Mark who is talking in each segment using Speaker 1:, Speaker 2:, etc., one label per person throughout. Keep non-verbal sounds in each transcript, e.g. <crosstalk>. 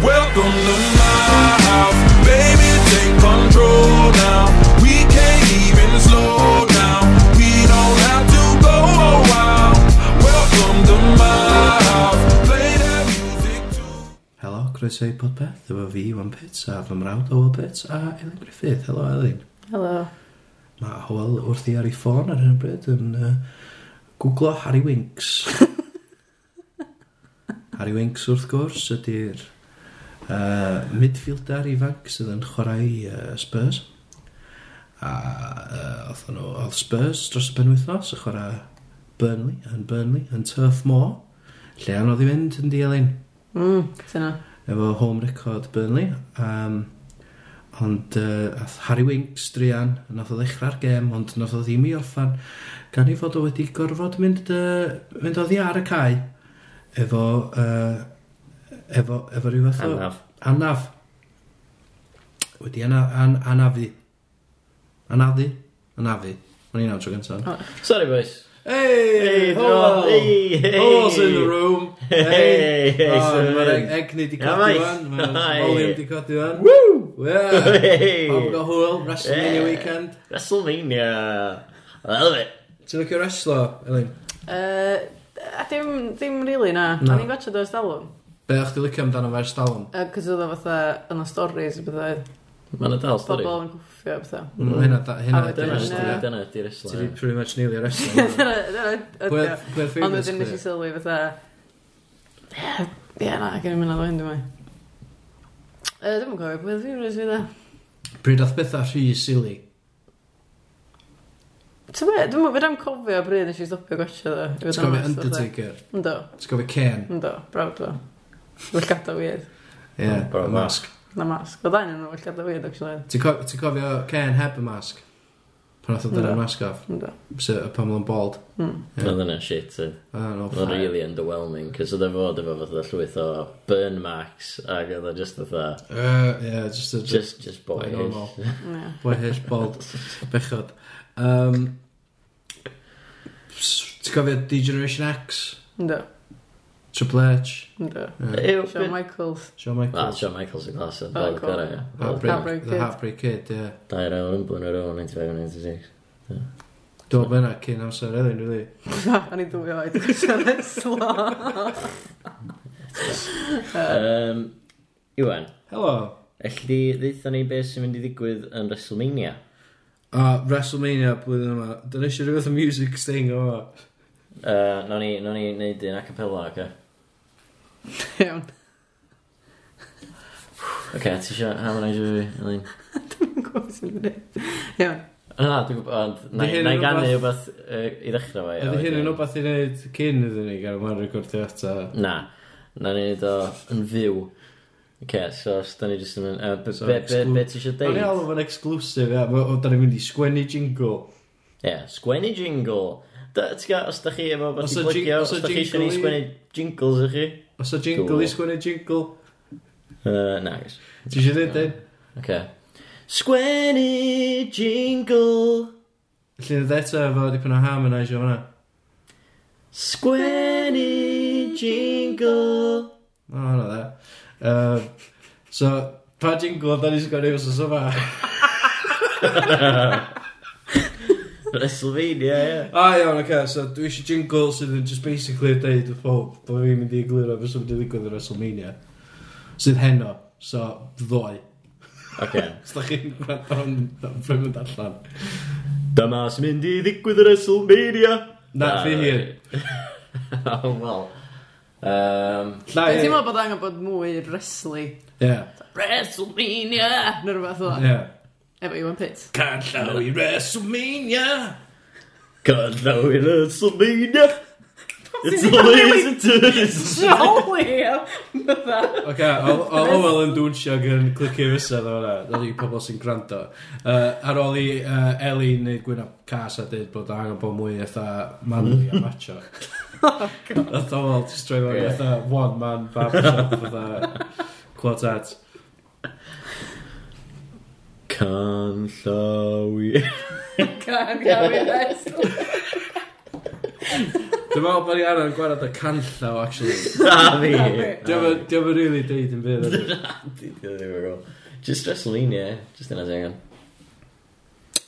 Speaker 1: knock on the mouth. Baby, take control now. We can't even slow down. We don't have to go a while. Welcome to my house. Play that music too.
Speaker 2: Helo, croeso i podpeth, efo fi, Iwan Pits, a fy mrawd Howell Pits, a Elin Griffith. Helo, Elin.
Speaker 3: Helo.
Speaker 2: Mae Howell wrth i ar ei ffôn ar hyn o bryd yn uh, googlo Harry Winks. Harry Winks, wrth gwrs, ydy'r uh, midfielder ifanc sydd yn chwarae i uh, Spurs. A uh, oedd nhw, oedd Spurs dros y penwythnos, y chwarae Burnley, yn Burnley, yn Turf Moor, lle anodd i fynd yn dielyn.
Speaker 3: Mm, dyna.
Speaker 2: efo home record Burnley. Um, ond uh, ath Harry Winks drian, nath o ddechrau'r gêm, ond nath o ddim i orffan, gan i fod o wedi gorfod mynd, uh, mynd oddi ar y cae efo, uh, efo, efo rhyw fath o...
Speaker 4: Anaf.
Speaker 2: Anaf. Wedi ana, an, anafu. Anafu. Anafu. O'n i'n awr tro gyntaf.
Speaker 4: Sorry, boys.
Speaker 2: Hey,
Speaker 4: Hey,
Speaker 2: Howell!
Speaker 4: hey, hey.
Speaker 2: Howell's in the room.
Speaker 4: Hey, hey,
Speaker 2: Oh,
Speaker 4: so-
Speaker 2: Mae'r eg- egni di
Speaker 4: Yeah,
Speaker 2: codi
Speaker 4: mate.
Speaker 2: fan. Mae'r
Speaker 4: Hi.
Speaker 2: volume di codi fan. Woo! Yeah.
Speaker 4: Hey!
Speaker 2: Pam go hwyl, WrestleMania
Speaker 4: Yeah.
Speaker 2: weekend.
Speaker 4: WrestleMania. I love it.
Speaker 2: Ti'n licio wrestlo, Elin?
Speaker 3: Uh, a dim, dim really na.
Speaker 2: Na.
Speaker 3: No. O'n i'n gwachod o'r stalwm.
Speaker 2: Be o'ch di licio amdano fe'r stalwm?
Speaker 3: Cos oedd o fatha yn y stories y bydda
Speaker 4: Mae'n dal stori.
Speaker 3: pobl yn gwffio
Speaker 2: <laughs>
Speaker 3: a bydda.
Speaker 2: Mm, Hynna da- hynna
Speaker 3: A
Speaker 2: ydy'r
Speaker 4: Dyna
Speaker 3: dyna-
Speaker 2: wrestlo.
Speaker 4: stori,
Speaker 2: ie.
Speaker 4: dyna ydi
Speaker 2: Ti di
Speaker 4: wrestling.
Speaker 2: pretty much neilio
Speaker 3: <laughs>
Speaker 2: wrestlo. Pwy'r
Speaker 3: Ond
Speaker 2: ffeifus
Speaker 3: wedyn nes i
Speaker 2: chdi?
Speaker 3: sylwi fatha... Ie, ie, na, gen i'n mynd o hyn dwi'n mynd. Uh, Dwi'n cofio pwy oedd fi'n rhywbeth e. fi dda.
Speaker 2: Pryd oedd bethau rhy silly.
Speaker 3: Ti'n be, dwi'n mynd am cofio bryd nes i stopio gwaethaf
Speaker 2: Ti'n
Speaker 3: dda. i fod yn
Speaker 2: gofio
Speaker 3: onest, fatha.
Speaker 2: Undertaker.
Speaker 3: Ynddo,
Speaker 2: Ti'n gofio Kane.
Speaker 3: ynddo, brawd dda. Wyllgada weird.
Speaker 2: Ie,
Speaker 4: Bro,
Speaker 2: y mask.
Speaker 3: Na masg. Oedd angen yn wyllgada weird, actually.
Speaker 2: Ti'n co- ti'n cofio Ken heb y mask? Pan oedd o dyna'r
Speaker 3: Na.
Speaker 2: mask off?
Speaker 3: Ynddo.
Speaker 2: Sut y pan oedd o'n bald?
Speaker 3: Mm.
Speaker 2: Ie.
Speaker 4: Oedd yna shit. eh.
Speaker 2: Ah, no,
Speaker 4: Oedd
Speaker 2: fine.
Speaker 4: yn really underwhelming, cos oedd e fod efo fatha llwyth o burn marks, ac oedd e just fatha,
Speaker 2: Uh, yeah, just a just
Speaker 4: just, just
Speaker 2: Like
Speaker 4: <laughs>
Speaker 2: normal.
Speaker 4: boyish.
Speaker 3: Ie.
Speaker 2: boy hish bald
Speaker 4: <laughs>
Speaker 2: bechod. Um, s- Ti'n cofio D-Generation X,
Speaker 3: Ynddo,
Speaker 2: Triple H,
Speaker 3: ynddo.
Speaker 2: uh,
Speaker 4: Ew,
Speaker 3: Shawn
Speaker 4: bit-
Speaker 3: Michaels. <laughs>
Speaker 2: Shawn
Speaker 4: Ah,
Speaker 2: Michaels,
Speaker 4: Shawn Michaels y glas yn
Speaker 3: Oh,
Speaker 4: dog
Speaker 3: cool.
Speaker 4: dyna, ie. Wel,
Speaker 2: Heartbreak-
Speaker 3: Heartbreak
Speaker 2: The
Speaker 3: Kid.
Speaker 2: Heartbreak Kid, ie.
Speaker 4: e. Dair awr yn blwyddyn ar ôl, 95-96.
Speaker 2: Dwi'n meddwl yna cyn amser Elin, really.
Speaker 3: O'n i dwy oed yn siarad slo.
Speaker 4: Um, Iwan,
Speaker 2: Helo.
Speaker 4: elli di ddeitha ni beth sy'n mynd i ddigwydd yn WrestleMania?
Speaker 2: A WrestleMania blwyddyn yma, dyna eisiau rhywbeth o music sting o fo.
Speaker 4: Uh, nawn ni, nawn ni neud un acapella, oce?
Speaker 3: Iawn.
Speaker 4: Oce, ti isio harmonise fi, Elin?
Speaker 3: Dwi'n gwybod sy'n gwneud. Iawn.
Speaker 4: O, Na, dwi'n gwybod, ond na
Speaker 2: Ydi hyn
Speaker 4: na i
Speaker 2: yn
Speaker 4: gannu
Speaker 2: rwbath-
Speaker 4: rhywbeth yy, i ddechrau fe. a
Speaker 2: Ydy hyn
Speaker 4: wedyn-
Speaker 2: yn obath i wneud cyn iddyn ni gael ma'n recordio eto.
Speaker 4: Na, na ni neud o yn fyw. Oce, so, os da ni jyst yn mynd... yy, be-
Speaker 2: So,
Speaker 4: be- be-
Speaker 2: exclu-
Speaker 4: Be ti isio
Speaker 2: O'n i
Speaker 4: deud?
Speaker 2: alw fo'n exclusive, ia. Ma- o, Da ni'n mynd i sgwennu jingle.
Speaker 4: Ie, sgwennu jingle. Da- ti'n gwbod, Os da chi efo beth
Speaker 2: Os
Speaker 4: i
Speaker 2: y jing-
Speaker 4: blygio,
Speaker 2: os y
Speaker 4: os da chi eisiau ni
Speaker 2: jingle i-
Speaker 4: sgwennu jingles i chi?
Speaker 2: Os o jingle i
Speaker 4: Do.
Speaker 2: sgwennu jingle.
Speaker 4: Yy, Na, gos.
Speaker 2: Ti eisiau dweud dyn?
Speaker 4: Oce. Sgwennu jingle.
Speaker 2: Llyn y ddeta efo dipyn o harmonise o hwnna.
Speaker 4: Sgwennu jingle.
Speaker 2: O, hwnna dda. Um, so, pa jingle da ni sgwennu os oes <laughs> yma?
Speaker 4: Wrestlemania, ie.
Speaker 2: A Ah, iawn, oce, okay, so dwi eisiau jingle sydd yn just basically deud y phob bod fi'n mynd i egluro beth sy'n mynd i ddigwydd yn WrestleMania. Sydd heno, so ddoe. <laughs>
Speaker 4: Oce.
Speaker 2: Os da chi'n gwrando am ffrymyd allan.
Speaker 4: Dyma sy'n mynd i ddigwydd yr Wrestlemania.
Speaker 2: Na, fi hyn.
Speaker 4: <laughs> O, wel. Um,
Speaker 2: Llai.
Speaker 3: Dwi'n teimlo bod angen bod mwy wrestly.
Speaker 2: Ie,
Speaker 3: WrestleMania! Neu rhywbeth o.
Speaker 2: ie.
Speaker 3: Efo Iwan Pitt.
Speaker 2: <laughs> Can llaw i WrestleMania!
Speaker 4: Cadlawin Wrestlemania. It's always a twist.
Speaker 3: Jolly! Bydda.
Speaker 2: Oce, o- o Howell yn dwnsio gan clicio fysa ddo hwnna, dod i pobl sy'n gwrando. Uh, ar ôl i uh, Eli wneud gwyn cas a dweud bod angen bod mwy eitha manly a macho. Nath Howell just troi mewn i eitha one man fab shop fatha quartet.
Speaker 4: Can llawi...
Speaker 3: Gan gafin wrestly.
Speaker 2: Dwi'n meddwl bod ni angen gwared y canllaw, actually.
Speaker 4: Na fi.
Speaker 3: Na fi.
Speaker 2: Dwi'n meddwl really deud yn fyr.
Speaker 4: Di- di- ddim yn gwbod. Just WrestleMania, just yna ti angen.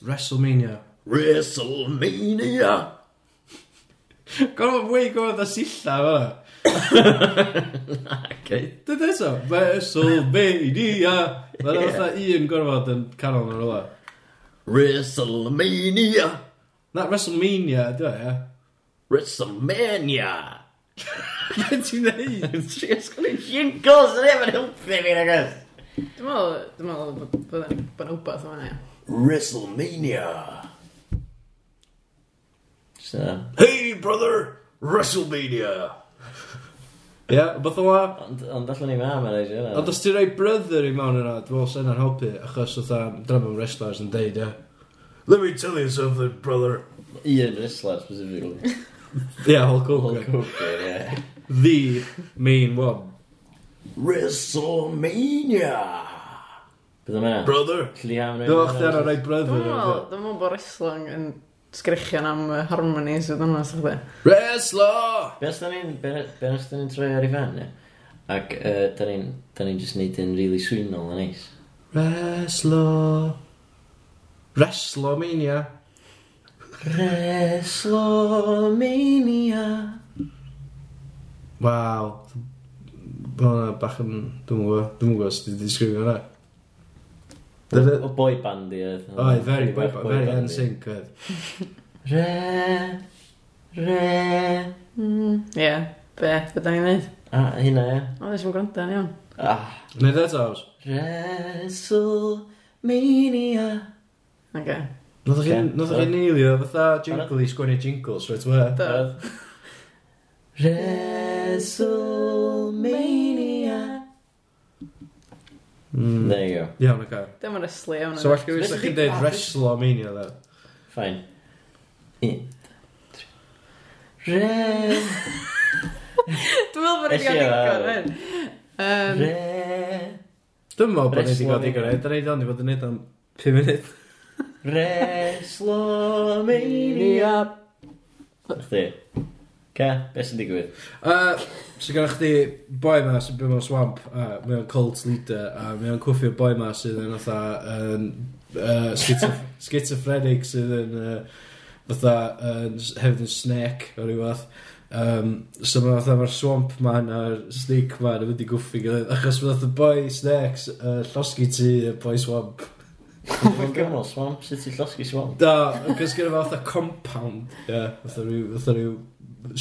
Speaker 2: WrestleMania.
Speaker 4: WrestleMania!
Speaker 2: Gorfod fwy gorfod y silla, fe.
Speaker 4: Okay.
Speaker 2: Dwi'n eto, WrestleMania. Mae'n yeah. fatha un gorfod yn canol yn rola.
Speaker 4: WrestleMania!
Speaker 2: Na, WrestleMania, dwi'n ia.
Speaker 4: WrestleMania!
Speaker 2: <laughs> Be ti'n neud?
Speaker 4: Tries gwneud i'n jingles yn efo'n helpu fi, nagos.
Speaker 3: Dwi'n meddwl, dwi'n meddwl bod bod- bod yn wbeth yma, ia.
Speaker 4: WrestleMania! Just yna. Hey, brother! WrestleMania!
Speaker 2: Ia, beth o'n la?
Speaker 4: Ond ond allan ni mam yn eisiau
Speaker 2: Ond
Speaker 4: yna.
Speaker 2: os ti'n rhoi brother i mewn yna, dwi'n meddwl sy'n helpu, achos oedd dyna mewn wrestlers yn deud, ia.
Speaker 5: Let me tell you something, brother.
Speaker 4: Un wrestler,
Speaker 2: <laughs>
Speaker 4: specifically.
Speaker 2: Ia, Hulk
Speaker 4: Hulk
Speaker 2: Hogan.
Speaker 4: Hogan, yeah.
Speaker 2: The main one.
Speaker 4: WrestleMania! Bydd yma?
Speaker 5: Brother.
Speaker 4: Lli iawn
Speaker 2: Dwi'n meddwl chdi anna rhoi brother
Speaker 3: Dwi'n
Speaker 2: i
Speaker 3: meddwl,
Speaker 2: mewn.
Speaker 3: dwi'n meddwl bod wrestling yn sgrichian am uh, harmonies o dynas o'ch di.
Speaker 2: Wrestler!
Speaker 4: Beth da ni'n... Beth da ni'n troi ar ei fan, ie? Ac uh, da ni'n... Da ni'n just neud yn really swynol yn neis.
Speaker 2: Wrestler. Wrestlemania.
Speaker 4: WrestleMania
Speaker 2: Waw. Mae hwnna bach yn... Dwi'n gwybod. Dwi'n gwybod os ti'n disgrifio hwnna. Dyna-
Speaker 4: O boi band i oedd.
Speaker 2: Oi, very,
Speaker 4: Bach
Speaker 2: very,
Speaker 4: boy
Speaker 2: very
Speaker 4: band i.
Speaker 2: NSYNC. oedd.
Speaker 4: Re... Re...
Speaker 3: Ie, be, be da ni'n neud?
Speaker 4: A, hynna, ie.
Speaker 3: O, dwi'n siŵn gwrando yn iawn.
Speaker 4: Ah.
Speaker 2: Neud eto aws.
Speaker 4: WrestleMania
Speaker 3: Oce.
Speaker 2: Nodd
Speaker 4: Ocê.
Speaker 2: chi'n neilio fatha jingle i sgwennu jingles, right where?
Speaker 3: Do.
Speaker 4: Oedd. WrestleMania There you go.
Speaker 2: Iawn, o'r cael.
Speaker 3: Dim yn wrestling iawn.
Speaker 2: So, allai gwybod
Speaker 4: Beth
Speaker 2: sy'n chi'n
Speaker 4: ydi-
Speaker 2: deud
Speaker 4: a, beth-
Speaker 2: Wrestlemania, dda.
Speaker 4: Fine. Un, dwy. Re...
Speaker 3: Dwi'n meddwl bod ni'n
Speaker 4: Ellie,
Speaker 3: gael
Speaker 4: yy,
Speaker 3: digon hyn.
Speaker 4: Re...
Speaker 2: Dwi'n meddwl bod ni wedi gael
Speaker 4: Wrestlemania.
Speaker 2: digon rhaid. Dyna i ddod i fod yn neud am 5 munud.
Speaker 4: Wrestlemania Chdi. Ca, beth sy'n digwydd?
Speaker 2: Uh, so gyda chdi boi ma sy'n byw mewn swamp a mae o'n cult leader a mae o'n cwffio boi ma sydd yn fatha yn uh, schizo- <laughs> schizophrenic sydd yn uh, fatha yn s- hefyd yn snake o ryw fath um, so mae fatha mae'r swamp man a'r snake man yn mynd i gwffio gilydd achos mae fatha boi snakes uh, llosgi tu y boi swamp Oh
Speaker 4: Mae'n gyfnod swamp, sut ti'n llosgu swamp?
Speaker 2: da, achos gyda fatha compound yeah, fatha ryw, fatha ryw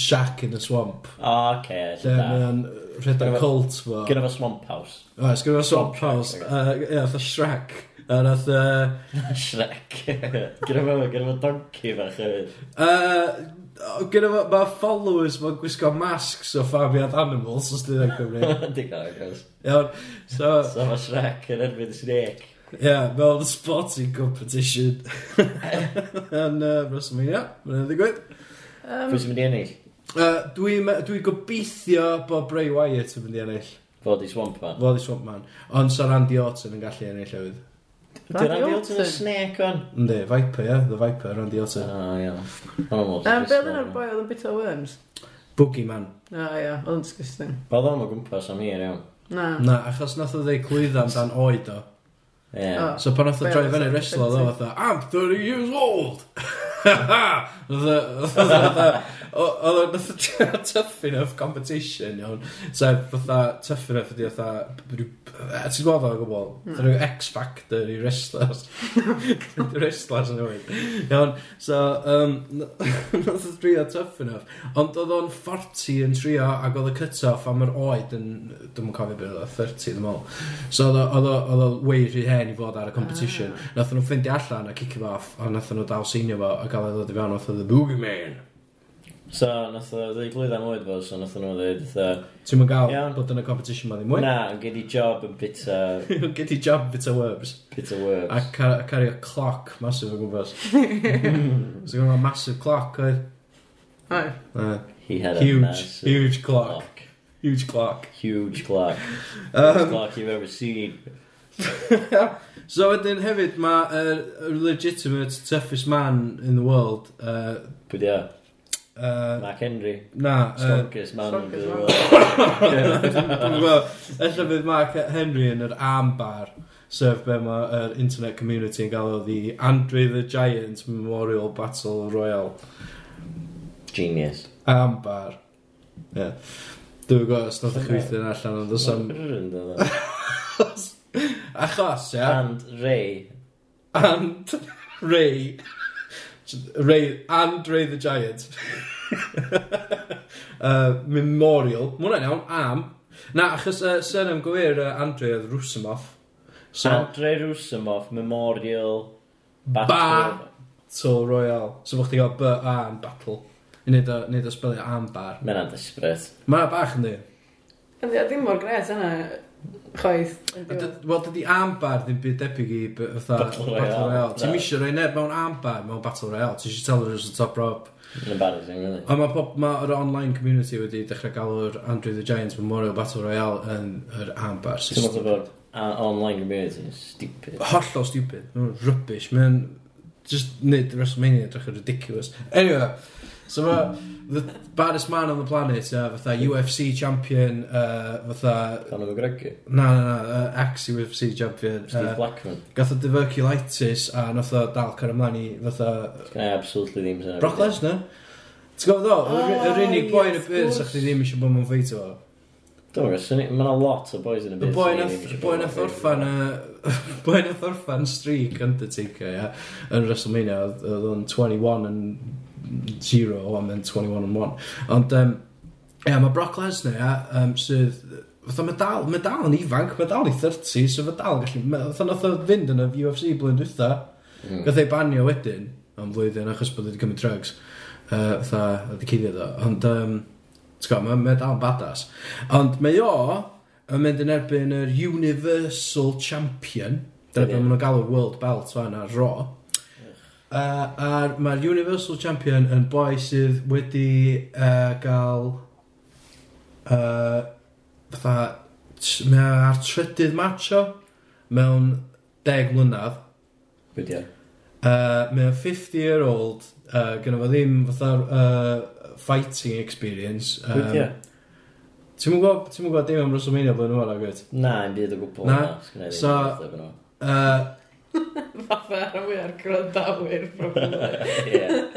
Speaker 2: shack in y swamp
Speaker 4: O, oce,
Speaker 2: lle mae
Speaker 4: da.
Speaker 2: o'n rhedeg
Speaker 4: Gyda-
Speaker 2: cult fo
Speaker 4: Gyda fo swamp house.
Speaker 2: Oes, gyda fe swamp
Speaker 4: Swamp
Speaker 2: house. uh,
Speaker 4: Shack,
Speaker 2: Yy, Ie, fatha Shrek. A nath... uh, yy,
Speaker 4: Shrek. <laughs> Gyda fo, gyda fo donkey fach hefyd. <laughs>
Speaker 2: yy, Gyda fe, mae followers ma'n gwisgo masks o farmiad animals os dyn nhw'n Cymru.
Speaker 4: Digon agos.
Speaker 2: Iawn, so,
Speaker 4: So mae Shrek yn erbyn snake.
Speaker 2: ie, mewn sporting competition yn uh, WrestleMania, mae'n ei ddigwydd.
Speaker 4: Pwy sy'n mynd i ennill?
Speaker 2: Uh, Dwi'n dwi gobeithio bod Bray Wyatt yn mynd i ennill,
Speaker 4: Fod i swamp man.
Speaker 2: fod i Swamp Man, ond sa'r Randy Orton yn gallu ennill hefyd.
Speaker 4: Dwi'n
Speaker 3: Randy
Speaker 4: rhaid i
Speaker 3: Orton.
Speaker 4: yn snake o'n.
Speaker 2: Ynddi, Viper, ie, The Viper, Randy
Speaker 4: O,
Speaker 2: Orton.
Speaker 4: iawn. Ond o'n
Speaker 3: Yym, Be oedd
Speaker 4: mwyn.
Speaker 3: yna'r boi oedd yn bit o worms?
Speaker 2: Boogie Man.
Speaker 3: O, ie, oedd yn disgusting.
Speaker 4: Oedd o'n o gwmpas am hir, iawn.
Speaker 3: Na.
Speaker 2: Na, achos nath o ddeud clwydda amdan oed o.
Speaker 4: Ie.
Speaker 3: O.
Speaker 2: So pan oedd o
Speaker 3: Be'
Speaker 2: droi
Speaker 3: oedd
Speaker 2: fyny
Speaker 3: o'n
Speaker 2: wrestler ddo,
Speaker 3: expensive?
Speaker 2: oedd o, I'm 30 years old! <laughs> Oedd o, oedd o, oedd o, oedd o, nath o <laughs> trio tough enough competition, iawn. So, fatha, tough enough ydi, fatha, ryw- e, ti'n gweld o'n gwbl,
Speaker 3: Hmm.
Speaker 2: fatha rhyw X-Factor i
Speaker 3: <laughs>
Speaker 2: wrestlers. Wrestlers yn ymwneud. Iawn, so, um, <laughs> nath o trio tough enough. Ond oedd o'n 40 yn trio, ac oedd y cut-off am yr oed yn, dwi'n mwyn cofio beth, oedd o, 30 ddim ol. So oedd o- oedd o- oedd o wei rhy hen i fod ar y competition. Ah. Nath nhw ffeindio allan a cicio fo off, a nath nhw dal seinio fo a gael ei ddod i fewn oedd o the boogie man.
Speaker 4: So, nath o ddweud glwydd am oed fo, so nath nhw ddweud, fatha,
Speaker 2: Ti'n mynd gael
Speaker 4: Iawn.
Speaker 2: bod yn y competition ma ddim mwy? <laughs>
Speaker 4: Na, yn gyd i job uh, yn bita,
Speaker 2: Gyd i job bit o webs.
Speaker 4: bita worms.
Speaker 2: A ca- a cario cloc masif o
Speaker 4: <laughs>
Speaker 2: gwmpas. <laughs> so gwna massive cloc oedd.
Speaker 3: Oi.
Speaker 2: Uh,
Speaker 4: He had a
Speaker 2: huge,
Speaker 4: massive
Speaker 2: huge clock. Huge clock.
Speaker 4: Huge clock. Biggest
Speaker 2: <laughs> Um,
Speaker 4: clock you've ever seen.
Speaker 2: so wedyn hefyd mae uh, legitimate toughest man in the world uh,
Speaker 4: Pwy di o?
Speaker 2: Uh,
Speaker 4: Mark Henry.
Speaker 2: na, uh,
Speaker 4: Stonkers man.
Speaker 3: Stonkers man.
Speaker 2: Wel, efallai fydd Mark Henry yn yr armbar sef be mae'r internet community yn gael o the Andre the Giant Memorial Battle Royale
Speaker 4: Genius.
Speaker 2: armbar. Ie. Dwi'n gwybod os nad ych weithio'n allan ond os am...
Speaker 4: And
Speaker 2: Achos, ia,
Speaker 4: Ray.
Speaker 2: and Ray, Ray, and Ray the Giant. <laughs> uh, memorial, mae hwnna'n iawn, am. Na, achos uh, sy'n gwir uh, Andre oedd Rusimov. So,
Speaker 4: Andrei Rusimov Memorial
Speaker 2: Ba-
Speaker 4: Battle.
Speaker 2: Battle Royale. So fwch ti gael B A yn battle. I neud o, neud o spelio am bar.
Speaker 4: Mae'n desperate.
Speaker 2: Mae'n bach yn di.
Speaker 3: Ydy, a ddim mor gres yna, chwaith. yn
Speaker 2: A
Speaker 3: diwedd.
Speaker 2: dy- Wel, dydi ambar ddim byd debyg i b- fatha
Speaker 4: Battle Royale.
Speaker 2: Battle Royale. Ti'n
Speaker 4: Na.
Speaker 2: misio rhoi neb mewn ambar mewn Battle Royale. Ti'n eisiau tell us the top rope.
Speaker 4: Yn embarrassing, really.
Speaker 2: A mae ma yr online community wedi dechrau galw'r Andrew the Giant Memorial Battle Royale yn yr ambar. sy'n
Speaker 4: Ti'n meddwl
Speaker 2: stupid.
Speaker 4: bod a- online community yn stupid.
Speaker 2: Hollol stupid. Mae'n rubbish. Mae'n just nid WrestleMania edrych yn ridiculous. Anyway, so mae the baddest man on the planet, uh, fatha UFC champion, uh, fatha,
Speaker 4: Conor McGregor.
Speaker 2: na, na, na, uh, ex-UFC champion.
Speaker 4: Steve
Speaker 2: Uh,
Speaker 4: Blackman.
Speaker 2: gath o diverculitis a nath o dal cer ymlaen i fatha
Speaker 4: Gan i absolutely ddim sy'n
Speaker 2: Brock Lesnar. Ti'n gwybod ddo? Yr- Yr
Speaker 3: Oh,
Speaker 2: unig boi yn y
Speaker 3: yes,
Speaker 2: byd
Speaker 3: of
Speaker 2: sa'ch chi ddim eisiau bod mewn ffeit o.
Speaker 4: Dwi'n gwybod, mae'n lot o boys yn y
Speaker 2: Y
Speaker 4: byd.
Speaker 2: boi
Speaker 4: sy'n
Speaker 2: nath
Speaker 4: ddim
Speaker 2: y boi nath orffan y <laughs> boi nath orffan streak Undertaker ia yn WrestleMania oedd- oedd o'n 21 yn 0 o am yn 21 yn 1 ond um, ia mae Brock Lesnar ia um, sydd fatha mae dal mae dal yn ifanc mae dal i 30 so mae dal yn gallu ma- fatha nath o fynd yn y UFC blwyddyn dwytha
Speaker 4: Mm.
Speaker 2: gath ei banio wedyn am flwyddyn achos bod wedi cymryd drugs uh, fatha wedi cuddio ddo ond um, ti'n gwybod mae mae dal yn badass ond mae o yn mynd yn erbyn yr Universal Champion. Dyna beth
Speaker 4: Ie.
Speaker 2: maen nhw'n galw World Belt fan ar ro. Uh, a mae'r Universal Champion yn boi sydd wedi uh, gael... Uh, fatha... t- Mae o ar trydydd match o mewn 10 mlynedd.
Speaker 4: Bwyd ia.
Speaker 2: Uh, mae o'n 50 year old, uh, gyda fo ddim fatha uh, fighting experience.
Speaker 4: Bwyd ia.
Speaker 2: Ti'n mwyn gwybod, ti'n mwyn gwybod dim am WrestleMania blwyddyn yma, agwyd?
Speaker 4: Na, yn byd o gwbl.
Speaker 2: Na.
Speaker 4: Na, sgynna i ddim.
Speaker 2: So- Uh,
Speaker 3: Fatha ar y mwy ar gwrandawyr, probably.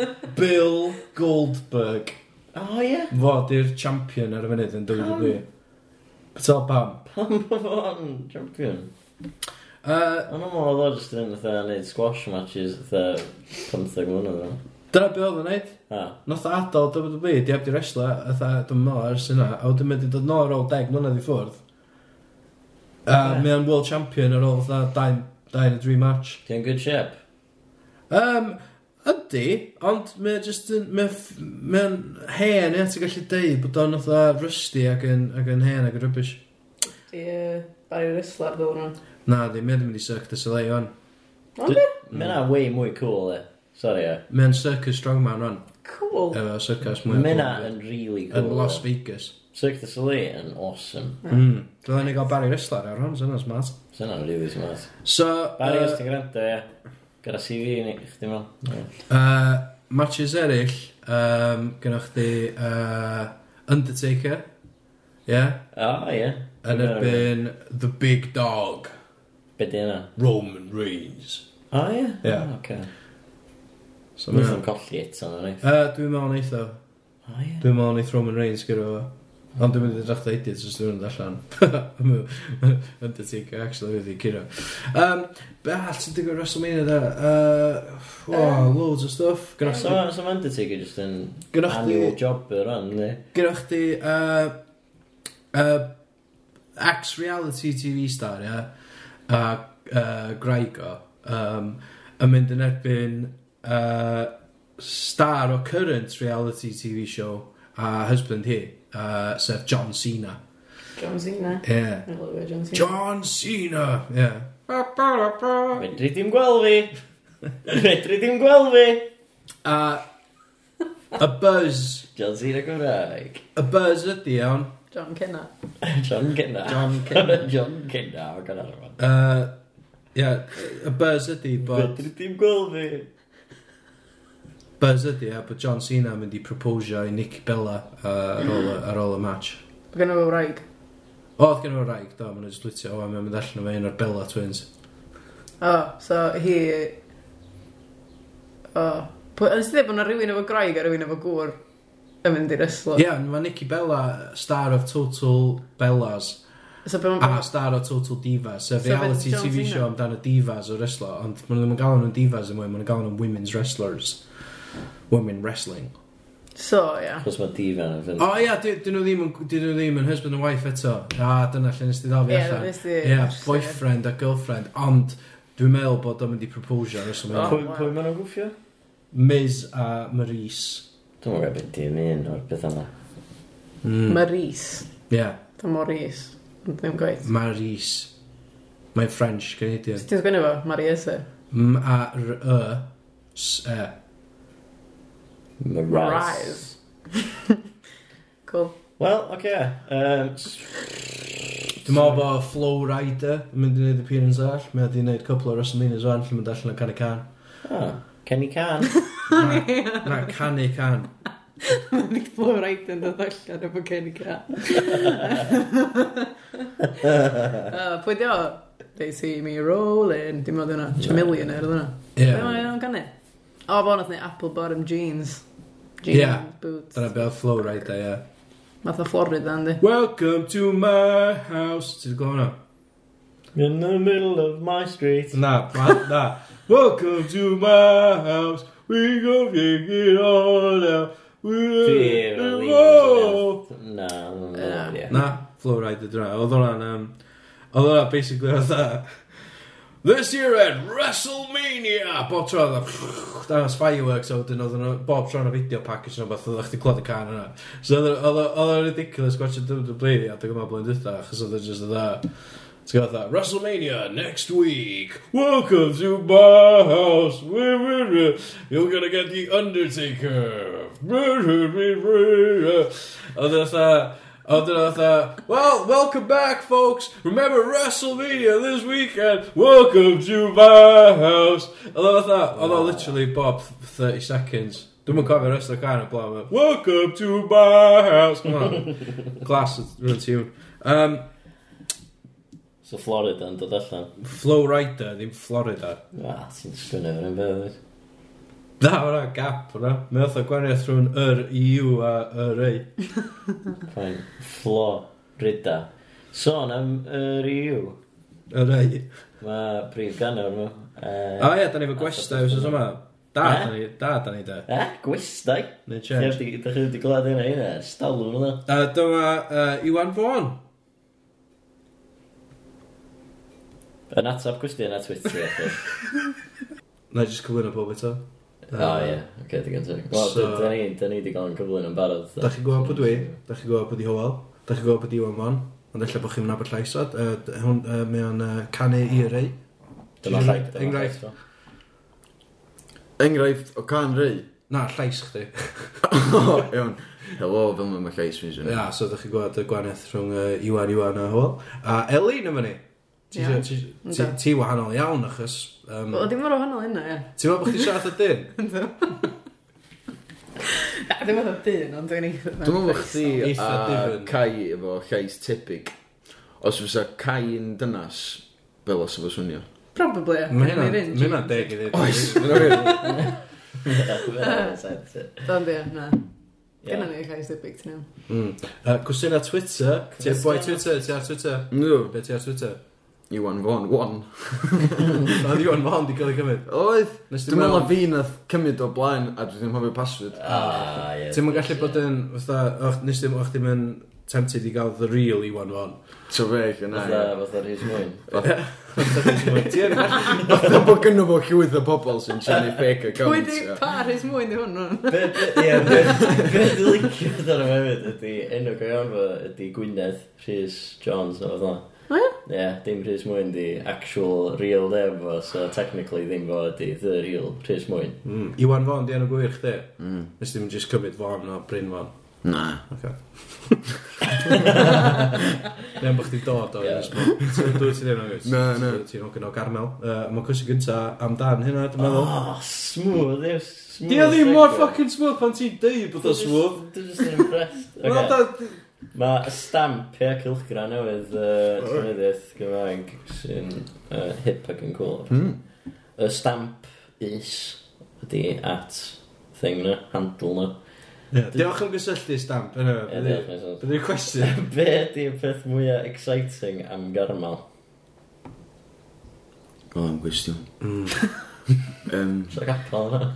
Speaker 2: <laughs>
Speaker 4: So...
Speaker 2: Bill Goldberg
Speaker 4: O ie.
Speaker 2: Fo di'r champion ar y funud yn WWE Betel pam
Speaker 4: Pam bod o'n champion?
Speaker 2: uh,
Speaker 4: Ond o'n meddwl oedd o jyst yn fatha neud squash matches fatha 15 mlynedd o'n.
Speaker 2: Dyna be oedd yn neud
Speaker 4: A,
Speaker 2: Noth o adal WWE Di abdi wrestler Ytha dwi'n meddwl ers yna A wedyn mynd i dod nôl ar ôl 10 mlynedd i ffwrdd A
Speaker 4: Ie.
Speaker 2: mae o'n world champion ar ôl fatha 2 yn y 3 match
Speaker 4: ti'n good shape?
Speaker 2: Um, ydy, ond mae o just yn, mae o- mae o'n hen, ia, ti'n gallu deud bod o'n fatha rusty ac yn, ac yn hen ac yn rubbish.
Speaker 3: Di, yy, Barry Ryslar ddod nhw.
Speaker 2: Na, di, mae o'n mynd i Cirque du Soleil o'n.
Speaker 4: Mae na way mwy cool e. Sorry e.
Speaker 2: Mae'n Circus Strongman rwan,
Speaker 3: Cool.
Speaker 2: efo circus mwy. o
Speaker 4: Mae na
Speaker 2: bobl.
Speaker 4: yn really
Speaker 2: yn
Speaker 4: cool.
Speaker 2: Las
Speaker 4: e.
Speaker 2: Vegas.
Speaker 4: Cirque du Soleil yn awesome.
Speaker 2: Mm. Dylen ni gael Barry Ryslar ar hwn, sy'n smart.
Speaker 4: Sa'n o'n really smart.
Speaker 2: So,
Speaker 4: Barry,
Speaker 2: uh,
Speaker 4: os ti'n gwrando, ie. Gyda CV ni, chdi mewn.
Speaker 2: uh, matches eraill, um, gynnwch chi uh, Undertaker, yeah,
Speaker 4: O, ie.
Speaker 2: yn erbyn The Big Dog,
Speaker 4: Be di yna?
Speaker 2: Roman Reigns.
Speaker 4: O, ie?
Speaker 2: Ie.
Speaker 4: O, Oce.
Speaker 2: So,
Speaker 4: Mwyd
Speaker 2: yeah.
Speaker 4: yn colli eto, na ni.
Speaker 2: uh, dwi'n meddwl neith o.
Speaker 4: O, ie.
Speaker 2: Dwi'n meddwl neith Roman Reigns gyda fo. Ond dwi'n mynd i ddechrau edit, os dwi'n mynd allan. <laughs> Undertaker, actually, wedi curo. Um, be all sy'n digwydd WrestleMania da? Uh, wow, loads o stuff. Gynnwch
Speaker 4: So,
Speaker 2: chi...
Speaker 4: so mae Undertaker just yn
Speaker 2: Gynnwch
Speaker 4: annual
Speaker 2: chi...
Speaker 4: jobber o'n, ne?
Speaker 2: Gynnwch chi... Uh, uh, Ex-reality TV star, ia. A uh, graig o. Um, yn mynd yn erbyn uh, star o current reality TV show a husband hi, uh, sef John Cena.
Speaker 3: John Cena.
Speaker 2: Yeah.
Speaker 3: I love it, John Cena.
Speaker 2: John Cena! Yeah.
Speaker 4: Fedri dim gweld fi! Fedri dim gweld fi!
Speaker 2: A y buzz,
Speaker 4: John Cena Gymraeg.
Speaker 2: y buzz ydy iawn,
Speaker 3: John Cena.
Speaker 4: John Cena.
Speaker 2: John Cena.
Speaker 4: <laughs> John Cena, o gan arfon.
Speaker 2: uh, yeah, y buzz ydy bod...
Speaker 4: Fedri dim gweld fi!
Speaker 2: Buzz ydy, a bod John Cena yn mynd i proposio i Nick Bella uh, ar, ôl, y- ar ôl y match.
Speaker 3: Mae gen nhw wraig.
Speaker 2: O, oedd gen o'r raig, do, maen nhw'n splitio, o, a mae'n mynd allan o fe un o'r Bella Twins.
Speaker 3: O, so hi... O. Pwy- Nes ti dweud bod yna rhywun efo graig a rhywun efo gŵr yn mynd i reslo?
Speaker 2: Ie, yeah, mae Nicky Bella, star of Total Bellas,
Speaker 3: So be
Speaker 2: a
Speaker 3: ma'n...
Speaker 2: star o Total Divas, a
Speaker 3: So
Speaker 2: reality
Speaker 3: fe- John
Speaker 2: TV
Speaker 3: Cena?
Speaker 2: show amdano divas o wrestler, ond maen nhw ddim yn galw nhw'n divas yn mwy, maen nhw'n galw nhw'n women's wrestlers. Women wrestling.
Speaker 3: So, ia.
Speaker 4: Cos mae divan yn fynd.
Speaker 2: O oh, ia, yeah, dyn nhw ddim yn, dyn nhw ddim yn husband and wife eto. A dyna lle nes ti ddal fi
Speaker 3: Ie,
Speaker 2: allan.
Speaker 3: nes di-
Speaker 2: Ie,
Speaker 3: nes di-
Speaker 2: boyfriend a girlfriend, ond dwi'n meddwl bod o'n mynd i proposio ar
Speaker 3: O.
Speaker 2: ysgrifennu.
Speaker 4: Pwy, pwy maen nhw'n gwffio?
Speaker 2: Miz a Maurice.
Speaker 4: Dwi'n mwyn gwybod dim un o'r beth yma.
Speaker 3: Hmm.
Speaker 2: Mm.
Speaker 3: Maurice.
Speaker 2: Yeah,
Speaker 3: Da Maurice. Ond Ddim gwaith.
Speaker 2: Maurice. Mae'n French, Canadian.
Speaker 3: Ti'n sgwini fo? Mariese.
Speaker 2: E, M-A-R-E-S-E.
Speaker 4: Marais.
Speaker 3: <laughs> Cool.
Speaker 4: Wel, oce. Yym, s-
Speaker 2: Dwi'n meddwl bod Flow Rider yn mynd i wneud appearance all. Mae wedi wneud cwpl o WrestleMania zwan lle mynd allan o canu can.
Speaker 4: Ah, Kenny Can.
Speaker 2: Na, na, canu can.
Speaker 3: Nick Blue Wright yn dod allan efo Kenny Ca. Uh, Pwy di <laughs> o? They see me rolling. Dim ond yna. Chamillionaire oedd yna.
Speaker 2: Ie.
Speaker 3: Be mae o'n canu? O, bo nath ni apple bottom jeans. Jeans,
Speaker 2: Ie.
Speaker 3: boots.
Speaker 2: Dyna be oedd Flow Rider, ie.
Speaker 3: Math o Florida, yndi?
Speaker 2: Welcome to my house. Ti'n gwybod hwnna?
Speaker 4: In the middle of my street.
Speaker 2: Na, <laughs> ma- na. Welcome to my house. We go take it all out.
Speaker 4: Dwi
Speaker 2: We're
Speaker 4: rili- Na, na,
Speaker 3: Ie.
Speaker 4: ie.
Speaker 2: Na, Flow Rider dyna. Oedd hwnna'n... Um, oedd hwnna basically oedd This year at WrestleMania! Bob tro oedd o- <laughs> dangos fireworks a wedyn oedd nhw- bob tro yn y video package yn o beth oedd o'ch di clod y can yna. So oedd o- oedd o- oedd o'n ridiculous gwachio WWE a dwi'n gwybod blwyddyn dwytha achos oedd o'n just oedd o- Ti'n gwybod that? WrestleMania next week. Welcome to my house. Wee, wee, wee. You're gonna get the Undertaker. Wee, wee, wee, wee. Oedd o fatha... Oedd o fatha... Well, welcome back, folks. Remember WrestleMania this weekend. Welcome to my house. Oedd o fatha... Oedd o literally bob 30 seconds. Dwi'n mwyn cofio rest o'r can o blaen. but, Welcome to my house. Come on. Glass, rwy'n tune. Um,
Speaker 4: So Florida yn dod allan.
Speaker 2: Flow Rider, ddim Florida.
Speaker 4: Ah, ti'n sgwynnu fyr yn bydd. wyt?
Speaker 2: Da, mae hwnna gap hwnna. Mae oedd o gwaniaeth rhwng yr EU a yr ei.
Speaker 4: Fine. Florida. Sôn am yr EU.
Speaker 2: Yr ei.
Speaker 4: Mae prif ganwr nhw. yy,
Speaker 2: O ie, da ni fo gwestau wrth yma. Da,
Speaker 4: Eh?
Speaker 2: da ni, da, da ni da.
Speaker 4: Eh, gwestai.
Speaker 2: Neu change.
Speaker 4: Ydych chi wedi gwlad hynna hynna? Stalwn hwnna.
Speaker 2: A dyma yy, Iwan Fawn.
Speaker 4: Yn atab cwestiwn ar Twitter. felly.
Speaker 2: Na, i jyst cyflwyno pob eto.
Speaker 4: O ie, oce, digon teg. Wel,
Speaker 2: So-
Speaker 4: da ni, da ni wedi gael yn cyflwyn yn barod.
Speaker 2: Da chi'n gwybod pwy dwi, da chi'n gwybod pwy di Howell, da chi'n gwybod pwy di Iwan Fawn. Ond ella bod chi'n mynd abod llais o. Yy, d- hwn, yy, Mae o'n yy, canu i'r ei.
Speaker 4: Dyma rhaid. dyma
Speaker 2: Enghraifft.
Speaker 4: rhaid.
Speaker 5: Enghraifft o can rei. <laughs>
Speaker 2: Na, llais chdi.
Speaker 5: Iawn. Helo, fel mae'n llais fi'n swnio.
Speaker 2: Ia, so da chi'n gwybod y gwaniaeth rhwng yy, Iwan, Iwan a Howell. A Elin yma ni. Ti-
Speaker 3: Iawn.
Speaker 2: ti- ti-
Speaker 3: Yndw.
Speaker 2: Ti wahanol iawn achos... yym,
Speaker 3: Wel, dim mor o hwnnw hynna, ie.
Speaker 2: Ti'n meddwl bod chdi siarad y dyn? <laughs>
Speaker 3: Na, Dim oedd o dyn, ond dwi'n eitha.
Speaker 5: Dwi'n meddwl bod chdi
Speaker 2: Eitha
Speaker 5: a
Speaker 2: difyn.
Speaker 5: Cai efo llais tebyg. Os fysa Cai yn dynas, fel os efo swnio.
Speaker 3: Probably, ie.
Speaker 2: Mae hynna'n ma' hynna'n deg i ddweud. Oes.
Speaker 3: Ond ie, na. Gynna
Speaker 4: Ie.
Speaker 3: ni llais debyg, ti'n iawn.
Speaker 2: Cwestiwn ar Mm. Twitter. Ti ar boi Twitter? Ti ar Twitter?
Speaker 5: No,
Speaker 2: Be ti ar Twitter?
Speaker 5: Iwan Fawn, one.
Speaker 2: Oedd Iwan Fond i gael ei cymryd.
Speaker 5: Oedd,
Speaker 2: Nes
Speaker 5: dwi'n meddwl na fi nath cymryd o blaen a dwi'n hoffi password.
Speaker 4: Ah, ie.
Speaker 2: Ti'n mynd gallu bod yn... Fytha, nes ti'n o'ch ti'n mynd tempted i gael the real Iwan Fond.
Speaker 5: So fe, gyna.
Speaker 4: Fatha, fatha Rhys Mwyn.
Speaker 2: Ti yn gallu...
Speaker 5: <laughs> Fatha bod gynnu fo llwyth o bobl sy'n <laughs> siarad fake
Speaker 3: Pwy di
Speaker 5: accounts. ie.
Speaker 3: Paris mwyn di hwnnw?
Speaker 2: <laughs>
Speaker 4: Be dwi'n licio ar y hefyd ydy enw gael fo ydy Gwynedd, Rhys Jones o fatha.
Speaker 3: O ie?
Speaker 4: Ie, dim Rhys Mwyn di actual real name fo, so technically ddim fo ydy the real Rhys Mwyn.
Speaker 2: Iwan Fond i enw gwir chdi. Nes ti'n just cymryd Fond o Bryn Fond.
Speaker 5: Na.
Speaker 2: Okay. Neu bod chdi dod o'r
Speaker 4: Ie.
Speaker 2: nes mor. Ti'n dwi ti ddim yn gwrs.
Speaker 5: Na, na.
Speaker 2: Ti'n ogyn o garmel. Yy, Mae'n cwestiwn gynta amdan hynna, dwi'n meddwl.
Speaker 4: Oh, smooth, ie, smooth.
Speaker 2: Di o ddim mor
Speaker 4: segue.
Speaker 2: fucking smooth pan ti'n deud bod o
Speaker 4: Dwi jyst-
Speaker 2: smooth.
Speaker 4: Dwi just yn impressed.
Speaker 2: Wel,
Speaker 4: Ocê.
Speaker 2: da-
Speaker 4: Mae y stamp ia cilchgra newydd uh, Llenyddiaeth Gymraeg sy'n uh, hip ac yn cool.
Speaker 5: Hmm.
Speaker 4: Y stamp is ydi at thing na, handle na.
Speaker 2: Ie, Diolch am gysylltu stamp.
Speaker 4: Ie, diolch yn sôn.
Speaker 2: Bydd i'r cwestiwn.
Speaker 4: <laughs> Be ydi y peth mwyaf exciting am garmel?
Speaker 5: O, am gwestiwn. <laughs> um,
Speaker 4: Sa'r capel yna?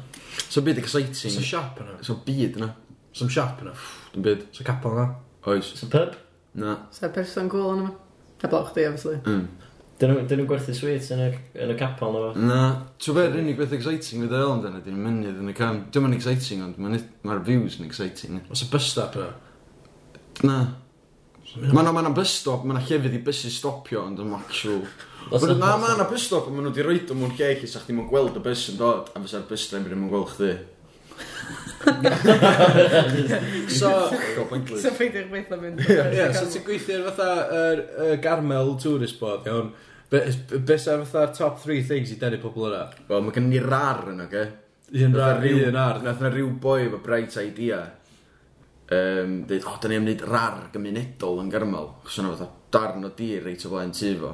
Speaker 5: so byd
Speaker 2: Some
Speaker 5: exciting.
Speaker 2: siap yna.
Speaker 5: So byd yna.
Speaker 2: Some siap yna.
Speaker 5: Dwi'n byd.
Speaker 2: Some capel yna.
Speaker 5: Oes.
Speaker 4: Sa'r pub?
Speaker 5: Na.
Speaker 3: Sa'r person cool yna. A bloch di, obviously.
Speaker 5: Mm.
Speaker 4: Dyn nhw- dyn nhw'n gwerthu sweets yn y, yn y capel na.
Speaker 5: Na. Ti'n byd, unig beth exciting fydd eil amdano di'n mynydd yn y cam. Dwi'n mynd exciting, ond ma'n nid- ma'r views yn exciting.
Speaker 2: Os y bus stop yna.
Speaker 5: Na. Mae yna ma na bus stop, mae yna llefydd i busu stopio, ond yn <laughs> actual.
Speaker 4: Os
Speaker 5: Ma'
Speaker 4: y-
Speaker 5: na ma yna bus stop, ond maen nhw wedi roed o mewn lle lle sa'ch ddim yn gweld y bus yn dod, a fysa'r bus driver ddim yn gweld chdi.
Speaker 2: So,
Speaker 5: Go pointless.
Speaker 3: So peidiwch beth am mynd.
Speaker 2: ie, so ti'n gweithio ar fatha yr y Garmel Tourist Board, iawn. Be be sa'r fatha'r top 3 things i denu pobl yna?
Speaker 5: Wel, mae gen ni rar yn oge.
Speaker 2: Un rar, un ar.
Speaker 5: Nath na ryw boi efo bright idea. Um, Deud, o, oh, da ni am wneud rar gymunedol yn gyrmal. Chos yna fatha darn o dir reit o blaen tu fo.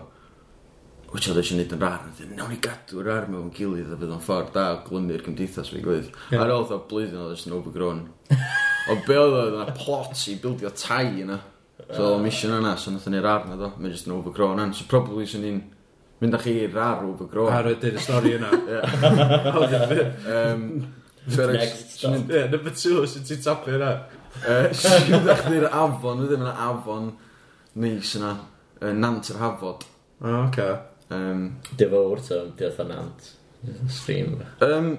Speaker 5: Wyt oedd eisiau wneud yn rar. Dweud, nawn ni gadw yr ar mewn gilydd a fydd o'n ffordd da o glymu'r cymdeithas fi gwydd.
Speaker 2: Ie.
Speaker 5: Yeah. Ar ôl o blwyddyn oedd eisiau overgrown.
Speaker 2: <laughs>
Speaker 5: o be oedd oedd yna plot i bildio tai yna. So uh, mission yna, so nath ni'r ar na do. Mae'n just yn overgrown yna. So probably sy'n ni'n mynd â chi i'r ar overgrown.
Speaker 2: Ar ydy'r stori yna.
Speaker 5: Um,
Speaker 4: Next stop.
Speaker 2: <laughs> Ie, number 2, sy'n ti'n tapu yna?
Speaker 5: Siwyd chdi'r afon, wedyn mae'n afon neis yna, yy, nant yr hafod.
Speaker 2: O, oce.
Speaker 5: Um,
Speaker 4: Defawr, so, diolch yn nant. Stream.
Speaker 5: um,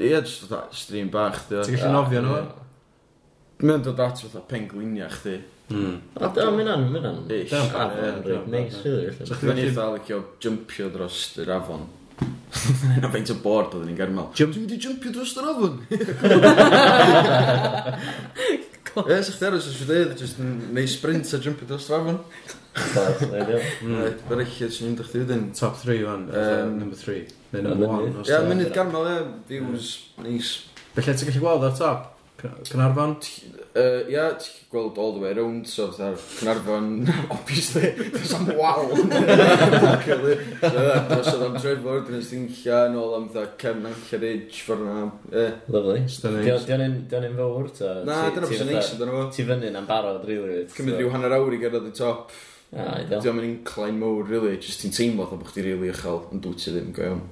Speaker 5: Ie, jyst fatha stream bach,
Speaker 2: Ti'n
Speaker 5: di o.
Speaker 2: gallu
Speaker 4: Ah,
Speaker 2: nofio nhw?
Speaker 5: Mae'n dod at fatha penglinia chdi.
Speaker 4: O, da, mae'n mynd
Speaker 5: Ish.
Speaker 2: Damn,
Speaker 4: Afon,
Speaker 5: Ie.
Speaker 2: ie.
Speaker 4: reit, neis, rili.
Speaker 5: So chdi fe'n eitha licio jympio dros yr afon. <laughs> Na feint o bord oedden ni'n germal. Jump. Dwi'n mynd i jympio dros yr afon. Ie, sa chdi aros os dweud, jyst yn neud sprint a jympio dros yr afon.
Speaker 2: Hmm.
Speaker 5: Ie, Beryllid sy'n mynd â chdi wedyn.
Speaker 2: Top 3 fan,
Speaker 5: Yym,
Speaker 2: number 3. Neu number
Speaker 4: Ie,
Speaker 2: 1.
Speaker 5: Ia, munud garmel, ia, views, neis.
Speaker 2: Felly ti'n gallu gweld ar top? Cynarfon?
Speaker 5: Uh, ia, ti'n gallu gweld all the way around, so fatha'r Cynarfon, <laughs> obviously, there's some wal. Luckily, dros oedd am Trevor, dyn nhw'n stinlla, yn ôl am fatha Cefn Ancher Ridge, ffordd yna. Ie.
Speaker 4: Lovely.
Speaker 2: Stunning.
Speaker 4: Di o'n un fawr, ta?
Speaker 5: Na, dyna beth sy'n neis amdano fo.
Speaker 4: Ti fyny na'n barod, rili.
Speaker 5: Cymryd rhyw hanner awr i gyrraedd y top.
Speaker 4: A,
Speaker 5: Di
Speaker 4: ideal.
Speaker 5: o'n mynd incline mowr, really, just ti'n teimlo fatha bod chdi rili uchel, ond dwyt ti ddim, go iawn.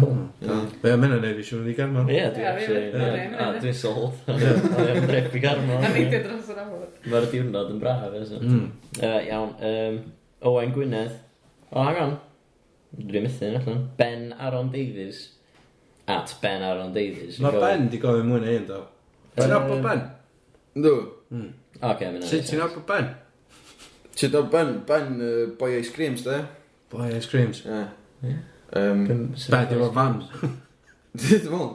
Speaker 4: Cool.
Speaker 5: Ie.
Speaker 2: Hmm. Be am hynna neud i siwr i garmel?
Speaker 4: Ie, dwi
Speaker 3: Ie,
Speaker 4: actually...
Speaker 3: fi-
Speaker 4: ie.
Speaker 3: fi-
Speaker 4: A,
Speaker 3: fi-
Speaker 4: dwi'n sold. <laughs> Dwi'n brep i garmo.
Speaker 3: A neidio dros yr awr.
Speaker 4: Mae'r diwrnod yn braf, ie. so.
Speaker 2: Mm.
Speaker 4: Yy, Iawn, yym, Owain Gwynedd. O, hang on. Dwi'n mythu'n allan. Ben Aaron Davies. At Ben Aaron Davies.
Speaker 2: Mae Ben di gofyn mwy na un, do. Ti'n
Speaker 4: Yym,
Speaker 2: nabod Ben?
Speaker 5: Yndw.
Speaker 4: Oce, mae'n
Speaker 2: Sut ti'n nabod Ben?
Speaker 5: Ti'n dod Ben, Ben, yy, boi ice creams, da?
Speaker 2: Boy Ice Creams.
Speaker 5: Ie.
Speaker 4: Ie.
Speaker 5: Yym,
Speaker 2: Ben, diolch fan.
Speaker 5: Dwi'n meddwl.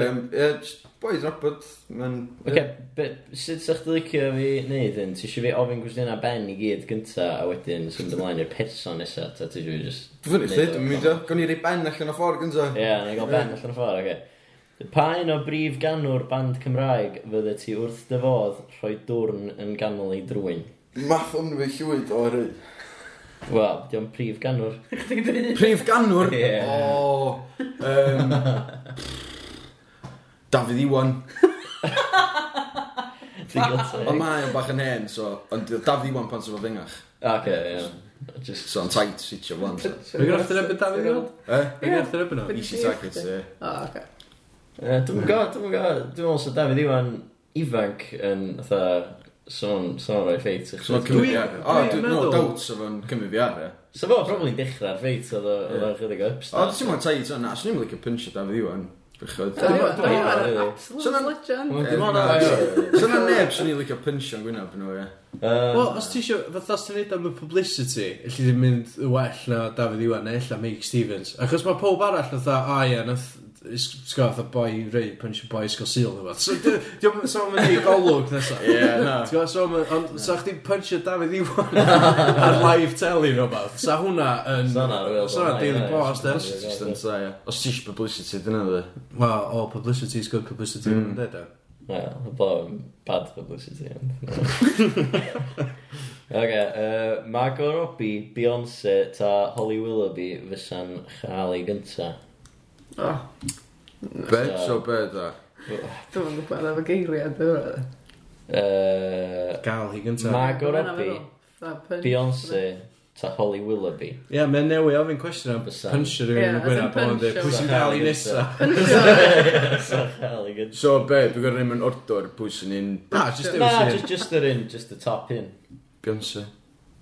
Speaker 5: Um, ie, jyst boi drabod. Mae'n...
Speaker 4: Oce, be- sut sa'ch di licio fi neud hyn? Ti eisiau fi ofyn gwestiynau Ben i gyd gynta a wedyn symud ymlaen i'r person nesa ta ti eisiau fi just...
Speaker 5: Fyny chdi, dwi'n mynd o. Gawn i rei ben allan o ffordd gynta.
Speaker 4: Ie, yeah, ni'n gael Ben allan o ffordd, oce. Pa un o brif ganwr band Cymraeg fydde ti wrth dyfodd rhoi dwrn yn ganol ei drwy'n?
Speaker 5: Math o'n fi llwyd o hynny.
Speaker 4: Wel, di o'n prif ganwr.
Speaker 5: Prif ganwr?
Speaker 4: Ie.
Speaker 5: O. Yym... Dafydd Iwan. Ond
Speaker 4: Oce,
Speaker 5: mae o'n bach yn hen, so... Ond dyw Dafydd Iwan pan sef o fengach.
Speaker 4: ie. Just...
Speaker 5: So, yn tight sitio flan. so.
Speaker 2: Fe gynnwch chi'n ebyn David Iwan?
Speaker 5: Eh?
Speaker 2: Fe gynnwch chi'n ebyn o?
Speaker 5: Easy target, ie.
Speaker 3: O, oce.
Speaker 4: Yy, Dwi'm yn gwybod, dwi'm yn gwybod. Dwi'n meddwl sy'n David Iwan ifanc yn fatha... Sôn, sôn o'r ffeit.
Speaker 5: So, mae'n
Speaker 2: Dwi-
Speaker 5: cymryd fi ar. O,
Speaker 2: dwi'n
Speaker 5: dwi- no
Speaker 2: meddwl-
Speaker 5: doubts o fo'n cymryd fi ar, e.
Speaker 4: So fo, probably dechrau'r ffeit oedd o- oedd o'n chydig o
Speaker 5: O,
Speaker 4: upstart.
Speaker 5: ti'n mwyn tight o'n na. Swn i'n mynd i'n pinsio Dafydd Iwan. Bychod.
Speaker 3: Dwi'n
Speaker 2: meddwl-
Speaker 3: meddwl-
Speaker 4: dwi'n meddwl-
Speaker 3: dwi'n meddwl-
Speaker 5: So na-
Speaker 3: absolute legend.
Speaker 4: Wel,
Speaker 5: Ie,
Speaker 4: dim ond
Speaker 5: na,
Speaker 4: ar-
Speaker 5: ie. So na neb sy'n ei licio pinsio yn gwynaf nhw, ie.
Speaker 2: Wel,
Speaker 4: Yym,
Speaker 2: os ti eisiau, fatha os ti'n neud am y publicity, alli ti'n mynd yn well na David Iwan neu illa Mike Stevens. Achos mae pob arall fatha, a ie, nath sgoth a boi rei punch a boi sgol seal neu fath. So diolch yn sôn mynd i golwg nesaf.
Speaker 5: Ie, na.
Speaker 2: T'go, so ma- ond sa chdi punchio Dafydd Iwan <laughs> ar live telly neu fath. Sa hwnna yn...
Speaker 4: Sa hwnna real
Speaker 2: Sa hwnna
Speaker 4: bod-
Speaker 2: Daily
Speaker 4: Ie,
Speaker 2: Post,
Speaker 4: ie,
Speaker 2: eh?
Speaker 4: ie.
Speaker 5: Just yn sa, ia. Os ti'ch publicity, dyna dde.
Speaker 2: Well, all publicity is good publicity. Mm. Dweud e?
Speaker 4: Wel, y bo yn bad publicity. ond- Oce, yy, Margot Robbie, Beyoncé ta Holly Willoughby fysa'n chael ei gynta.
Speaker 3: O,
Speaker 5: Be? So be, da?
Speaker 3: dwi'n yn gwybod efo geiriau dwi'n
Speaker 4: Yy,
Speaker 2: Gael hi gyntaf.
Speaker 4: Margot Robbie, Beyoncé ta Holly Willoughby.
Speaker 2: Ie, yeah, mae'n newi ofyn cwestiwn am
Speaker 4: Fysa.
Speaker 2: punchio
Speaker 3: Ie,
Speaker 2: rhywun yn y
Speaker 3: as in
Speaker 2: gwynaf. Ond dweud,
Speaker 3: punchio.
Speaker 2: pwy sy'n gael i
Speaker 4: <laughs>
Speaker 2: nesa?
Speaker 4: Sa'n chael ei gynta.
Speaker 5: So be, dwi'n gwrdd ni'n ordor pwy sy'n un
Speaker 2: Na, just dewis
Speaker 4: Na,
Speaker 2: un.
Speaker 4: just, just yr un, just the top un.
Speaker 5: Beyoncé.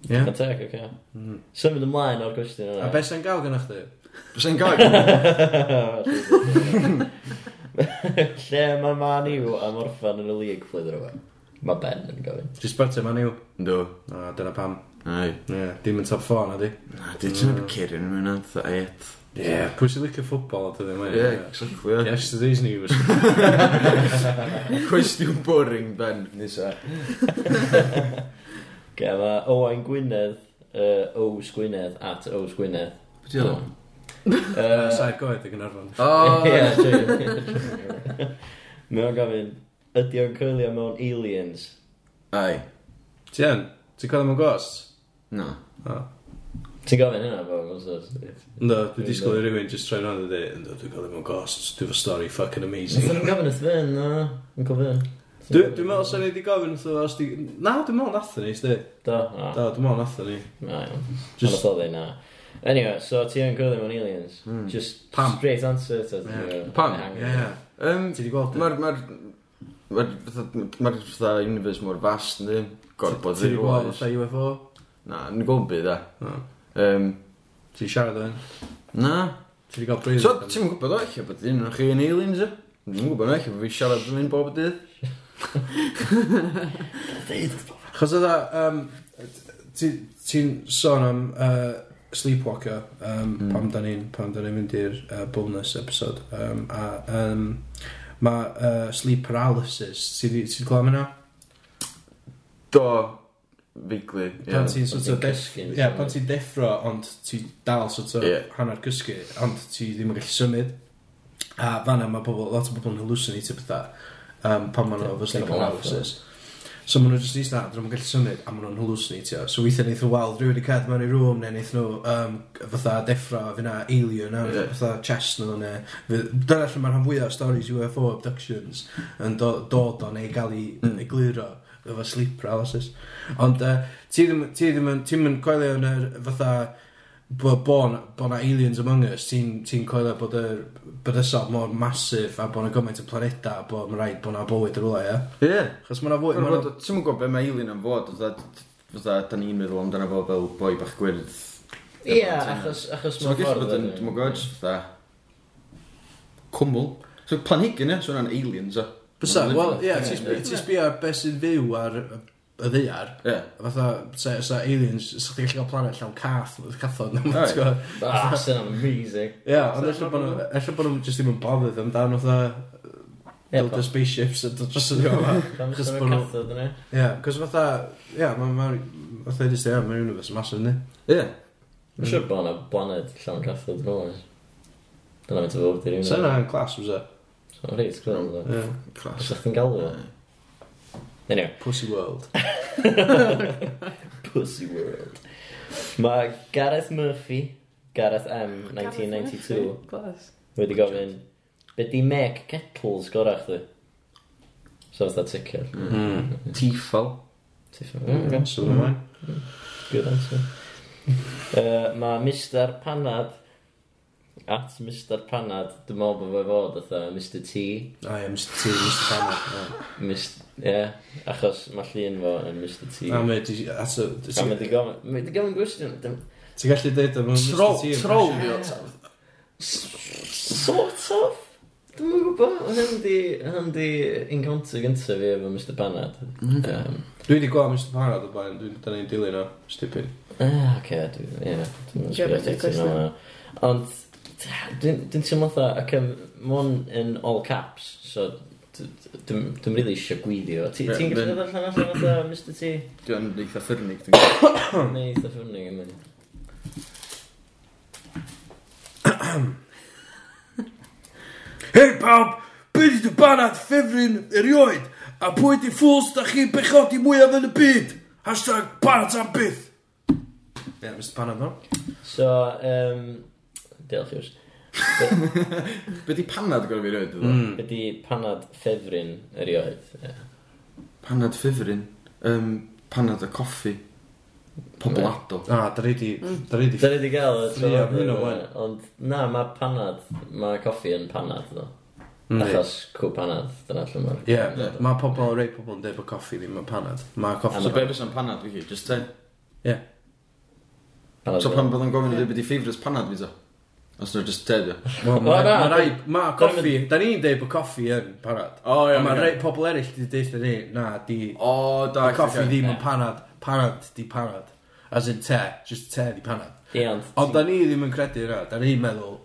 Speaker 2: Ie.
Speaker 4: Can take, oce. Symud ymlaen o'r cwestiwn
Speaker 2: A
Speaker 4: yna.
Speaker 2: beth sy'n gael gynnwch chi?
Speaker 5: Bysai'n gael?
Speaker 4: <laughs> Lle mae man i'w am orffan yn y lig flwydd rhywbeth? Mae Ben yn <laughs> gofyn.
Speaker 2: Just byrta ma'n i'w.
Speaker 5: Do.
Speaker 2: O, dyna pam.
Speaker 5: Ai.
Speaker 2: Ie, yeah, dim yn top 4 na di.
Speaker 5: Na, di ti'n efo'r Kieran yn mynd atho, et.
Speaker 2: Ie, yeah, pwy sy'n licio ffwbol o dydyn
Speaker 5: Ie,
Speaker 2: nhw?
Speaker 5: exactly. <laughs> ie.
Speaker 2: Yesterday's news.
Speaker 5: Cwestiwn boring, Ben, nisa.
Speaker 4: Ge, mae Owain Gwynedd, uh, Ows Gwynedd, at Ows Gwynedd.
Speaker 5: Be ti'n o'n?
Speaker 4: <laughs> Yy,
Speaker 2: Sa'r goed y gynnarfon.
Speaker 5: O,
Speaker 4: ie, true. Mae o'n gofyn, ydy o'n coelio mewn aliens?
Speaker 5: Ai.
Speaker 2: Tien, ti'n cael am y ghost?
Speaker 5: No.
Speaker 4: Ti'n gofyn hynna bob os oes?
Speaker 2: Ynddo, dwi wedi sgwyl i rywun just troi rhan i di. Ynddo, dwi'n cael am y ghost. Dwi'n fy stori fucking amazing.
Speaker 4: Dwi'n gofyn wrth fyn, na, yn gofyn.
Speaker 2: Dwi- Dwi'n meddwl sy'n ei di gofyn wrtho os di... Na, dwi'n meddwl nathyn ni, sdi.
Speaker 4: Do,
Speaker 2: Da,
Speaker 4: na,
Speaker 2: dwi'n meddwl nathyn ni.
Speaker 4: na, iawn. Just...
Speaker 2: Just-
Speaker 4: Ond oedd na. Anyway, so ti yn coelio mewn aliens? Just
Speaker 2: Pam?
Speaker 4: straight answer to...
Speaker 2: Ie.
Speaker 5: Hmm. Pam?
Speaker 2: Ie.
Speaker 5: Um,
Speaker 2: Ti di gweld
Speaker 5: Mae'r... Mae'r... Mae'r fatha... Mae'r fatha universe mor vast, ynddi? Gorfod
Speaker 2: Ti di gweld
Speaker 5: ddiwedd.
Speaker 2: fatha UFO?
Speaker 5: Na, yn gweld byd, e.
Speaker 2: Na.
Speaker 5: Um,
Speaker 2: Ti di siarad o hyn?
Speaker 5: na.
Speaker 2: Ti di gael bryd?
Speaker 5: So, ti'n gwybod o eich bod un o'ch chi'n aliens, e? Dwi'n gwybod o eich bod fi siarad yn mynd bob dydd.
Speaker 2: Chos oedd um, ti- ti'n sôn am uh, Sleepwalker um, mm. pam da ni'n pam da ni'n mynd i'r uh, bonus episode um, a um, mae uh, Sleep Paralysis ti di- ti di glwm yna?
Speaker 5: Do. Bigly.
Speaker 2: Pan ti'n sort
Speaker 4: pan
Speaker 2: of
Speaker 4: ti'n
Speaker 2: deff-
Speaker 4: cysgu,
Speaker 2: ie, pan ti'n deffro ond ti dal sort of
Speaker 5: Ie.
Speaker 2: hanner cysgu ond ti ddim yn gallu symud a fanna mae pobl, lot o bobl yn hallucinate o pethau um, pan maen nhw efo sleep
Speaker 4: dyna fo laugh,
Speaker 2: paralysis so maen nhw jyst eist na, dyn nhw'n gallu symud a maen nhw'n hallucinate so weithiau neith nhw weld rhywun i cedd mewn i rŵm neu neith nhw um, fatha deffro a fyna alien a
Speaker 5: Ie.
Speaker 2: fatha chest nhw neu fydd- dyna lle mae'r rhan fwyaf o stories UFO abductions yn do, dod o neu gael ei mm. egluro efo sleep paralysis ond uh, ti ddim ti ddim yn ti'n yn coelio yn yr fatha bod bon, bon aliens among us ti'n ti coelio bod yr bydysod mor masif a bod yna gymaint o planeda a bod mae'n rhaid bod yna bywyd yr wla ia
Speaker 5: Ie.
Speaker 2: chos mae'n fwy ma' 'na-
Speaker 5: Ti'n gwybod be mae alien yn fod, fatha... Fatha, da ni'n meddwl amdano fo fel boi bach gwyrdd.
Speaker 4: Ie, achos, achos
Speaker 5: So mae'n gallu bod yn, dwi'n mwyn gwybod, fatha... Cwmwl. So planhigyn, ie? So yna'n aliens, e?
Speaker 2: bysa
Speaker 5: Ma'n-
Speaker 2: wel ie ti'n sbi- ti'n sbio ar beth sy'n fyw ar y ddeiar
Speaker 5: Ie.
Speaker 2: fatha sa, sa aliens sa chdi'n gallu cael planet llawn cath cathod na
Speaker 5: Aye.
Speaker 2: mae'n ti'n gwbod?
Speaker 4: Ah, sy'n amazing.
Speaker 2: Ie, ond ella bod nhw, ella bod nhw just ddim yn bothered amdano fatha
Speaker 4: Ie,
Speaker 2: build
Speaker 4: pa-
Speaker 2: the spaceships a dod dros yn yma. <laughs>
Speaker 4: Pam
Speaker 2: Achos
Speaker 4: sy'n
Speaker 2: bod
Speaker 4: mynd
Speaker 2: nhw...
Speaker 4: cathod yna?
Speaker 5: Mm.
Speaker 2: Ie, cos fatha, ie, mae'n, fatha i ddysgu, ie, mae'n universe massive ni.
Speaker 5: Ie.
Speaker 4: Mae'n siŵr bod yna blaned llawn cathod yn ôl. eh. Dyna mynd i fod i'r un.
Speaker 2: So yna yn class, was it?
Speaker 4: So, reit,
Speaker 5: Mm.
Speaker 4: gwrdd.
Speaker 2: Ie.
Speaker 5: Clas.
Speaker 4: Os ydych chi'n galw
Speaker 5: Mm.
Speaker 4: fo?
Speaker 5: <laughs>
Speaker 4: Anyway,
Speaker 2: Pussy World.
Speaker 4: Pussy World. Mae Gareth Murphy, Gareth M, 1992,
Speaker 3: Glas.
Speaker 4: wedi gofyn, be di make kettles gorach chdi? So, fatha ticker.
Speaker 2: Mm.
Speaker 5: Tiffal.
Speaker 4: Tiffin. Mm, okay.
Speaker 2: So yna mae'n.
Speaker 4: Good answer. uh, mae Mr Panad, at Mr Panad, dwi'n meddwl bod fe fod eitha Mr T,
Speaker 2: I am Mr. T, Mr. Banner.
Speaker 4: Mr... Ie, yeah, achos mae llun fo yn Mr T.
Speaker 2: A mae, di- that's a... di-
Speaker 4: A mae di gofyn, mae di gofyn gwestiwn, dim...
Speaker 2: Ti'n gallu deud am y Mr.
Speaker 5: Troll,
Speaker 2: T?
Speaker 5: troll.
Speaker 4: Sort of? Dwi'n yn gwybod, hwn di, hwn di encounter gyntaf fi efo Mr Panad.
Speaker 5: Oce.
Speaker 4: Um,
Speaker 2: Dwi wedi gweld Mr. Banner o'r blaen, dwi'n dan ni'n dilyn o, stupid.
Speaker 4: Ah, oce, dwi'n... Ie, dwi'n
Speaker 3: Ie,
Speaker 4: sbio
Speaker 3: mae'n
Speaker 4: at eitem
Speaker 3: gwestiwn.
Speaker 4: yma. Ond, Dwi'n dwi'n teimlo fatha, ac mwyn yn all caps, so d- d- dwi'n dwi'n rili eisiau gweithio. Ti-
Speaker 5: Ie,
Speaker 4: Ti'n gallu
Speaker 5: then-
Speaker 4: dod allan allan fatha Mr T?
Speaker 5: Dwi'n eitha ffyrnig, dwi'n gwybod.
Speaker 4: Neu eitha ffyrnig yn mynd.
Speaker 2: Hei pawb, be di dy banad ffefryn erioed? A pwy di ffwls da chi bechodi mwyaf yn y byd? Hashtag banad am byth. Ie, yeah, Mr Banad no?
Speaker 4: So, um, diolch iws.
Speaker 5: Be di panad gorau fi rwyd?
Speaker 2: Mm.
Speaker 4: Ydy panad ffefryn erioed. Ie.
Speaker 5: Panad ffifrin. Um, panad a coffi. Poblado.
Speaker 2: A, da ni di... Da ni di...
Speaker 4: Da ni wedi gael y
Speaker 2: Three am hyn o wan.
Speaker 4: ond na, mae panad, mae coffi yn panad, ddo. Achos cw panad, dyna lle mae'r...
Speaker 2: Ie, mae pobl, rei pobl yn dweud bod coffi ddim yn panad. Mae coffi...
Speaker 5: So be bys am panad fi chi? Just ten.
Speaker 2: Ie.
Speaker 4: Panad
Speaker 5: So pan bod yn gofyn i ddweud beth i ffifris panad fi ta? Os nhw'n just dead, ia.
Speaker 2: Wel,
Speaker 4: O, na,
Speaker 2: Mae rai...
Speaker 4: dwi-
Speaker 2: Mae coffi... Da ni'n dweud bod coffi yn panad.
Speaker 5: O, ie,
Speaker 2: Ond Mae
Speaker 5: ie.
Speaker 2: rei pobl eraill di dweud ni, na, di...
Speaker 5: O, da.
Speaker 2: Mae coffi ddim
Speaker 4: Ie.
Speaker 2: yn panad. Panad di panad. As in te. Just te di panad.
Speaker 4: Ie, ond...
Speaker 2: Ond da ni ddim yn credu yna. Da ni'n meddwl...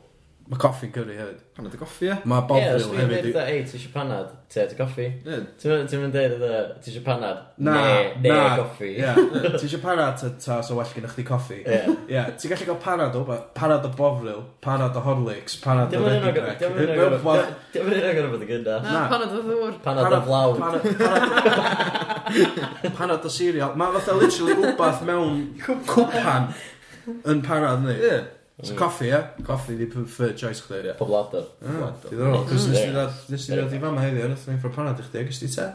Speaker 2: Mae coffi'n cyfri hefyd.
Speaker 5: Panad a coffi, ia.
Speaker 2: Mae
Speaker 4: Ie, os
Speaker 2: bofril
Speaker 4: dwi'n dweud
Speaker 2: hefyd.
Speaker 4: dda, ei, ti eisiau panad, te, ti goffi.
Speaker 5: Ie.
Speaker 4: Ti'n mynd dweud dda, ti eisiau panad,
Speaker 2: Na,
Speaker 4: ne, ne,
Speaker 2: na.
Speaker 4: goffi.
Speaker 2: Ie. Ti eisiau panad ta- ta so well gen i chdi coffi?
Speaker 4: Ie.
Speaker 2: Ie. Ti'n gallu cael panad o, rwbeth. panad o bofril, panad o horlicks, panad o
Speaker 4: Dim ond
Speaker 2: ready
Speaker 4: hynna gorau
Speaker 2: break.
Speaker 4: dim ond hynna
Speaker 2: Mewn
Speaker 4: gorfod-
Speaker 2: ffordd-
Speaker 4: dim ond hynna gorfod bod yn gynnar.
Speaker 2: Na.
Speaker 3: Na, panad o ddŵr.
Speaker 4: Panad o flawn.
Speaker 2: Panad- panad- Panad o cereal. Mae fatha literally wbath mewn cwpan yn panad ni. Ie. So coffi, ie? Coffi di preferred choice chdi. Ie.
Speaker 4: Poblador.
Speaker 2: Ah, Diddorol, cos nes i
Speaker 4: Mm.
Speaker 2: ddod nes i ddod i fama heddiw, nes i'n ffro panad i chdi, agos ti te?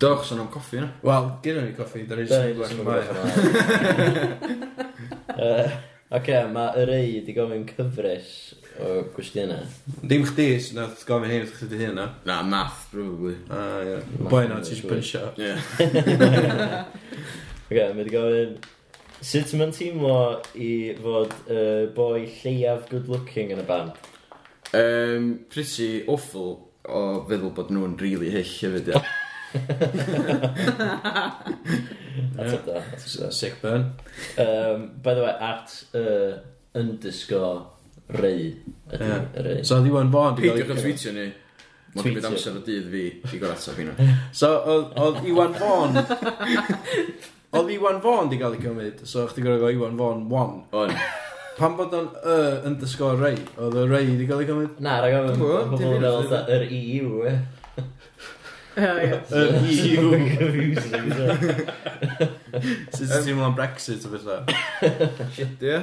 Speaker 5: Doch, son am coffi, ia.
Speaker 2: Wel, gynnu ni coffi, da ni'n
Speaker 4: Da ni
Speaker 2: sy'n
Speaker 4: jyst
Speaker 2: gwella
Speaker 4: yn
Speaker 2: mai.
Speaker 4: gwybod. <laughs> Yy, Oce, mae yr ei wedi gofyn cyfres o
Speaker 2: <laughs>
Speaker 4: gwestiynau.
Speaker 2: Dim chdi sy'n nath gofyn hyn wrth chdi hyn, na?
Speaker 5: Na, math, probably.
Speaker 2: A, ie. Boi na, ti'n bynsio.
Speaker 5: Ie.
Speaker 4: Oce, mae wedi gofyn... Sut mae'n teimlo i fod uh, boi lleiaf good looking yn y band?
Speaker 5: Um, pretty awful o feddwl bod nhw'n rili really hyll hefyd, <laughs> ia.
Speaker 4: Ateb da, ateb da.
Speaker 2: Sick burn.
Speaker 4: Um, by the way, at uh, underscore rei
Speaker 2: Ie.
Speaker 4: ydy yeah. rei.
Speaker 2: So, ddiwan bon, di
Speaker 5: Peidiwch
Speaker 2: gael
Speaker 5: o tweetio ni. Mae'n
Speaker 4: Tweetio.
Speaker 5: cymryd amser y dydd fi i gorau ateb <laughs> hynna.
Speaker 2: So, oedd- oedd Iwan <laughs> Fawn... Oedd Iwan Fawn di gael ei gymryd, so chdi gorau gael Iwan Fawn 1.
Speaker 5: On.
Speaker 2: Pan bod o'n y underscore rei, oedd y rei di gael ei gymryd?
Speaker 4: Na, rhaid gofyn,
Speaker 5: Dwi'n gwbod,
Speaker 4: mae pobl yn
Speaker 5: dim hynna,
Speaker 4: meddwl fatha, yr EU,
Speaker 2: <laughs>
Speaker 4: e.
Speaker 3: Ie,
Speaker 2: Yr <laughs>
Speaker 3: ie.
Speaker 2: EU.
Speaker 4: <laughs> Confusing, so.
Speaker 2: <laughs> Sut ti'n teimlo am Brexit o beth da?
Speaker 5: Ie.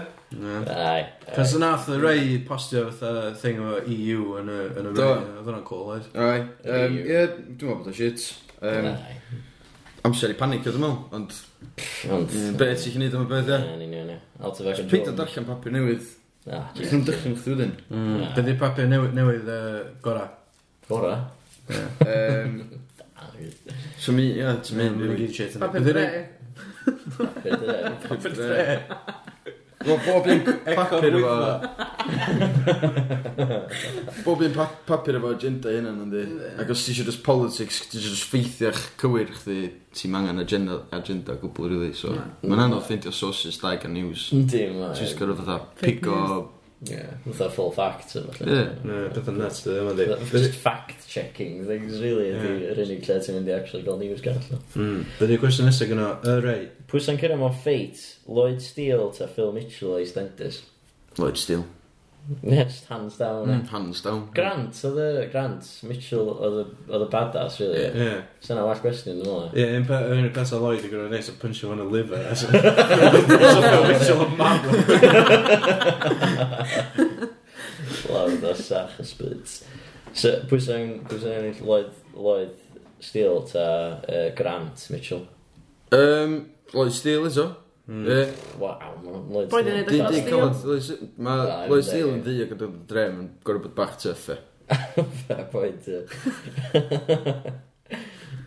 Speaker 4: Ai.
Speaker 2: Cos yna oedd y rei postio fatha thing o EU yn y yn y
Speaker 5: Do.
Speaker 2: rei, oedd hwnna'n cool, oedd?
Speaker 5: Rai. Um, Ie, dwi'n meddwl bod o shit. Um,
Speaker 4: Ai.
Speaker 5: amser i panic ydym mewn, ond
Speaker 4: Ond...
Speaker 5: beth sy'n gwneud am y beth,
Speaker 4: Ie,
Speaker 5: ie.
Speaker 4: ni, ni, ni. Out of action.
Speaker 5: Peidio darllen papur newydd.
Speaker 4: Ah,
Speaker 5: Dwi'n
Speaker 4: Jesus.
Speaker 5: dychyn chdi wedyn.
Speaker 4: Mm.
Speaker 2: Be di papur newydd, newydd uh, gora?
Speaker 4: Gora.
Speaker 5: Um,
Speaker 4: Ah,
Speaker 5: so mi, ie, ti'n mynd
Speaker 2: Mae'n
Speaker 5: i
Speaker 2: gyd shit yn
Speaker 3: Papur dre.
Speaker 5: papur dre. Wel, bob un papur efo... Bob un pa- papur efo agenda hynna, yndi. Ac os ti eisiau just politics, ti eisiau just ffeithiach cywir chdi, ti'n angen agenda, agenda gwbl, really. So, mae'n anodd ffeindio sources da gan news.
Speaker 4: Yndi, mae...
Speaker 5: Ti'n gorau fatha pigo...
Speaker 4: Ie. Fytha full fact, so falle.
Speaker 5: Ie.
Speaker 2: Ne, beth yn nuts ydw yma di.
Speaker 4: Just fact-checking things, really,
Speaker 2: Ie.
Speaker 4: ydy'r unig lle ti'n mynd i actually gael news gan allan.
Speaker 2: Be di gwestiwn nesaf gyno, y rei?
Speaker 4: Pwy sy'n cyrra mewn ffeit? Lloyd Steele ta Phil Mitchell o'i Stendis?
Speaker 5: Lloyd Steele.
Speaker 4: Yes, hands down. Mm.
Speaker 5: Hands down.
Speaker 4: Grant, oedd y Grant Mitchell oedd y- oedd y badass, really.
Speaker 5: Ie.
Speaker 4: Yeah.
Speaker 2: Ie.
Speaker 4: Sa'n all gwestiwn, dwi'n meddwl.
Speaker 2: Ie, un pe- yr unig peth o Lloyd i gwneud nes yn punch o'n y liver. <laughs> So fel Mitchell yn mam.
Speaker 4: Lawr o sach y spyd. So, pwy sy'n pwy sy'n ennill Lloyd, Lloyd Steele ta uh, Grant Mitchell?
Speaker 5: Um, Lloyd Steele is o. Yy,
Speaker 4: Wow, ma' Lloyd
Speaker 3: Boi 'di neud
Speaker 5: Di
Speaker 3: Lloyd
Speaker 5: di
Speaker 3: Steele.
Speaker 5: cael Lloyd Steele.
Speaker 4: Na,
Speaker 5: Mae
Speaker 4: dim
Speaker 5: Lloyd
Speaker 4: deg,
Speaker 5: Steele yn
Speaker 4: ie.
Speaker 5: ddi ac yn dod yn dre, mae'n gorau bod bach tyff e.
Speaker 4: Fair point. ie.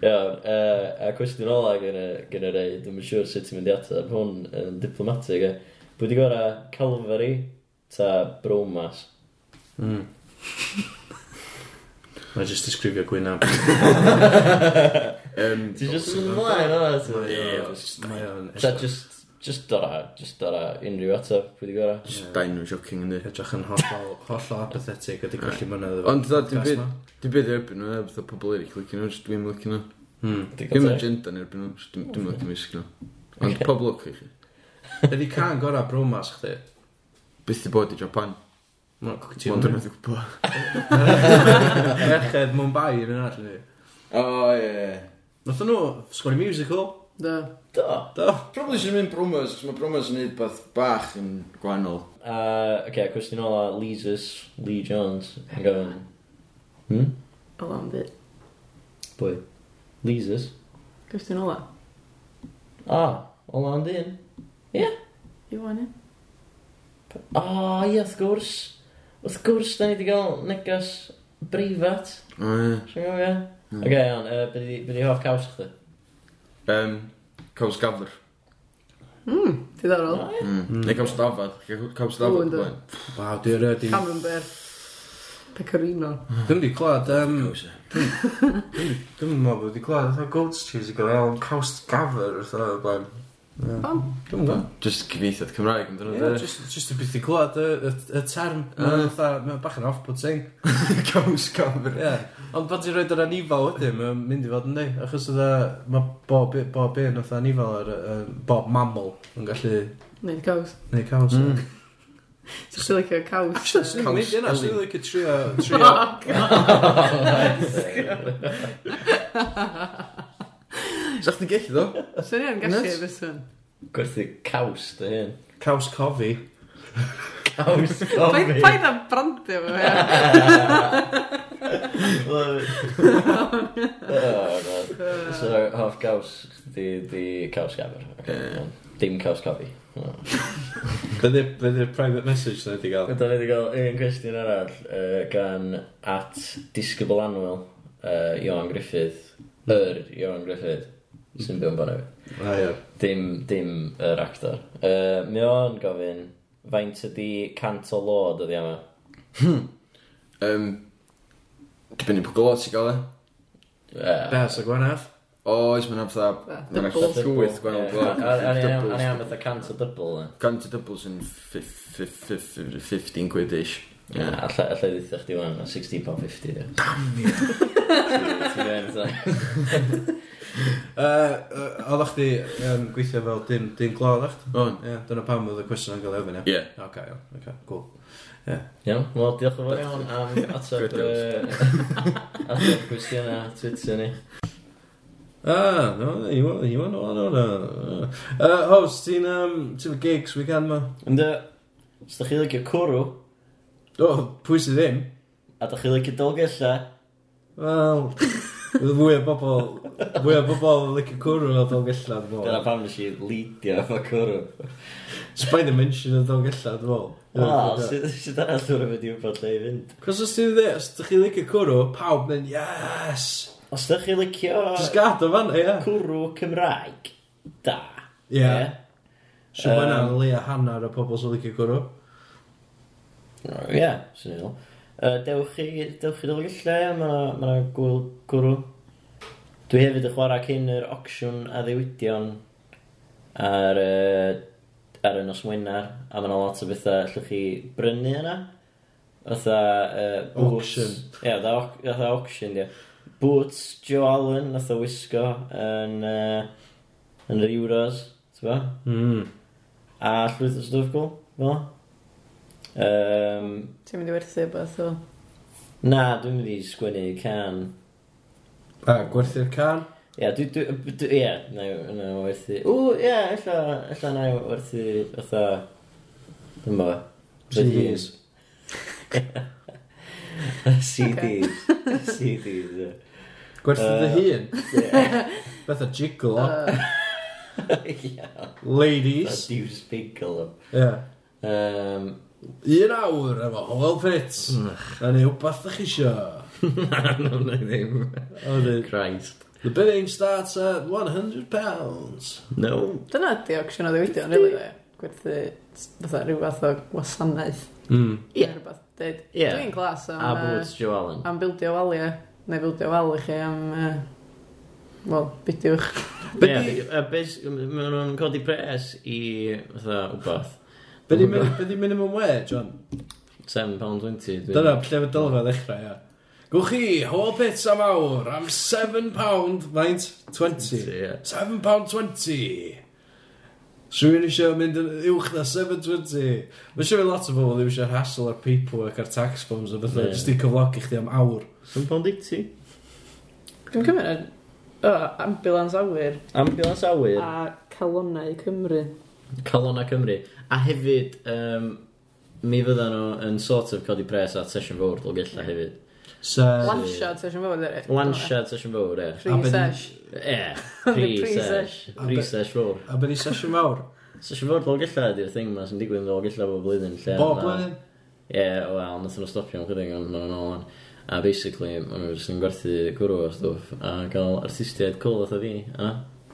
Speaker 4: Iawn, yy, a cwestiwn ola gyda gyda rei, dwi'n yn siŵr sut ti'n mynd i ateb hwn yn diplomatic. e. Pwy di gora Calvary ta Bromas?
Speaker 2: Mae jyst disgrifio gwynaf.
Speaker 5: Um,
Speaker 4: Ti jyst yn mynd ymlaen o?
Speaker 2: Mae o'n...
Speaker 4: Ta just Just dora, just dora unrhyw ateb, pwy di gora.
Speaker 5: Just dau nhw'n shocking yn di.
Speaker 2: Edrych yn hollol, hollol apathetic ydy gallu mynydd efo
Speaker 5: Ond dda, dim
Speaker 2: podcast
Speaker 5: byd,
Speaker 2: ma.
Speaker 5: dim byd erbyn nhw, ebeth o pobl erill licen nhw, just dwi'n licen nhw.
Speaker 2: Hmm.
Speaker 5: Dim agenda yn erbyn nhw, jyst dim dim licen nhw isg nhw. Ond pobl o'ch chi.
Speaker 2: Ydy can gorau bromas chdi?
Speaker 5: Byth i bod i Japan.
Speaker 2: Mae'n
Speaker 5: Mae'n dwi'n meddwl gwybod.
Speaker 2: Merched Mumbai yn yna allan ni.
Speaker 5: O, ie.
Speaker 2: Nath nhw sgori musical?
Speaker 3: Da.
Speaker 4: Do.
Speaker 2: Do.
Speaker 5: Probably sy'n mynd bromos, cos mae bromos yn neud beth bach yn gwahanol.
Speaker 4: Uh, okay, cwestiwn ola, Leesus, Lee Jones, yn gofyn. Hmm?
Speaker 3: O lan byd.
Speaker 4: Pwy? Leesus?
Speaker 3: Gwestiwn ola.
Speaker 4: Ah, ola am dyn.
Speaker 3: I wan i.
Speaker 4: Ah, ie, wrth gwrs. Wrth gwrs, da ni wedi cael negas breifat.
Speaker 5: O, ie.
Speaker 4: Rwy'n gofio? Ok, iawn, uh, byddi hoff caws chdi?
Speaker 5: Yym, Caws gafr.
Speaker 3: Diddorol.
Speaker 5: Mm. Neu caws dafad. Ca- Caws
Speaker 3: O,
Speaker 5: dafad.
Speaker 3: yndw.
Speaker 5: blaen.
Speaker 2: Waw, dwi'n rhaid i...
Speaker 3: Camembert. Pecorino.
Speaker 2: Dwi'n di clod, um,
Speaker 5: Caws, ie.
Speaker 2: dwi'n meddwl bod wedi clod, oedd goat's cheese i gael iawn, caws gafr, oedd o'r blaen.
Speaker 3: Pam?
Speaker 2: Dwi'n meddwl.
Speaker 5: Just cyfeithiad Cymraeg yn dyn
Speaker 2: Ie,
Speaker 5: nhw.
Speaker 2: jyst- jyst y byth i clod, y y- y term, mae'n fatha- mae'n bach yn off-putting.
Speaker 5: <laughs> Caws gafr.
Speaker 2: Ie, ond pan ti'n rhoi yr anifal wedyn, mae'n mynd i fod yn di. Achos oedd e- mae bob i- bob un oedd anifal, ar, yy, bob mammal yn gallu
Speaker 3: Neud caws.
Speaker 2: neud caws.
Speaker 3: Ti'n chdi licio <laughs> caws?
Speaker 2: Actually, swn i'n mynd yna, swn i'n licio trio, trio, <laughs>
Speaker 3: Oh, God.
Speaker 5: Sa'ch ti'n gellu, ddo?
Speaker 3: Swn i'n gallu
Speaker 5: Nuts.
Speaker 3: fyswn.
Speaker 4: Gwerthu caws, dy hyn.
Speaker 2: caws cofi.
Speaker 4: <laughs> Caws,
Speaker 3: Paid paid am brandio <laughs> fo, ia. <laughs>
Speaker 4: Oh, no. So, half caws, di, di caws gafr. Okay. Dim caws cofi. No.
Speaker 2: Bydd y private message sy'n wedi gael.
Speaker 4: Ydyn ni wedi cael un cwestiwn arall uh, gan at Disgybl Anwyl, uh, Iwan Griffith, yr Iwan Griffith, sy'n byw'n bod
Speaker 2: A ie.
Speaker 4: Dim, dim yr actor. Uh, mi o'n gofyn, faint ydi cant o lod ydi yma?
Speaker 5: Yym, dibynnu pa glot i gael e.
Speaker 4: Uh,
Speaker 2: Bes y gwanaf.
Speaker 5: Oes, mae'n fatha...
Speaker 3: Fatha
Speaker 5: Mae'n
Speaker 3: double.
Speaker 5: fatha gwyth gwahanol glot.
Speaker 4: Ani am fatha cant o dybl.
Speaker 5: Gan to doubles yn fif- fif- fif- 15 quid ish.
Speaker 4: Alla
Speaker 5: Ie.
Speaker 4: allai ddeithio chdi wan, 60 pound 50. Damn!
Speaker 2: Yy, yy, Oeddech chdi yn gweithio fel dim, dim glo, oeddech chdi?
Speaker 5: O'n.
Speaker 2: Ie, dyna pam oedd y cwestiwn yn gael efo ni.
Speaker 5: Ie.
Speaker 2: Ok, iawn, ok, cool.
Speaker 4: Iawn, wel, diolch yn fawr iawn am ateb yy, ateb cwestiynau Twitter ni.
Speaker 2: Ah, no, you want, you want, no, no, no. Uh, host, ti'n, um, ti'n fy gigs weekend ma?
Speaker 4: Ynddo, os da chi licio cwrw,
Speaker 2: O, pwy sydd ddim?
Speaker 4: a da chi licio dolgella,
Speaker 2: Wel, fydd fwy o bobl, fwy o bobl licio cwrw o ddolgella, dwi'n
Speaker 4: dyna
Speaker 2: fawr.
Speaker 4: pam nes i leidio efo cwrw.
Speaker 2: Spider-Mention o ddolgella, dwi'n fawr.
Speaker 4: Wel, Ah, sydd sydd arall dwi'n mynd i wybod lle i fynd.
Speaker 2: Cos os ti'n dde, os ydych chi licio cwrw, pawb yn, yes!
Speaker 4: Os da chi licio
Speaker 2: Just gad o fan, ie.
Speaker 4: cwrw Cymraeg, da.
Speaker 2: Ie.
Speaker 4: Ie.
Speaker 2: Siw
Speaker 4: Yym.
Speaker 2: yna, le a hanner o pobl sy'n licio cwrw.
Speaker 4: Ie, sy'n iawn. Yy, Dewch i, dewch i dolgella, mae yna gwyl cwrw. Dwi hefyd yn chwarae cyn yr auction a ddewidion ar, yy, ar y nos Wener, a mae yna lot o bethau allwch chi brynu yna. Fatha... yy, boots-
Speaker 2: Auction.
Speaker 4: Ie, fatha au- fatha auction, ie. Boots Joe Allen, nath o wisgo yn, uh, yn yr Euros, ti'n bo?
Speaker 2: Mm.
Speaker 4: A llwyth o stwff gwl, fel. yna. Yym,
Speaker 3: Ti'n mynd i werthu beth o.
Speaker 4: Na, dwi'n mynd i sgwennu can.
Speaker 2: A gwerthu'r can?
Speaker 4: Ie, dwi... dwi- dwi- Ie, na i- na i werthu... O, ie, ella, ella na i werthu, fatha... Dwi'n bo.
Speaker 2: CDs.
Speaker 4: CDs. <laughs> CDs, ie.
Speaker 2: Gwerthu dy
Speaker 4: Yy.
Speaker 2: hun? Beth a jiggle o.
Speaker 3: <laughs>
Speaker 4: Ie,
Speaker 2: Ladies.
Speaker 4: that's you speakle.
Speaker 2: Ie.
Speaker 4: Um,
Speaker 2: Un awr efo Howell Pits.
Speaker 4: <laughs>
Speaker 2: A ni wbath ydych chi isio.
Speaker 4: no, no, ddim.
Speaker 2: A ni,
Speaker 4: Christ.
Speaker 2: The bidding starts at 100 pounds.
Speaker 4: No.
Speaker 3: Dyna ydi auction o ddiwydion, rili, dde. Gwerthu s- fatha rhyw fath o wasanaeth.
Speaker 2: Mm.
Speaker 4: Hmm.
Speaker 3: Ie. Rhywbeth. Deud,
Speaker 4: Ie.
Speaker 3: dwi'n glas am...
Speaker 4: A
Speaker 3: yy,
Speaker 4: bwyd Joe Allen.
Speaker 3: am bildio waliau, neu bildio wal i chi am uh, Wel, bydiwch.
Speaker 2: Be'
Speaker 4: Ie,
Speaker 2: di-
Speaker 4: a beth, maen nhw'n codi pres i, fatha, wbath,
Speaker 2: Be di min- be di minimum wage, John?
Speaker 4: 7 pound 20. dwi'n-
Speaker 2: Dyna, lle fe dylfa ddechrau, ia. Gwch chi, whole pizza mawr am 7 pound, faint? 20.
Speaker 4: Ie.
Speaker 2: 7 pound 20. Rwy'n eisiau mynd yn uwch na 7.20. Mae siwr lot o bobl ddim eisiau hassle ar paperwork ar tax forms a bethau,
Speaker 4: Ie.
Speaker 2: jyst i cyflogi chdi am awr.
Speaker 4: 7 pound 80.
Speaker 3: Dwi'n cymryd o, ambulance awyr
Speaker 4: Ambulance awyr.
Speaker 3: a calonnau Cymru.
Speaker 4: Colonna Cymru. A hefyd, um, mi fyddan nhw yn sort of codi pres at sesiwn fawr, dwi'n gella hefyd.
Speaker 2: So,
Speaker 3: Lansiad, sesiwn fawr, dwi.
Speaker 4: One shot sesiwn fawr, e.
Speaker 2: A be'
Speaker 3: Free
Speaker 2: di-
Speaker 3: sesh.
Speaker 4: E,
Speaker 3: Pre-sesh.
Speaker 4: pre-sesh. Pre-sesh fawr.
Speaker 2: a byddi sesiwn mawr?
Speaker 4: Sesiwn fawr dwi'n gella ydy'r thing ma sy'n digwydd dwi'n gella bob blwyddyn. lle
Speaker 2: Bob
Speaker 4: ma-
Speaker 2: blwyddyn?
Speaker 4: Ie, yeah, wel, nath nhw stopio am chydig ond maen nhw'n ôl yn. A basically, maen nhw jyst yn gwerthu gwrw o stwff a gael artistiaid cool oedd fi, yna.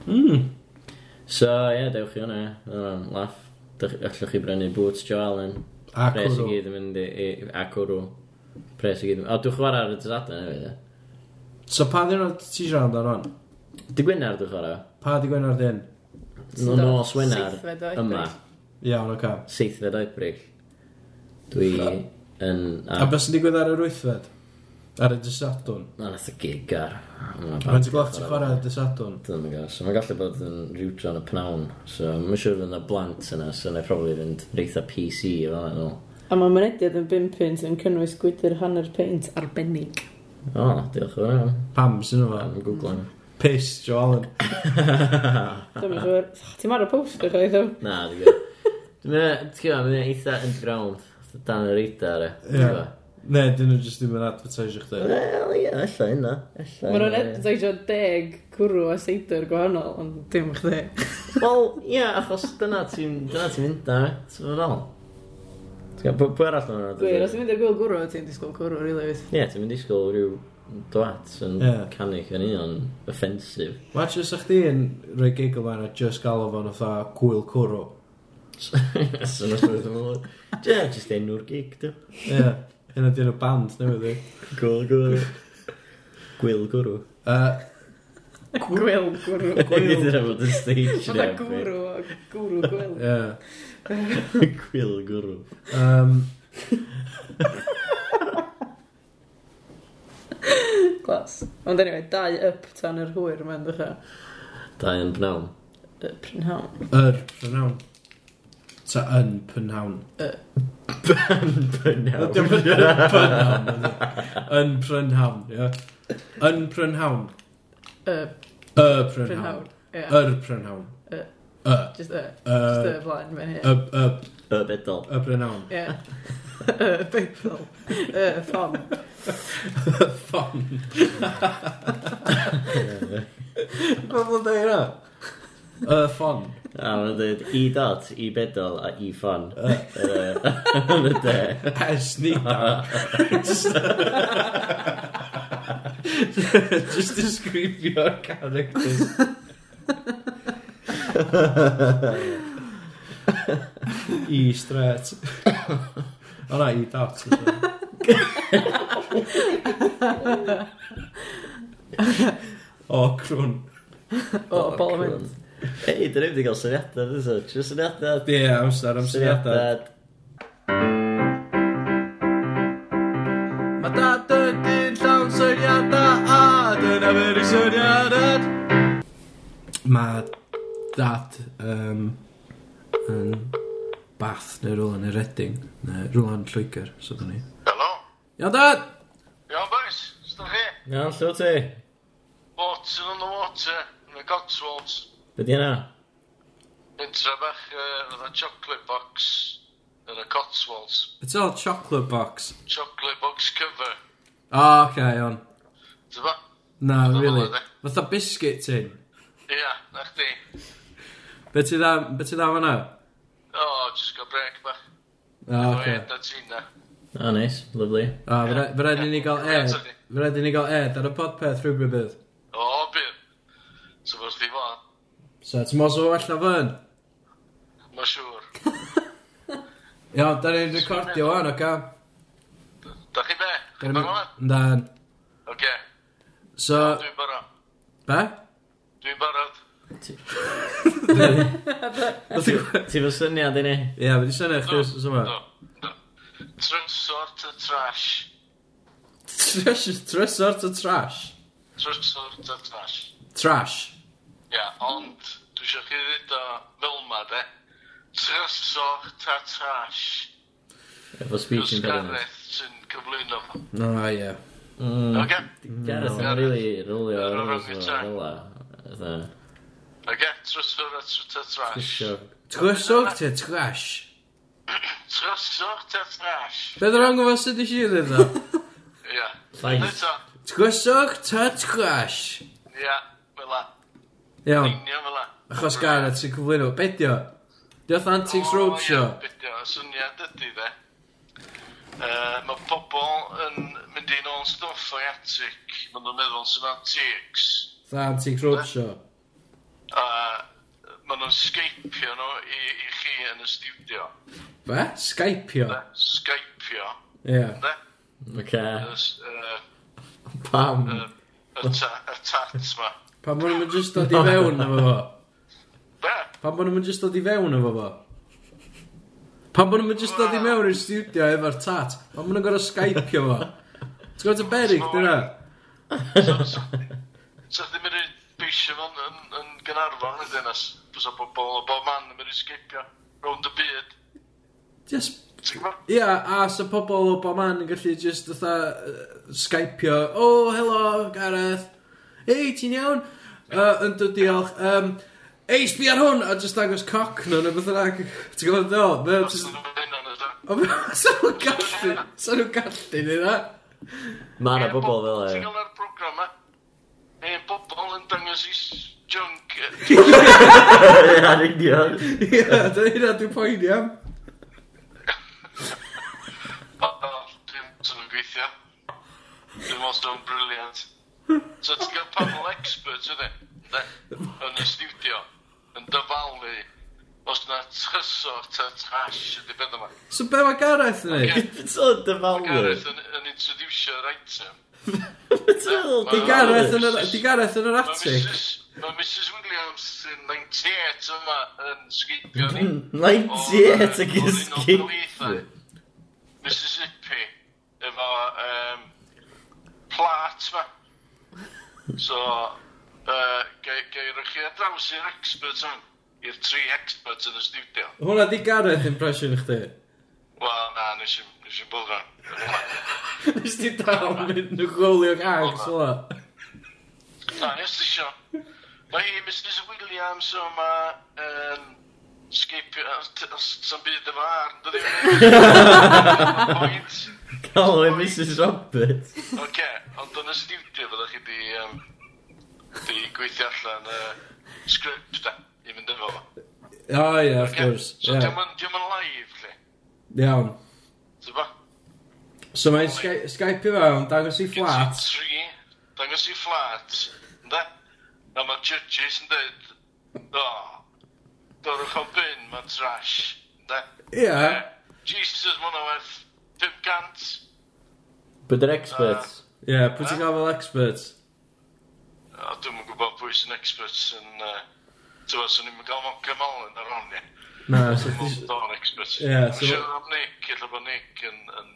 Speaker 2: Mm.
Speaker 4: So, ie, yeah, dewch i hwnna, yna'n laff. Dych- Allwch chi brynu boots Joe Allen.
Speaker 2: A
Speaker 4: Pres i
Speaker 2: cwrw.
Speaker 4: gyd yn mynd i, i, a cwrw. Pres i gyd yn mynd. O, dwi'n chwarae ar y dysadau hefyd, ie.
Speaker 2: So pa ddyn nhw ti siarad amdano hon?
Speaker 4: Dy Gwynar dwi'n chwarae.
Speaker 2: Pa di gwenar dyn?
Speaker 4: No, no, swenar.
Speaker 3: Seithfed o Ebrill.
Speaker 4: Yma.
Speaker 2: Iawn, oca.
Speaker 4: Seithfed o Ebrill. Dwi yn...
Speaker 2: A beth sy'n digwydd ar yr wythfed? Ar y dysadwn?
Speaker 4: Na, nath y gig ar.
Speaker 2: Mae'n ti glach ti chwarae ar y dysadwn?
Speaker 4: Dwi'n gwybod, so mae'n gallu bod yn rhywdron y pnawn, so mae'n siŵr fydd yna blant yna, so na'i probably fynd reitha PC fel yna nhw.
Speaker 3: A mae mynediad yn 5 pint yn cynnwys gwydr hanner peint arbennig.
Speaker 4: O, diolch yn fawr.
Speaker 2: Pam sy'n yma?
Speaker 4: Yn gwglan.
Speaker 2: Piss, Joel.
Speaker 3: Dwi'n
Speaker 4: Ah,
Speaker 3: siŵr. Ti'n marw poster chwaith o?
Speaker 4: Na, dwi'n gwybod. Dwi'n meddwl, ti'n gwybod, mae'n eitha underground, fatha dan y radar, e.
Speaker 2: Ie.
Speaker 4: Ti'n gwbod?
Speaker 2: Ne, dyn nhw jyst ddim yn advertisio chdi.
Speaker 4: Wel, ie, ella hynna. Ella
Speaker 3: Mae nhw'n
Speaker 4: hynna, ie.
Speaker 3: edrych deg cwrw a seidr gwahanol, ond dim chdi.
Speaker 4: Wel, ie, achos dyna ti'n dyna ti'n mynd na, e. Ti'n fawr ôl. Ti'n gwybod, pwy- pwy arall maen nhw'n
Speaker 3: Gwir,
Speaker 4: edrych?
Speaker 3: os ti'n mynd i'r gwyl gwrw, ti'n disgwyl cwrw, rili fydd.
Speaker 4: Ie, ti'n mynd i sgol rhyw dwat yn
Speaker 2: Ie.
Speaker 4: canu cynnion offensif.
Speaker 2: Watch os ych di yn rhoi gigl fan a just galw fo'n otha gwyl cwrw.
Speaker 4: <laughs> So nos bwyd yn fawr. Je, jyst enw'r gig, dy.
Speaker 2: Ie, hynna dyn nhw band, newydd i.
Speaker 4: Gwyl gwrw. Gwyl gwrw.
Speaker 2: Yy,
Speaker 3: Gwyl gwrw.
Speaker 4: Gwyl gwrw. bod yn stage
Speaker 3: Fydda gwrw, a gwrw gwyl.
Speaker 2: Ie.
Speaker 4: <laughs> Gwyl gwrw.
Speaker 2: Yym,
Speaker 3: <laughs> Glas. Ond anyway, dau up tan yr hwyr mae'n dechrau.
Speaker 4: Da yn pnawn.
Speaker 3: Y prynhawn.
Speaker 2: Yr prynawn. Ta yn prynawn. Ydy o'n
Speaker 4: <laughs> Pnawn. <laughs>
Speaker 2: prynawn. ydi. Yn prynhawn, ie. Yn prynhawn.
Speaker 3: Y
Speaker 2: Y
Speaker 3: prynhawn.
Speaker 2: prynhawn.
Speaker 3: Ie.
Speaker 2: Yr prynhawn.
Speaker 3: Y.
Speaker 2: Y.
Speaker 3: Just y. Just y
Speaker 2: Y.
Speaker 3: flaen
Speaker 2: Y.
Speaker 3: fe'n hyn.
Speaker 2: Y.
Speaker 4: Y bedol.
Speaker 2: Y prynhawn.
Speaker 3: Ie. <laughs> Y beibl. Y ffom.
Speaker 2: Ffon. Pobl yn dweud yna. Y ffon.
Speaker 4: A mae'n dweud i dot, i bedol a i <laughs> ffon.
Speaker 2: Yy.
Speaker 4: Yy, Yn y de.
Speaker 2: Es ni da. Just- <laughs> Just disgrifio'r <laughs> characters. I E stret. E O na, i dat. O, crwn.
Speaker 3: O, bol yn mynd.
Speaker 4: Ei, dyn ni'n cael syniadau, dyn ni'n cael syniadau.
Speaker 2: Ie, amser, amseriadau. Mae dad yn dyn llawn syniadau a dyna fyr i syniadad. Mae dad um, yn bath neu rhywle yn y redding, neu rhywle yn Lloegr, so dyn ni.
Speaker 6: Helo?
Speaker 2: Ia dad!
Speaker 6: Iawn, boys? Ysdyn chi?
Speaker 4: Iawn, llw ti.
Speaker 6: Boats in the water, yn y Cotswolds.
Speaker 4: Be di hynna?
Speaker 6: Intra bach uh, with a chocolate box yn y Cotswolds.
Speaker 2: It's all chocolate box.
Speaker 6: Chocolate box cover.
Speaker 2: O, oh, oce, okay, on.
Speaker 6: Dyma?
Speaker 2: Na,
Speaker 6: Dyna
Speaker 2: really.
Speaker 6: fo, ydi.
Speaker 2: Fatha biscuit tin.
Speaker 6: Ia, yeah, na chdi.
Speaker 2: Be ti dda, be ti dda fanna?
Speaker 6: O, oh, just got break bach.
Speaker 2: O,
Speaker 6: O,
Speaker 2: oce.
Speaker 6: ie, da ti'n na.
Speaker 4: O, neis, lyflu.
Speaker 2: O, fe rhaid i ni gael
Speaker 6: Ie,
Speaker 2: ed.
Speaker 6: sorry.
Speaker 2: Fe rhaid i ni gael ed ar y podpeth rhywbryd bydd.
Speaker 6: O, byr. So, fos fi fo,
Speaker 2: So, ti'n mwyn sôn allan fy'n?
Speaker 6: ma siŵr.
Speaker 2: Iawn, da ni'n recordio wan, oca?
Speaker 6: Da chi be? Chi barod?
Speaker 2: Dan.
Speaker 6: Oce,
Speaker 2: So,
Speaker 6: dwi'n barod.
Speaker 2: be?
Speaker 6: Dwi'n barod.
Speaker 4: Ti fo syniad i ni?
Speaker 2: Ie, yeah, wedi syniad chdi os yma.
Speaker 6: Do, do. Trysor to trash.
Speaker 2: Trash, trysor to trash.
Speaker 6: Trysor to trash.
Speaker 2: Trash.
Speaker 6: Ia, ond dwi eisiau chi ddweud o fel ma, de. Trysor to trash.
Speaker 4: Efo speech
Speaker 6: Cos
Speaker 4: impediment.
Speaker 6: Gareth sy'n cyflwyno fo.
Speaker 2: No, oh, ie. Yeah.
Speaker 6: Oce?
Speaker 4: Gareth yn
Speaker 6: Gareth.
Speaker 4: rili rwlio
Speaker 6: Yn
Speaker 4: ar
Speaker 6: rwrwng
Speaker 4: ôl
Speaker 6: y
Speaker 4: fel
Speaker 6: trac.
Speaker 4: yla.
Speaker 6: Oce? Trysor to trash.
Speaker 4: Isio.
Speaker 2: Trysor to trash.
Speaker 6: Trysor to trash.
Speaker 2: Be ddyn nhw'n gwybod sydd eisiau ddweud o?
Speaker 6: Ia.
Speaker 4: Llais.
Speaker 6: Eto.
Speaker 2: Trysor to trash.
Speaker 6: Ia, fel la.
Speaker 2: Iawn,
Speaker 6: Union fel la.
Speaker 2: achos Gareth sy'n cyflwyno. Be di o? Di oedd Antics Roadshow.
Speaker 6: Bydio, y syniad ydy fe. Uh, mae pobl yn mynd i nôl stwff o'i atic, maen nhw'n meddwl sy'n antics.
Speaker 2: Dda Antics Roadshow.
Speaker 6: A maen nhw'n sgeipio nhw i, i chi yn y studio.
Speaker 2: Be? Skypeio.
Speaker 6: De? Sgeipio.
Speaker 2: Ie. Yeah.
Speaker 6: De?
Speaker 4: Oce.
Speaker 6: Y s- yy,
Speaker 2: Pam?
Speaker 6: y ta- y tat ma.
Speaker 2: Pam bod nhw'n just dod i fewn efo fo?
Speaker 6: Be?
Speaker 2: Pam bod nhw'n just dod i fewn efo fo? Pam bod nhw'n just dod i mewn i'r studio efo'r tat? Pam bod nhw'n gorau Skypeio fo? T'w gwybod y berig, dyna?
Speaker 6: So ddim yn rhaid beisio fo'n yn, yn gynarfon yn ddynas. Bys o bobl o bob man yn mynd i sgeipio rownd y byd.
Speaker 2: Just
Speaker 6: Ti'n gwbod?
Speaker 2: Ia, yeah, a so pobl o bob man yn gallu just fatha uh, skypeio, oh, helo, Gareth, hei, ti'n iawn? Uh, yn dod diolch, um, ei, sbi ar hwn, a just dangos cock nhw, neu beth yna, ti'n gwybod ddo? Mae o
Speaker 6: Os
Speaker 2: just,
Speaker 6: ydyn nhw'n mynd yn ydyn.
Speaker 2: o, mae- <laughs> sa nhw'n gallu, sa nhw'n gallu, neu na?
Speaker 4: Ma na
Speaker 6: Ie,
Speaker 4: bobl fel <laughs> e.
Speaker 6: Ti'n gael ar program e? E, bobl yn dangos i s- junk. e.
Speaker 4: Ia, union.
Speaker 2: Ia, dyna hynna dwi'n poeni am.
Speaker 6: O, o, Dwi'n sy'n yn gweithio. Dwi'n most o'n briliant. So ti'n gael panel experts ydy? De? Yn y studio. Yn dyfalu. Os na tryso ta trash ydy beth yma.
Speaker 2: So be mae Gareth yn neud?
Speaker 6: Ie,
Speaker 4: So dyfalwyr.
Speaker 6: Gareth yn, yn introducio'r item.
Speaker 4: Di
Speaker 2: Di Gareth yn yr, di Gareth yn yr
Speaker 6: Mae
Speaker 2: atig?
Speaker 6: Mrs, ma Mrs Williams yn 98 yma yn sgipio ni.
Speaker 4: Mm-hmm. 98 ag
Speaker 6: Oedd un
Speaker 4: ysgyn.
Speaker 6: o Gleitha, Mississippi efo um, plat ma. So, uh, gair chi ar draws i'r expert hwn, i'r tri experts yn y studio.
Speaker 2: Hwna di Gareth impression chdi.
Speaker 6: Wel, na, nes i, nes i bwyd
Speaker 2: Nes di dal mynd nhw gwylio gags, hwna.
Speaker 6: Na, nes ti sio. Mae hi, Mrs Williams yma yn sgipio, sy'n byd efo ar, dydi? Point.
Speaker 4: Galw e Mrs Roberts.
Speaker 6: Oce, ond yn y studio fydda chi di, um, di gweithio allan y uh, sgript da, i fynd efo fo. Oce,
Speaker 2: O ie, of course.
Speaker 6: So
Speaker 2: ie.
Speaker 6: yeah. diwm yn live, lle.
Speaker 2: Iawn.
Speaker 6: Ti'n bo?
Speaker 2: So mae'n Sky- Skype i fewn, dangos i
Speaker 6: Gen
Speaker 2: fflat.
Speaker 6: ti Tri, dangos i flat, ynda? A mae judges yn dweud, o, dorwch o bin, mae'n trash, ynda?
Speaker 2: Ie.
Speaker 6: Jesus, mae'n o werth 500.
Speaker 4: But they're experts.
Speaker 2: Ie, pwy ti'n gael fel expert?
Speaker 6: A dwi'm yn gwybod pwy sy'n experts yn... Uh, Ti'n bod, swn i'n mynd gael mo'n gymal yn ar hon, ie.
Speaker 2: Na, so chdi-
Speaker 6: Don expert.
Speaker 2: Ie,
Speaker 6: Ie,
Speaker 2: so-
Speaker 6: so... Siwr am Nick, illa bod Nick yn... yn...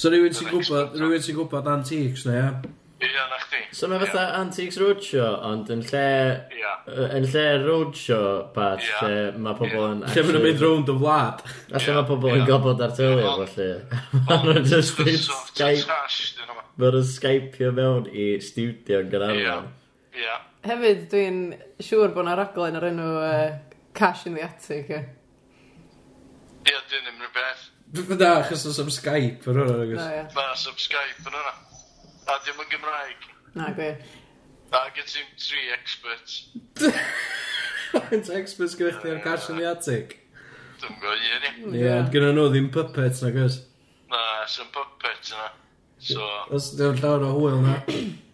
Speaker 2: So rhywun sy'n gwybod, rhywun sy'n gwybod antiques na, ie?
Speaker 6: Ie, na chdi.
Speaker 4: So mae fatha Antiques Roadshow, ond yn lle...
Speaker 6: Ie.
Speaker 4: yy, Yn lle roadshow part,
Speaker 6: Ia.
Speaker 4: lle mae pobl yn...
Speaker 2: Lle mae'n mynd rownd o wlad.
Speaker 4: Alla mae pobl
Speaker 6: Ia.
Speaker 4: yn gobod ar tyli,
Speaker 6: Ia.
Speaker 4: felly. <laughs> Mae nhw'n just yn Skype...
Speaker 6: Skype.
Speaker 4: Mae nhw'n Skypeio mewn i studio yn
Speaker 6: Ie.
Speaker 4: Gynarfon.
Speaker 6: Ie.
Speaker 3: Hefyd, dwi'n siŵr bod na raglen ar enw uh, Cash in the Attic. ie.
Speaker 6: Ie, dyn ni'n rhywbeth.
Speaker 2: Na, achos oes am Skype, yr hwnna,
Speaker 3: O,
Speaker 2: agos.
Speaker 3: ie.
Speaker 6: Na, sub Skype yn hwnna. A dim yn Gymraeg.
Speaker 3: Na, gwir.
Speaker 6: A gen ti'n tri experts.
Speaker 2: Faint o experts gyda chdi ar cash yn the attic?
Speaker 6: Dwi'n gwybod i ni.
Speaker 2: Ie, ond gyda nhw ddim puppets, na, agos.
Speaker 6: Na, sy'n puppet yna. So,
Speaker 2: Os yw'n llawer o hwyl na.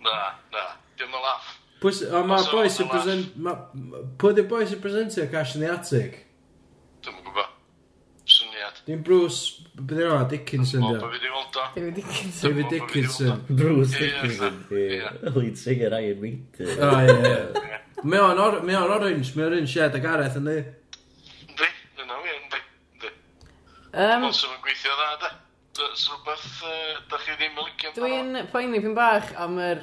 Speaker 6: na, na. Dim yn laff.
Speaker 2: Pwy sy- O, ma
Speaker 6: Os
Speaker 2: boi
Speaker 6: oes
Speaker 2: sy'n
Speaker 6: yna
Speaker 2: present... ma- ma- Pwy di'r boi sy'n presentio cash yn the attic?
Speaker 6: Dwi'n gwybod. Syniad.
Speaker 2: Dim Bruce, beth yw'n yna, Dickinson,
Speaker 6: O,
Speaker 2: dio.
Speaker 6: bo fi di weld o.
Speaker 3: David Dickinson.
Speaker 2: David Dickinson.
Speaker 4: Bruce
Speaker 6: Ie,
Speaker 4: Dickinson,
Speaker 6: ie.
Speaker 4: the lead singer Iron Maiden.
Speaker 2: O, <laughs> ie, ie. Mae o'n or- mae o'n orange, mae o'r un shed a Gareth yn di.
Speaker 6: Yndi, yna fi, yndi, yndi.
Speaker 3: Um,
Speaker 6: Wel, sy'n nhw'n gweithio dda, da. Sy'n rhywbeth, uh, da chi ddim yn licio. amdano?
Speaker 3: Dwi'n poeni pyn bach am yr...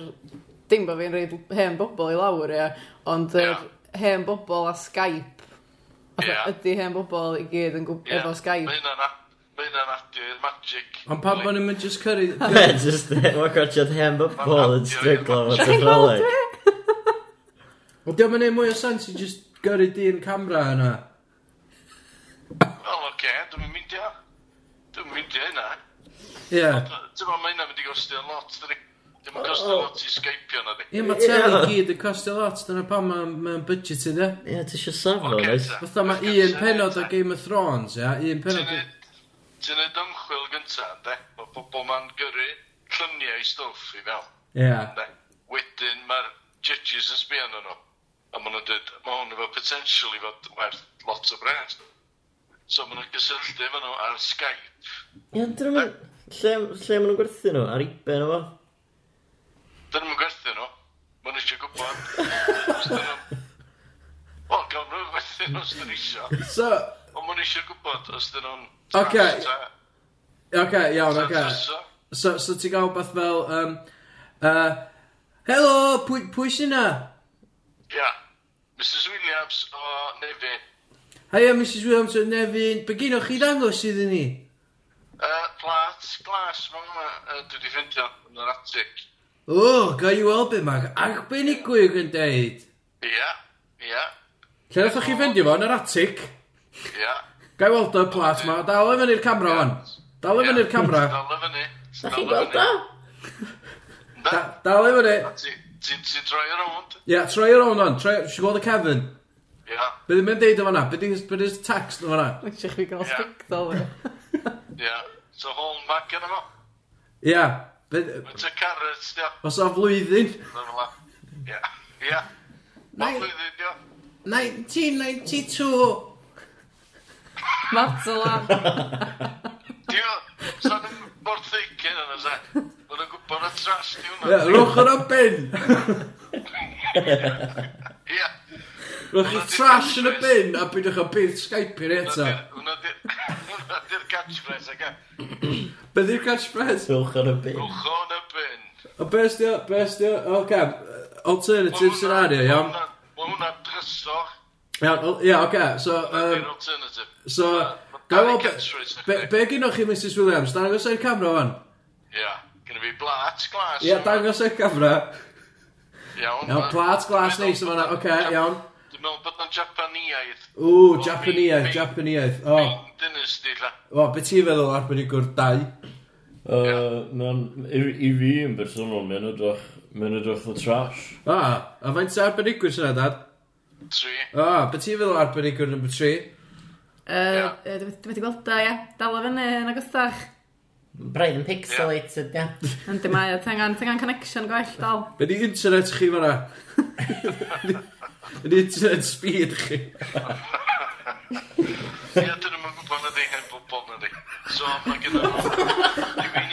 Speaker 3: Dim bod fi'n reid hen bobl i lawr, ia. Ond yr
Speaker 6: Ia.
Speaker 3: hen bobl a Skype.
Speaker 6: Ia.
Speaker 3: <laughs> Fatha, Ydy hen bobl i gyd yn gwb-
Speaker 6: Ie,
Speaker 3: efo Skype.
Speaker 6: Mae hynna'n a- mae hynna'n adio i'r magic.
Speaker 2: Ond pan bod nhw'n just cyrru...
Speaker 4: Just, mae'n gwachiad hen bobl yn stryglo fo technoleg.
Speaker 3: <laughs>
Speaker 2: Wel, diolch yn ei mwy o sens i just gyrru di'n camera yna.
Speaker 6: Wel, oce, dwi'n mynd i o. Dwi'n mynd i o hynna.
Speaker 2: Ie.
Speaker 6: Ti'n ma, mae hynna'n mynd i gostio'n lot, dydi? Dim yn gostio lot i Skypeio na, di.
Speaker 2: Ie, mae teli i gyd yn costio lot, dyna pam mae'n ma budget i de.
Speaker 4: Ie, ti eisiau safon,
Speaker 6: Ocê,
Speaker 4: oes?
Speaker 6: ta.
Speaker 2: Fatha mae un penod o Game of Thrones, ia, un
Speaker 6: Ti'n
Speaker 2: penod o...
Speaker 6: neud- Ti'n neud ymchwil gynta, de? Mae pobl ma'n gyrru lluniau i stwff i fewn,
Speaker 2: Ie.
Speaker 6: de? Wedyn mae'r judges yn sbio arnyn nhw. A maen nhw'n dweud, mae hwn efo potential i fod werth lot o bres. So maen nhw'n gysylltu efo nhw ar Skype.
Speaker 4: Ie, dyn nhw'n... Lle, lle maen nhw'n gwerthu nhw? Ar eBay nhw fo?
Speaker 6: Dyn nhw'n gwerthu nhw. Mae'n eisiau gwybod. Os 'dyn nhw- Wel, gawn nhw'n gwerthu nhw os dyn nhw isio.
Speaker 2: So,
Speaker 6: Ond mae'n eisiau gwybod os dyn nhw'n...
Speaker 2: Ocê.
Speaker 6: Oce.
Speaker 2: oce, iawn, oce. So, so ti'n gael beth fel, um, uh, Helo, pwy, pwy sy'n na?
Speaker 6: Ia. Mrs Williams o Nefi.
Speaker 2: Haia, Mrs Williams o Nefyn, be gynnwch chi ddangos iddyn ni?
Speaker 6: Uh, plat, glas, mae yma, uh, dwi wedi ffeindio yn yr atig.
Speaker 2: O, oh, gael i weld beth mae'n arbenigwyr yn deud.
Speaker 6: Ia, ia,
Speaker 2: Lle nath chi fynd i fo, yn yr atic?
Speaker 6: ia.
Speaker 2: Gael i weld y plat ma, dal efo ni'r camera fan. Dal efo ni'r camera.
Speaker 6: Dal efo ni.
Speaker 4: Da chi'n gweld o?
Speaker 6: Da.
Speaker 2: Da- Dal efo ni.
Speaker 6: Ti, ti, ti droi ar ond.
Speaker 2: Ie, troi ar o'n on, troi, si gweld y Kevin.
Speaker 6: Ia,
Speaker 2: Be ddim yn deud o fanna, be ddim text o fanna.
Speaker 3: Mae'n eisiau fi gael
Speaker 6: Ia.
Speaker 3: sbigdol. <laughs>
Speaker 6: ia. So hol mag yna fo.
Speaker 2: Ie, be,
Speaker 6: Mae'n te carrot, ia.
Speaker 2: os o flwyddyn.
Speaker 6: Dyna Ia, ia. Mae'n flwyddyn, ia.
Speaker 2: 1992.
Speaker 3: Mat o lan.
Speaker 6: Dio, sa'n yn mor thic hyn yna, se. Mae'n nhw'n gwybod y tras di
Speaker 2: Ie,
Speaker 6: hwnna.
Speaker 2: rwch ar y bin.
Speaker 6: Ia.
Speaker 2: Rwch i trash yn y bin a bydwch yn bydd Skype i'r eto.
Speaker 6: Hwna di'r- <laughs> hwnna di'r catchphrase, e. aga.
Speaker 2: Be ddi'r catchphrase?
Speaker 4: Rwch ar y bin.
Speaker 6: Rwch o'n y bin.
Speaker 2: O be ysdio, be ysdio, o cam, alternative scenario, iawn?
Speaker 6: Mae hwnna drysor.
Speaker 2: Iawn, o- ie, oce, so,
Speaker 6: Di'r
Speaker 2: yym,
Speaker 6: alternative.
Speaker 2: so, gael o be, be, be gynnwch chi Mrs Williams, dangos e'r camera fan.
Speaker 6: Ia. Gynna fi blat glas.
Speaker 2: Ie, dangos e'r camera.
Speaker 6: Iawn.
Speaker 2: Iawn, plat glas neis yn fan'na, oce, iawn.
Speaker 6: Dwi'n meddwl bod o'n Japaniaidd.
Speaker 2: Ww, Japaniaeth, Japaniaeth, o.
Speaker 6: Ming Dynasty, lla.
Speaker 2: O, be ti feddwl ar byd i gwrdd dau?
Speaker 4: Mae'n... I fi yn bersonol, mae'n edrych... Mae'n edrych fel trash.
Speaker 2: O, a faint sy'n arbenigwyr sy'n dad?
Speaker 6: Tri.
Speaker 2: O, be ti'n feddwl ar arbenigwyr number 3?
Speaker 3: Yy, yy, Dwi dwi wedi gweld o, ia. Dal o fyny yn agostach.
Speaker 4: Braidd yn pixelated, ia.
Speaker 3: Yndi mae, tengan, tengan connection gwell dal.
Speaker 2: Be di internet chi fan'na? Yn internet speed chi.
Speaker 6: Ia, dyn nhw'n gwybod na di hen bobl na di. So, mae gyda nhw. Dwi'n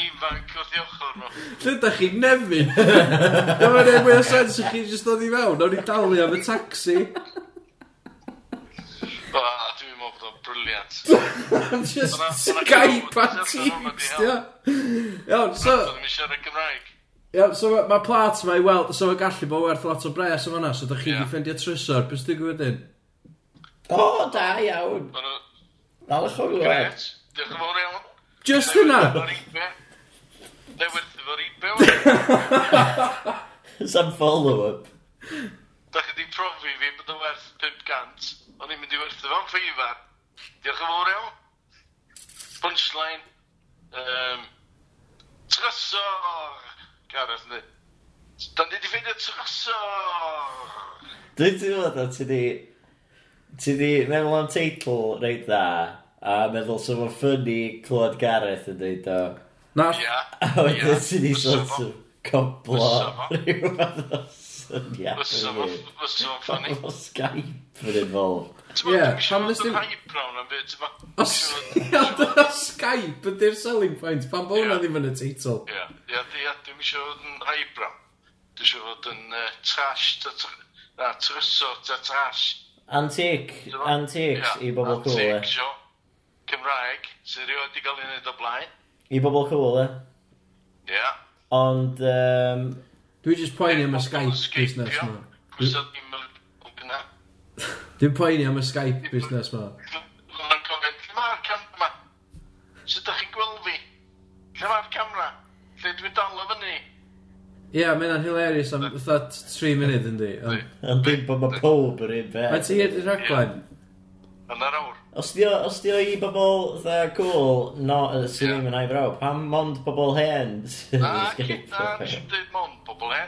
Speaker 6: ifanc wrth i ochr nhw.
Speaker 2: Lle da chi nefyn? Dwi'n meddwl ei mwy o sens i chi jyst dod i fewn, o'n i dalu am y taxi.
Speaker 6: O, dwi'n meddwl bod o'n briliant.
Speaker 2: Just
Speaker 6: Hwnna- hwnna-
Speaker 2: Skype a
Speaker 6: hwnna-
Speaker 2: Teams, dio. Iawn, so,
Speaker 6: Dwi'n mynd siarad Cymraeg.
Speaker 2: iawn, so mae ma plat ma i weld, so mae gallu bod werth lot o bres o fan'na, so da chi
Speaker 6: Ie.
Speaker 2: di ffendio trysor, beth sy'n gwybod
Speaker 4: O, da iawn.
Speaker 6: Mae nhw...
Speaker 4: Dal eich o'r gwed.
Speaker 6: Gret. Diolch yn fawr iawn.
Speaker 2: Just hynna!
Speaker 6: Neu werth efo'r ebay.
Speaker 4: Sam follow-up.
Speaker 6: Da chi di profi fi bod yn werth 500. O'n i'n mynd i werth efo'n ffeifar. Diolch yn fawr iawn. Punchline. Um, trysor. Gareth ni. Da ni di ffeindio trysor.
Speaker 4: Dwi'n teimlo da ti di... Ti di meddwl am teitl reit dda, a meddwl sef o'n ffynnu clywed Gareth yn dweud o.
Speaker 2: Na,
Speaker 6: Ia.
Speaker 4: A
Speaker 6: Ia.
Speaker 4: wedyn ti di
Speaker 6: Fysa
Speaker 4: sort
Speaker 6: fo.
Speaker 4: of coblo
Speaker 6: Fysa fo.
Speaker 4: rhyw fath o syniad.
Speaker 6: Fysa fo-
Speaker 4: yn
Speaker 6: fysa fo'n
Speaker 4: hyn.
Speaker 6: ffynnu.
Speaker 4: Efo Skype yn involved.
Speaker 6: T'mo,
Speaker 2: Ie,
Speaker 6: dwi'm isio
Speaker 2: pam nes
Speaker 6: fod yn
Speaker 2: dim-
Speaker 6: highbrow na'm byd, t'mo.
Speaker 2: Os <laughs> dyna Skype ydy'r selling point, pan bod hwnna
Speaker 6: Ie.
Speaker 2: ddim yn y teitl.
Speaker 6: Ie, ie, ie, dwi'm isio fod yn highbrow. Dwi isio fod yn uh, trash, Na, tryso, ta trash.
Speaker 4: Antic,
Speaker 6: Ti'n gwbo?
Speaker 4: antics
Speaker 6: Ie,
Speaker 4: i bobl cool, e.
Speaker 6: antics, o. Cymraeg, sy'n rhywbeth i gael ei wneud o blaen.
Speaker 4: I bobl cool, e.
Speaker 6: Ie. Yeah.
Speaker 4: Ond, um,
Speaker 2: Dwi just poeni am y Skype business ma.
Speaker 6: Gwsa ddim yn gwna.
Speaker 2: Dwi'n poeni am y Skype business ma.
Speaker 6: Mae'n gofyn, lle mae'r camera? Sut ydych chi'n gweld fi? Lle mae'r camera? Lle dwi dal o fyny?
Speaker 2: Ie, yeah, mae'n hilarious am fatha 3 munud yndi. ond-
Speaker 4: yn dweud bod mae pob yr un
Speaker 2: Mae
Speaker 4: beth.
Speaker 2: ti i'r rhaglen?
Speaker 6: Yn yr awr.
Speaker 4: Os di o, os di o i bobl dda cool, no, uh, sydd ddim yn aifraw, pam mond bobl hen <laughs> sydd
Speaker 6: Na,
Speaker 4: yn
Speaker 6: cyd,
Speaker 4: <laughs>
Speaker 6: na, nes
Speaker 4: sgeipo.
Speaker 6: i'n dweud mon, bobl e.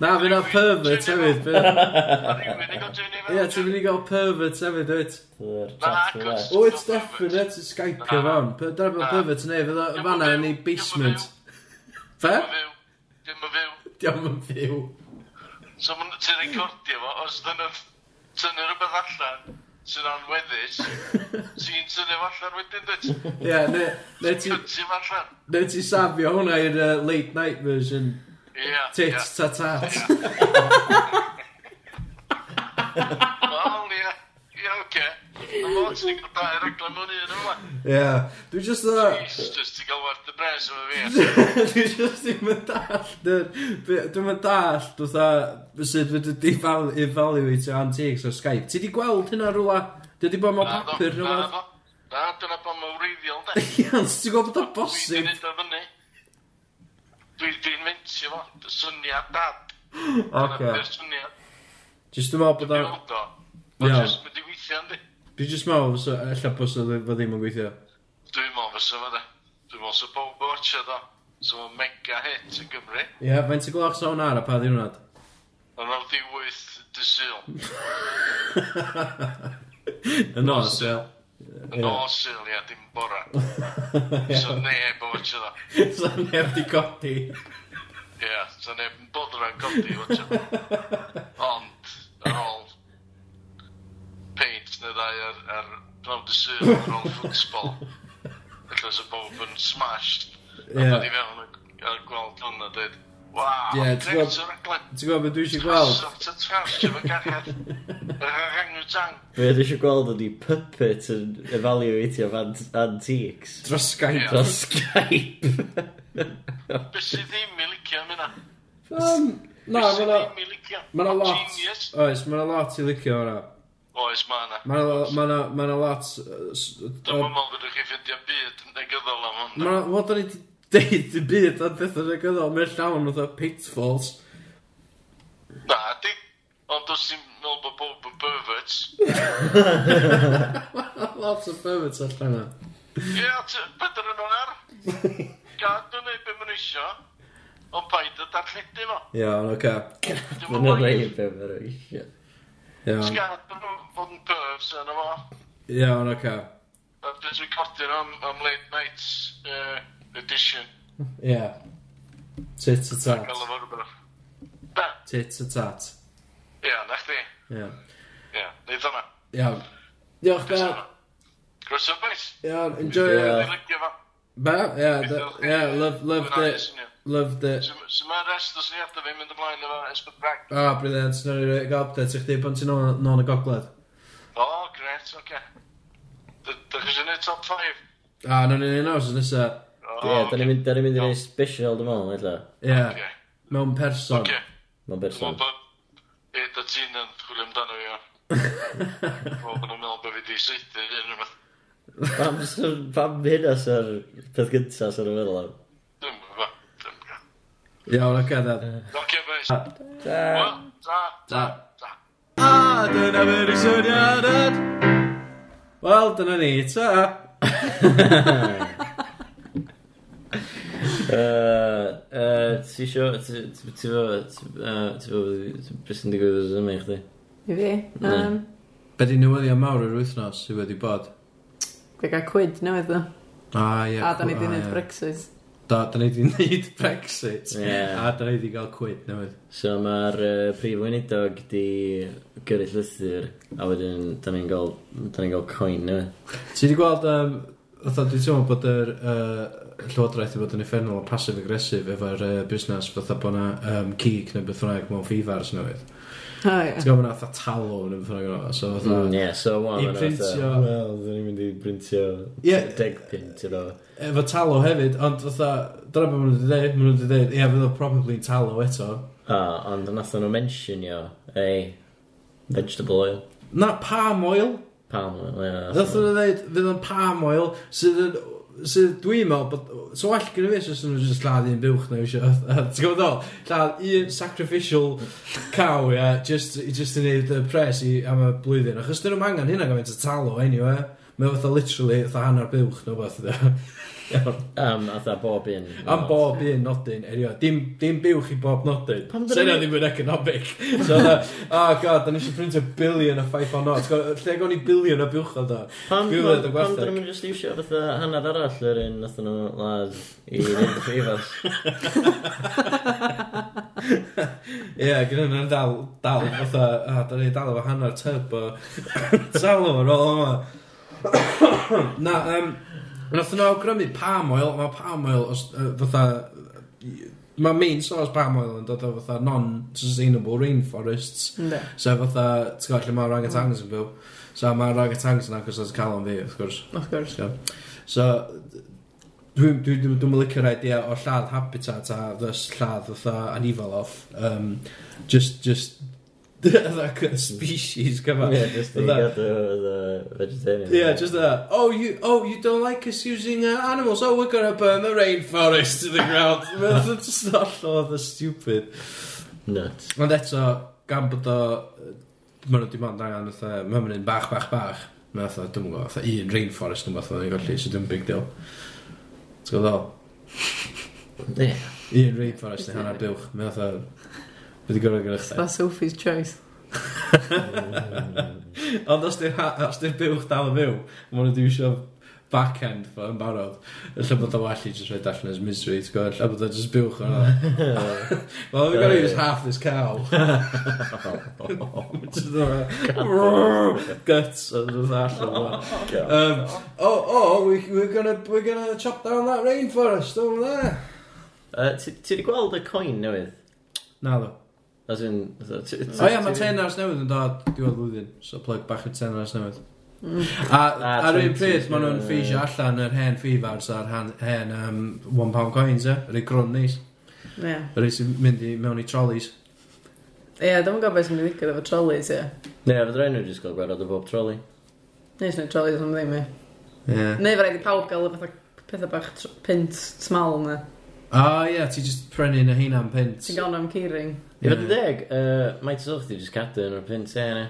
Speaker 2: Na, fy'n a pervert hefyd. be-
Speaker 6: Rwy'n i gael dwi'n i
Speaker 2: Ie, ti'n mynd i gael pervert hefyd, wyt? O, it's definite, it's Skype o fan. Dyna bod pervert yn ei, fydd o fanna yn ei basement. Fe?
Speaker 6: Dim yn fyw. Dim yn
Speaker 2: Diolch yn
Speaker 6: fyw.
Speaker 2: fyw.
Speaker 6: So ma'n- ti'n recordio fo, os dyn nhw'n tynnu rhywbeth allan, sy'n
Speaker 2: <laughs>
Speaker 6: anweddus, ti'n tynnu fo allan wedyn dweud.
Speaker 2: Ie, ne- ne ti-
Speaker 6: Ti'n fo allan.
Speaker 2: ne ti safio hwnna i'r uh, late night version.
Speaker 6: Ie. ie.
Speaker 2: Tits, ta tat.
Speaker 6: Wel, ie. Ie, oce. Ond o,
Speaker 2: <laughs>
Speaker 6: ti'n gwybod dair aglen mewn un yma.
Speaker 2: Ie. Dwi just dda...
Speaker 6: Jesus, ti'n gael werth y bres efo fi.
Speaker 2: Dwi just ddim yn dallt yr... be- Dwi'm yn dallt, fatha, sut fyddi di val- evaluate o antiques o Skype. Ti di gweld hynna rhywle? Dwi di bod mewn
Speaker 6: Na, do,
Speaker 2: papur
Speaker 6: na,
Speaker 2: rhywle?
Speaker 6: do. Na, dyna pan mae'n wreiddiol, de.
Speaker 2: Iawn, so ti'n gweld bod o'n
Speaker 6: Dwi'n
Speaker 2: bosib?
Speaker 6: mynd o fyny. Dwi- Dwi'n mentio fo. Dy syniad dad. Dyna
Speaker 2: Oce.
Speaker 6: beth yw'r syniad.
Speaker 2: Just dwi'n meddwl bod
Speaker 6: Dwi'n
Speaker 2: o'n...
Speaker 6: gweld o.
Speaker 2: Iawn.
Speaker 6: Mae'n jyst mynd i weithio, yndi.
Speaker 2: Dwi just meddwl, fysa- ella bos o ddim yn gweithio.
Speaker 6: Dwi'n meddwl fysa fo, de. Dwi'n meddwl sy'n bob o watcha, do. So mae'n mega hit yn Gymru.
Speaker 2: Ie, faint y gloch sawn ar a pa ddiwrnod?
Speaker 6: Yn o'r ddiwyth dysil.
Speaker 2: Y nos,
Speaker 6: <laughs>
Speaker 2: ie.
Speaker 6: Yn o'r sil, ia, dim bora. So neb o watcha, do.
Speaker 2: Sa neb di codi.
Speaker 6: Ie, so neb yn bodd rhaid godi o ti'n. Ond, ar ôl paint neu ddau ar, ar brawd y sy'n ar ôl ffwtsbol. Felly os y bob yn smashed, a
Speaker 2: Ie.
Speaker 6: bod i fewn a- a gweld hwn a dweud, Waw,
Speaker 2: Ie, ti'n gweld-
Speaker 6: greit o'r aglen.
Speaker 2: Ti'n gwybod beth dwi eisiau gweld?
Speaker 6: Sort o trash efo gariad. Yr orangutan.
Speaker 4: Fe dwi eisiau gweld ydi puppet yn evaluatio ant antiques.
Speaker 2: Dros Skype.
Speaker 6: Ie.
Speaker 4: Dros Skype.
Speaker 6: Be sydd ddim i licio am hynna?
Speaker 2: Um,
Speaker 6: Be
Speaker 2: na,
Speaker 6: sydd
Speaker 2: ma'na...
Speaker 6: ddim i licio?
Speaker 2: Ma'na lot...
Speaker 6: Genius.
Speaker 2: Oes, ma'na lot i licio hwnna.
Speaker 6: Oes, ma'na.
Speaker 2: Ma'na ma ma lot... uh, s-
Speaker 6: Dwi'n
Speaker 2: o-
Speaker 6: meddwl bod chi'n ffeindio byd yn negyddol am hwn.
Speaker 2: Ma'na... Wel, da ni di deud y byd ar bethau negyddol. Mae'n llawn oedd pitfalls.
Speaker 6: Na, di. Ond os ti'n meddwl bod bob yn perverts.
Speaker 2: <laughs> Lot o perverts allan yna.
Speaker 6: Ie, t- bedyr yn o'r. Gad nhw wneud beth maen nhw isio. Ond paid y darlledu fo.
Speaker 2: Iawn, oce.
Speaker 6: Dim
Speaker 4: Fy'n
Speaker 6: ond
Speaker 4: o'n
Speaker 6: boi.
Speaker 4: rhaid be mae'r eisiau.
Speaker 2: Iawn,
Speaker 6: Gad nhw fod yn pervs yn efo.
Speaker 2: iawn, oce.
Speaker 6: A dwi'n recordio'n am, am late night uh, edition.
Speaker 2: Ie. Tit a
Speaker 6: Gael
Speaker 2: tat.
Speaker 6: efo rhywbeth. Da,
Speaker 2: Tit a tat.
Speaker 6: ie, na chdi.
Speaker 2: Ie.
Speaker 6: Ie, neud hwnna.
Speaker 2: Iawn. Diolch, Ben.
Speaker 6: Groes o beth.
Speaker 2: Iawn, enjoy
Speaker 4: Ie.
Speaker 2: it.
Speaker 6: Dwi'n lygio fo.
Speaker 2: Ba, yeah, the, yeah, love, loved it,
Speaker 6: Dwi'n
Speaker 2: loved it.
Speaker 6: So mae'r rest o syniadau fi'n mynd ymlaen efo Esbeth Bragg.
Speaker 2: Ah, oh, briliant, sy'n rhaid i gael update i chdi pan ti'n nôl nôl yn y gogledd.
Speaker 6: O, gret, oce. Dych chi eisiau gwneud top 5?
Speaker 2: Ah, nawn ni'n un os nesa.
Speaker 6: O,
Speaker 4: Ie, da ni'n mynd da ni'n mynd i neud special dim ond, eitha.
Speaker 2: Yeah,
Speaker 6: Oce,
Speaker 2: mewn person.
Speaker 6: oce.
Speaker 4: Mae'n
Speaker 6: Dwi'n
Speaker 4: berson.
Speaker 6: meddwl bod Ed a ti'n yn chwilio amdano fi o. Wel, bod nhw'n meddwl bod fi di seithi yn rhywbeth.
Speaker 4: Pam sy'n- pam hynna sy'r peth gyntaf sy'n y meddwl am.
Speaker 6: Dwi'n meddwl, dwi'n meddwl.
Speaker 2: Iawn, oce, dad.
Speaker 6: Oce, boys. Wel, da.
Speaker 2: Da.
Speaker 6: Da.
Speaker 2: Ah, dyna fyr i syniadad. Wel, dyna ni, ta.
Speaker 4: Ti isio, ti fo, ti fo, beth sy'n digwydd o'r Zoom i chdi?
Speaker 3: I fi. Um,
Speaker 2: Be di newyddion mawr yr wythnos sydd wedi bod?
Speaker 3: Fe gael cwyd newydd ddo.
Speaker 2: Ah, ie.
Speaker 3: A da ni
Speaker 2: cw-
Speaker 3: di
Speaker 2: ah,
Speaker 3: wneud
Speaker 2: ie.
Speaker 3: Brexit.
Speaker 2: Da, da ni di wneud Brexit.
Speaker 4: Ie.
Speaker 2: A da ni di gael quid newydd.
Speaker 4: So mae'r uh, prif weinidog di gyrru llythyr a wedyn da ni'n gael, da ni'n gael coin newydd.
Speaker 2: Ti di gweld, um, oedd dwi'n teimlo bod yr uh, llywodraeth wedi bod yn effernol o passive-aggressive efo'r uh, busnes, fatha bod na um, cig neu beth bynnag mewn ffifars newydd.
Speaker 3: O, ie.
Speaker 2: Ti'n gwybod mae'n fatha talon yn ffynu gwrna, so fatha...
Speaker 4: Mm, Ie, so wan
Speaker 2: I printio...
Speaker 7: Wel, dyn ni'n mynd i brintio
Speaker 2: Ie.
Speaker 7: deg pint i'r o.
Speaker 2: Efo talo hefyd, ond fatha... Dyna beth maen nhw wedi dweud, maen nhw wedi dweud, ie, fydd o probably talo eto.
Speaker 4: A, Ah, ond nath nhw mentionio, ei, vegetable oil,
Speaker 2: Na, palm oil.
Speaker 4: palm oil, ie. nathon
Speaker 2: Nath
Speaker 4: nhw-
Speaker 2: nhw dweud, fydd o'n palm oil, sydd yn... Sydd dwi'n meddwl bod... So well gyda fi, sydd nhw'n just lladd un buwch neu eisiau... <laughs> Ti'n gwybod ddol? Lladd un sacrificial cow, ie, just, i- just i wneud y pres i am y blwyddyn. Achos dyn nhw'n angen hynna gymaint o talo, anyway. Mae o fatha literally, fatha hanner buwch neu beth. <laughs>
Speaker 4: Am, atha bob un.
Speaker 2: Am bob un nodyn, erio. Dim, dim buwch i bob nodyn.
Speaker 4: Pam
Speaker 2: So yna
Speaker 4: dyn ni-
Speaker 2: ddim yn economic.
Speaker 4: <laughs>
Speaker 2: So yna, oh god, da ni eisiau printio bilion o ffaith o nod. Lle gawn ni bilion o buwch o ddo?
Speaker 4: Pam,
Speaker 2: Dwi'n meddwl
Speaker 4: pam,
Speaker 2: y
Speaker 4: pam
Speaker 2: gwertheg.
Speaker 4: dyn nhw'n just iwsio fatha hanner arall yr un nath nhw lad
Speaker 2: <laughs>
Speaker 4: i fynd y ffrifas.
Speaker 2: Ie, gyda nhw'n dal, dal, fatha, a, da ni dal efo hanner tyb o <laughs> salw ar ôl yma. <coughs> Na, um, nath nhw awgrymu palm oil, mae palm oil, os, uh, fatha, mae main source palm oil yn dod o fatha non-sustainable rainforests.
Speaker 3: Ynddi.
Speaker 2: So fatha, ti'n gwybod lle mae orangutans yn byw? So mae orangutans yn agos o'r calon fi, wrth gwrs.
Speaker 3: Of course.
Speaker 2: So, so dwi'n dwi, dwi, dwi licio'r idea o lladd habitat a thus lladd fatha anifal off. Um, just, just, <laughs> fatha species gyma.
Speaker 4: Ie, just i
Speaker 2: Fatha-
Speaker 4: gadw the vegetarian.
Speaker 2: Yeah, just that. Oh, you, oh, you don't like us using uh, animals. Oh, we're gonna burn the rainforest to the ground. Mae'n just allan oedd y stupid.
Speaker 4: Nuts.
Speaker 2: Ond eto, gan bod o... Mae nhw dim ond angen fatha... Mae nhw'n un bach, bach, bach. Mae fatha, dwi'n gwybod, fatha un rainforest yn fath o'n ei golli, so dwi'n big deal. T'w gwybod ddol?
Speaker 4: Ie.
Speaker 2: Un rainforest neu hanner buwch. Mae fatha... Wedi gorau gyda chdi.
Speaker 3: That's Sophie's choice.
Speaker 2: Ond os di'r ha- os di'r buwch dal yn fyw, mae nhw wedi eisiau back-end fo yn barod. Lle bod o well i just rhaid allan as misery, ti'n gwybod? Lle bod o just buwch o'n Well, we're gonna use half this cow. Just the- Guts o dod allan o'n Um, oh, oh, we, we're gonna, we're gonna chop down that rainforest over there.
Speaker 4: Uh, Ti ti di gweld y coin newydd?
Speaker 2: Na ddo.
Speaker 4: As in... O
Speaker 2: O ia, mae ten ars newydd yn dod diwedd blwyddyn, so plug bach yn ten ars newydd. A
Speaker 4: A
Speaker 2: ar un
Speaker 4: 20,
Speaker 2: pryd, maen nhw'n
Speaker 4: ie.
Speaker 2: ffeisio allan yr hen ffifars a'r hen, hen um, one pound coins, e? Yr ei grwn neis.
Speaker 3: Ie.
Speaker 2: Yr ei sy'n mynd i mewn i trolleys.
Speaker 3: Ie, dwi'n gwybod beth sy'n mynd i ddigwydd efo trolleys, ie.
Speaker 4: Ne, fydd rhaid nhw jyst gael gwerod o bob troli.
Speaker 3: Nes nhw trolleys am ddim, ie.
Speaker 2: Ie.
Speaker 3: Neu fe rhaid i pawb gael y fatha pethau bach tr- pint smal yna.
Speaker 2: O ie, ti just prynu yn y heina am pint.
Speaker 3: Ti'n gael nhw am ceiring.
Speaker 4: I fod yn deg, uh, mae ti sylwch ti jyst cadw yn o'r pint e, ne?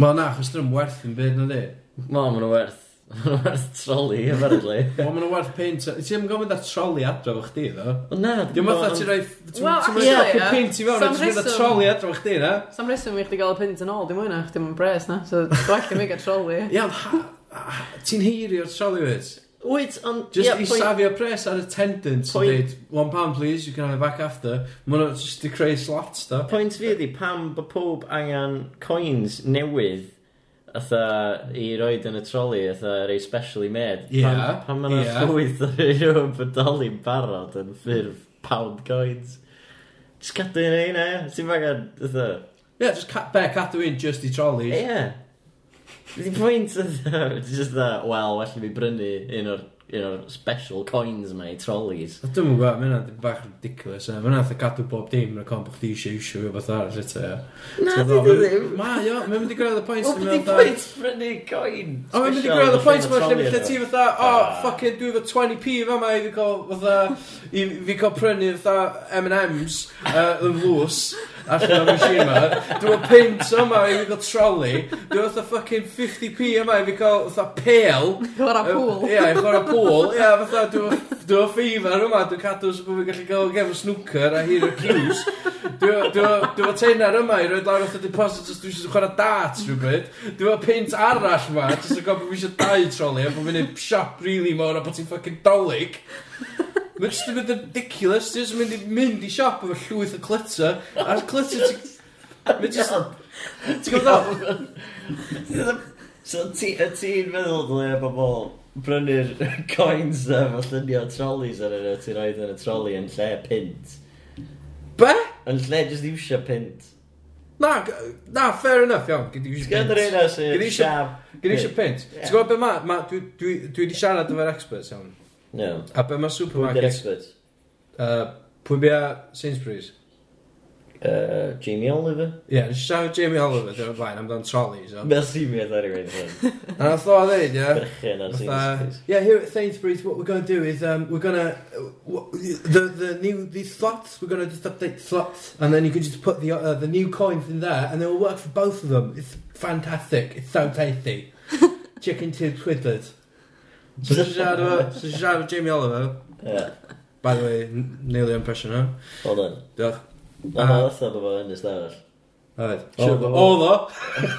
Speaker 2: Wel na, chos dyn nhw'n werth yn byd na di.
Speaker 4: Mo, maen nhw werth. <laughs> Maen nhw werth troli, apparently.
Speaker 2: Wel, maen nhw'n werth pint. Ti ddim yn gofyn da troli adro fo chdi, ddo.
Speaker 4: O na,
Speaker 2: Dim ond fatha ti roi...
Speaker 3: Wel,
Speaker 2: Ti'n
Speaker 3: actually,
Speaker 2: mynd
Speaker 3: ie.
Speaker 2: pint i mewn,
Speaker 3: Sam
Speaker 2: ti'n mynd da
Speaker 3: rheswm-
Speaker 2: troli adro fo chdi, na?
Speaker 3: Sam reswm i chdi gael y pint yn ôl, dim wyna, chdi mae'n bres na. So, dwi'n allu mi gael troli.
Speaker 2: Ie, ond ha- ha- ti'n heirio'r troli wyt?
Speaker 4: Wyt, ond...
Speaker 2: Just
Speaker 4: ie,
Speaker 2: yeah, i
Speaker 4: pwynt-
Speaker 2: safio pres ar attendant
Speaker 4: Pwy-
Speaker 2: Point. Dweud, one pound please, you can have it back after Mae nhw just to creu slots da
Speaker 4: Pwynt fi ydi pam bod pob angen coins newydd Atha i roed yn y troli, atha rei specially made.
Speaker 2: Ie,
Speaker 4: Pam, pam mae'n
Speaker 2: ie.
Speaker 4: yeah. llwyth ar ei rhywun bodoli'n barod yn ffurf pound coins. Just cadw yn ein e, ti'n fagan, atha.
Speaker 2: Ie, yeah, just ca be, cadw un just i troli
Speaker 4: Ie.
Speaker 2: Ie,
Speaker 4: Yeah. Di pwynt atha, just atha, wel, well fi brynu un o'r un o'r special coins mae trolleys.
Speaker 2: Dwi'n mwyn gwybod, mae hynna'n dipyn bach ridiculous eh? Mae hynna'n fatha cadw bob dim yn y con bod chdi eisiau eisiau o beth arall eto ie. Ti'n gwbod, ma-
Speaker 4: dydi ddim.
Speaker 2: Ma, jo, mae'n mynd i gyrraedd y pwynt
Speaker 4: Wel,
Speaker 2: lle
Speaker 4: di
Speaker 2: mae fatha-
Speaker 4: pwynt brynu coin?
Speaker 2: O, Oh, mae'n mynd i
Speaker 4: special
Speaker 2: gyrraedd y
Speaker 4: allan
Speaker 2: pwynt
Speaker 4: o
Speaker 2: yma lle
Speaker 4: troli
Speaker 2: lle
Speaker 4: iddo.
Speaker 2: ti fatha O,
Speaker 4: Ah.
Speaker 2: ffucking, dwi efo 20p fama i fi cael fatha i fi cael prynu fatha M&M's uh, yn lws allan o'r machine yma Dwi efo pint yma i fi cael troli Dwi efo ffucking 50p yma i fi cael fatha pêl
Speaker 3: Gwara pŵl.
Speaker 2: Ie, i chwarae pŵl. Ie, fatha, dwi efo- dwi o ffeifr yma, dwi'n cadw sy'n bod fi'n gallu gael gem o snwcer a hir o cues. Dwi o- dwi o- dwi o teinar yma i roed lawr o'r deposit os dwi eisiau chwarae darts rhywbryd. Dwi o pint arall yma, jyst yn gofyn fi eisiau dau troli, a bod fi'n neud siop rili mawr a bod ti'n ffucking dolyg. Mae'n just yn mynd yn ridiculous, ti'n just yn mynd i mynd i siop efo llwyth o clutter, a clutter ti'n... Mae'n just... Ti'n gwybod o?
Speaker 4: So ti, y ti'n meddwl dyle bobl brynu'r <laughs> coins a fo llunio trolleys ar yna ti'n rhaid yn y troli yn lle pint.
Speaker 2: Be?
Speaker 4: Yn lle just iwsio pint.
Speaker 2: Na, g- na, fair enough, iawn. Gyd i eisiau
Speaker 4: Gyd yr un as
Speaker 2: Gyd
Speaker 4: i'r
Speaker 2: i
Speaker 4: siab.
Speaker 2: eisiau pint.
Speaker 4: Ie.
Speaker 2: Ti'n gwybod be ma, ma dwi, dwi, dwi wedi siarad efo'r experts, iawn.
Speaker 4: No.
Speaker 2: A be ma
Speaker 4: Who's the
Speaker 2: supermarket...
Speaker 4: expert?
Speaker 2: Uh, pwy bia Sainsbury's?
Speaker 4: Uh, Jamie Oliver?
Speaker 2: Ie, yeah, nes i siarad Jamie Oliver, dwi'n flaen, amdan trolleys, iawn.
Speaker 4: Fel sy'n mynd ar yw'n hyn.
Speaker 2: A nath o ddeud, ie.
Speaker 4: Brychyn ar
Speaker 2: Fatha,
Speaker 4: Sainsbury's.
Speaker 2: yeah, here at Sainsbury's, what we're going to do is um, we're going to the the new these slots. We're going to just update slots, and then you can just put the uh, the new coins in there, and they will work for both of them. It's fantastic. It's so
Speaker 4: <laughs>
Speaker 2: tasty. Chicken tube twiddlers. So just shout out, so shout out Jamie Oliver.
Speaker 4: Ie.
Speaker 2: By the way, n- nearly impression her.
Speaker 4: Hold on.
Speaker 2: Diolch.
Speaker 4: Na, na, fatha bod fo yn y stafell. <laughs>
Speaker 2: Alright.
Speaker 4: Oh,
Speaker 2: Sure,
Speaker 4: oh.
Speaker 2: all o.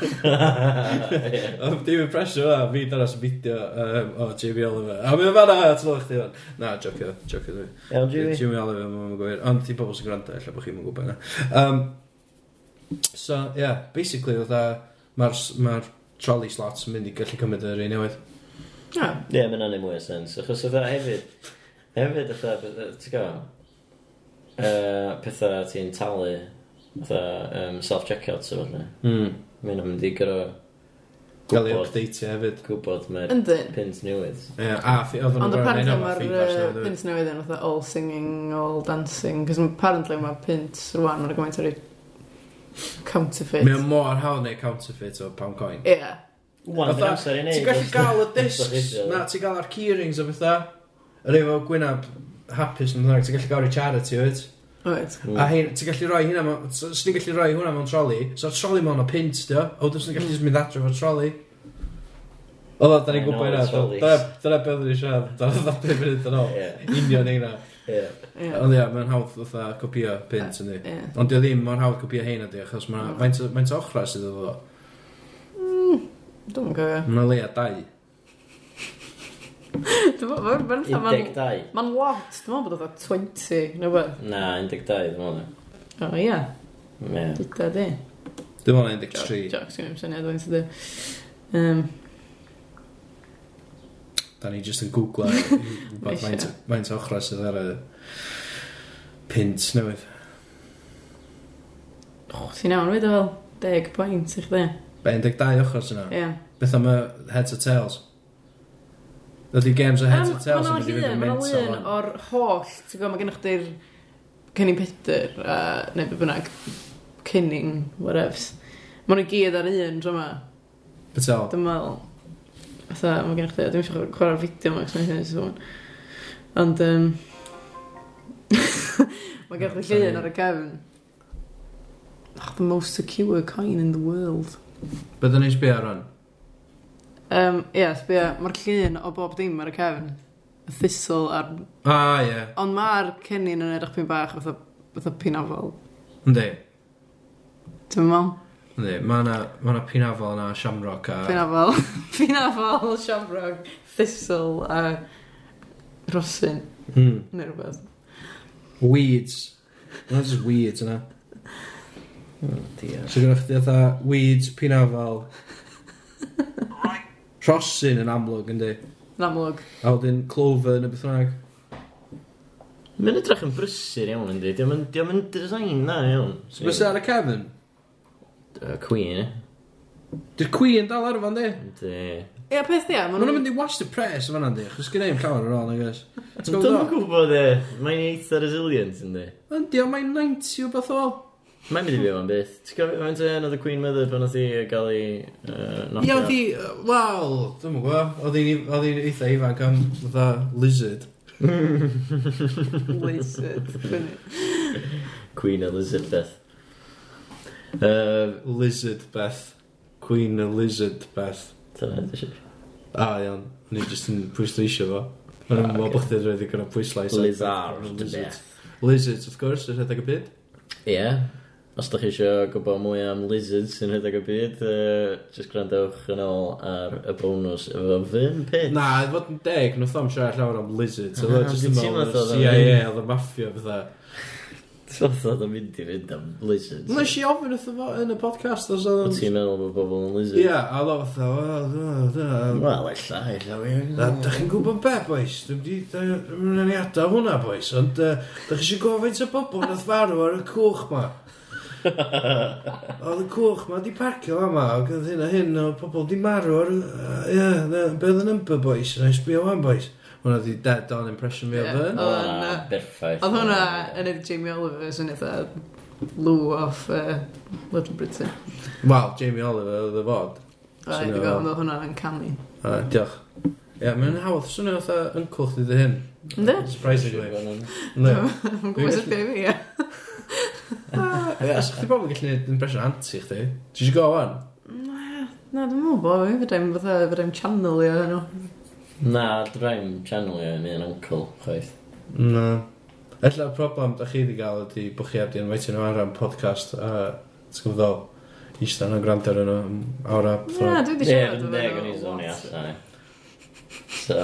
Speaker 4: Ie.
Speaker 2: Dim impression yna, fi dynas y fideo um, o Jamie Oliver. A mi fanna, ti'n lwch ti fan. Na, jocio, jocio dwi.
Speaker 4: Iawn,
Speaker 2: Jimmy.
Speaker 4: Jimmy?
Speaker 2: Jimmy Oliver, mae'n gwir. Ond ti pobl sy'n gwrando, ella bod chi'n mynd gwybod yna. Um, so, yeah, basically, oedd mae'r ma trolley slots yn mynd i gallu cymryd yr un newydd.
Speaker 3: No.
Speaker 4: Ie, mae'n anodd mwy o sens. Achos oedd hefyd, hefyd oedd ti'n gwybod, uh, pethau ti'n talu, oedd um, self-checkout sef oedd
Speaker 2: Mm.
Speaker 4: Mae'n mynd i gyro
Speaker 2: Gael ei
Speaker 4: gwybod,
Speaker 2: update hefyd.
Speaker 4: gwybod mae'r
Speaker 3: Yndyn.
Speaker 4: pins newydd.
Speaker 2: Yeah, a fi- oedd nhw'n
Speaker 3: Ond
Speaker 2: gorau
Speaker 3: apparently
Speaker 2: neud o'r
Speaker 3: mae'r
Speaker 2: feedback.
Speaker 3: pint newydd yn fatha all singing, all dancing, cos apparently mae pint rwan, mae'n gymaint o'r counterfeit.
Speaker 2: Mae'n mor hawdd neu counterfeit o pound coin.
Speaker 3: Ie.
Speaker 4: Wan, mae'n
Speaker 2: Fatha,
Speaker 4: amser i
Speaker 2: Ti'n
Speaker 4: neud.
Speaker 2: gallu
Speaker 4: os-
Speaker 2: <laughs> gael y
Speaker 4: os
Speaker 2: discs,
Speaker 4: ydw i.
Speaker 2: na, ti'n gael ar keyrings o bethau. Yr efo gwynab hapus yn ddeg, ti'n gallu gael i charity, wyt?
Speaker 3: Oed.
Speaker 4: Mm.
Speaker 2: A hyn, ti'n gallu rhoi hynna, mewn- s- swn i'n gallu rhoi hwnna mewn troli, so troli mewn o pint, dio, o dwi'n gallu just mynd adre fo'r troli. O dda, da ni'n
Speaker 4: I
Speaker 2: gwybod
Speaker 4: know
Speaker 2: hynna,
Speaker 4: the
Speaker 2: do.
Speaker 4: trolleys.
Speaker 2: dyna dyna beth dwi'n siarad, dyna dda beth yn ôl,
Speaker 4: Ie.
Speaker 2: union hynna.
Speaker 4: Ie.
Speaker 3: Ie.
Speaker 2: <laughs> Ond ia, mae'n hawdd fatha copio pint yn di.
Speaker 3: Ie.
Speaker 2: Ond dio ddim mor hawdd copio hyn ydi, achos mae faint o- faint o ochra sydd o fo.
Speaker 3: Dwi'n gofio.
Speaker 2: Mae'n leia dau.
Speaker 3: Dwi'n meddwl, mae'n fatha, mae'n...
Speaker 4: 12.
Speaker 3: Mae'n lot, dwi'n meddwl bod oedd 20, neu beth.
Speaker 4: Na, 12 dwi'n meddwl.
Speaker 3: O ie,
Speaker 4: Ie.
Speaker 3: gyda di.
Speaker 2: Dwi'n meddwl 13.
Speaker 3: Jocs, gwneud syniad o'n sydd. Um,
Speaker 2: Da ni jyst yn googla i wybod
Speaker 3: Eisiau.
Speaker 2: faint- faint o ochra sydd ar y pint newydd.
Speaker 3: o, ti'n iawn, wedi fel 10 pwynt i chdi.
Speaker 2: 12 ochra sydd yna.
Speaker 3: Ie.
Speaker 2: Beth am y heads or tails? Ydy games o heads or tails yn mynd i fynd yn
Speaker 3: mynd
Speaker 2: mynd
Speaker 3: o'n un
Speaker 2: safon.
Speaker 3: o'r holl, ti'n gwybod, mae gennych chdi'r cynnig Peter, a neu be bynnag, cynnig, whatevs. Mae nhw gyd ar un drama,
Speaker 2: Betel.
Speaker 3: dwi'n meddwl. Fatha, mae gennych chdi, dwi'n eisiau chwarae'r fideo yma, cos mae'n hynny'n sôn. Ond, <laughs> um, mae gennych chdi llun ar y cefn. Oh, the most secure coin in the world.
Speaker 2: Bydda ni'n sbio ar hwn.
Speaker 3: Um, Ie, yes, mae'r llun o bob dim ar y cefn. Y thistle a'r
Speaker 2: A Ah, ie,
Speaker 3: Ond mae'r cennin yn edrych pyn bach fatha, fatha pinafol.
Speaker 2: yndi.
Speaker 3: Ti'n meddwl?
Speaker 2: Yndi, mae yna pinafol yna, shamrock a...
Speaker 3: <laughs> Pinafol. pinafol, siamrog, thistle a rosyn.
Speaker 2: Hmm.
Speaker 3: Neu rhywbeth.
Speaker 2: Weeds. Mae'n just weeds yna.
Speaker 4: Diolch.
Speaker 2: So gynnwch chi atha weeds, pinafol. Rhosyn yn amlwg, yndi.
Speaker 3: Yn amlwg.
Speaker 2: A wedyn clover neu beth bynnag.
Speaker 4: Mae'n edrych yn brysur iawn yn di. Diolch yn design na iawn.
Speaker 2: So beth sy'n ar y cefn?
Speaker 4: Yy, Queen, ie.
Speaker 2: Dy'r Queen dal ar fan di.
Speaker 4: Yndi.
Speaker 3: Ie, peth ia, maen
Speaker 2: Mae'n
Speaker 3: nhw'n
Speaker 2: mynd i wash the press o fanna di, chos gyda i'n llawer ar ôl, I guess. Ti'n
Speaker 4: Dwi'n
Speaker 2: gwybod o?
Speaker 4: gwybod e, mae'n eitha resilient yndi.
Speaker 2: Yndi, ond mae'n 90 o beth o.
Speaker 4: Mae'n mynd i fyw am byth. Ti'n gwybod mae'n ten oedd y Queen Mother pan oedd hi gael ei
Speaker 2: Ie,
Speaker 4: nofio?
Speaker 2: oedd hi, wel, dwi'n mwyn gwybod, oedd hi'n- oedd hi'n eitha ifanc am fatha lizard.
Speaker 3: lizard. Funny.
Speaker 4: Queen Elizabeth. Yy,
Speaker 2: Lizard Beth. Queen Elizabeth Beth.
Speaker 4: Dyna ydy si.
Speaker 2: A iawn, o'n i jyst yn pwysleisio fo. O'n i'n meddwl bod chdi'n rhaid i gyrra pwyslais. ar-
Speaker 4: Lizard
Speaker 2: Lizard.
Speaker 4: Beth.
Speaker 2: Lizards, of course, yn rhedeg y byd.
Speaker 4: Ie. Os da chi eisiau gwybod mwy am lizards sy'n rhedeg y byd, uh, just gwrandewch yn ôl ar y bonus efo fyn pit.
Speaker 2: Na, i fod yn deg, nath o'n siarad llawer am lizards. Oedd
Speaker 4: Ah,
Speaker 2: o'n jyst yn
Speaker 4: dwi'n
Speaker 2: meddwl,
Speaker 4: teimlo fatha oedd o'n-
Speaker 2: CIA, oedd y maffia, fatha.
Speaker 4: Oedd o'n mynd i fynd am lizards.
Speaker 2: Nes i ofyn wrtho fo yn y podcast os
Speaker 4: Wyt
Speaker 2: oedd
Speaker 4: ti'n meddwl bod bobl yn lizards?
Speaker 2: Ie, a lo fatha, wel, dyna, dyna.
Speaker 4: Wel, ella, ella fi.
Speaker 2: A da chi'n gwybod be, boys? Dwi'n di, dwi'n mynd i adael hwnna, boys, ond yy, da chi eisiau gofyn ta bobl nath farw ar y cwch ma. Oedd y cwch ma di parcio fama, oedd gyda hyn a hyn, oedd pobl di marw ar... Ie, yeah, be oedd y number boys, yn SBO one boys. Hwna di dead on impression fi o
Speaker 3: Ie.
Speaker 2: fy.
Speaker 3: Oedd hwnna-
Speaker 4: Berffaith.
Speaker 3: Oedd hwnna yn edrych Jamie Oliver sy'n eitha lw off uh, Little Britain.
Speaker 2: Wel, Jamie Oliver oedd y fod.
Speaker 3: A i
Speaker 2: Swnio
Speaker 3: ddweud,
Speaker 2: fel-
Speaker 3: oedd hwnna yn canu.
Speaker 2: A, diolch. Ie, yeah, mae'n hawdd swnio fatha yncwl chdi dy hyn.
Speaker 3: Ynddi?
Speaker 2: Surprisingly.
Speaker 3: Dwi'n
Speaker 2: Ne.
Speaker 3: gwybod sy'n byd fi, ie.
Speaker 2: Ie, os chdi pobl gallu gwneud impression anti chdi. Ti eisiau go wan?
Speaker 3: Na, dwi'n mwyn bod fi, fydda i'n fatha, fydda i'n channel i o'n nhw.
Speaker 4: Na, dwi'n channel i'n un uncle, chwaith.
Speaker 2: Na. Ella y problem da chi wedi gael ydy bod chi wedi invite nhw ar am podcast a ti'n gwybod ddol, eistedd nhw'n gwrando ar nhw am awr a
Speaker 3: Na, dwi wedi
Speaker 4: Ie,
Speaker 3: siarad
Speaker 4: yn
Speaker 3: efo
Speaker 4: deg o'n
Speaker 3: nhw
Speaker 4: i zoni
Speaker 3: lot.
Speaker 4: allan, ie. So,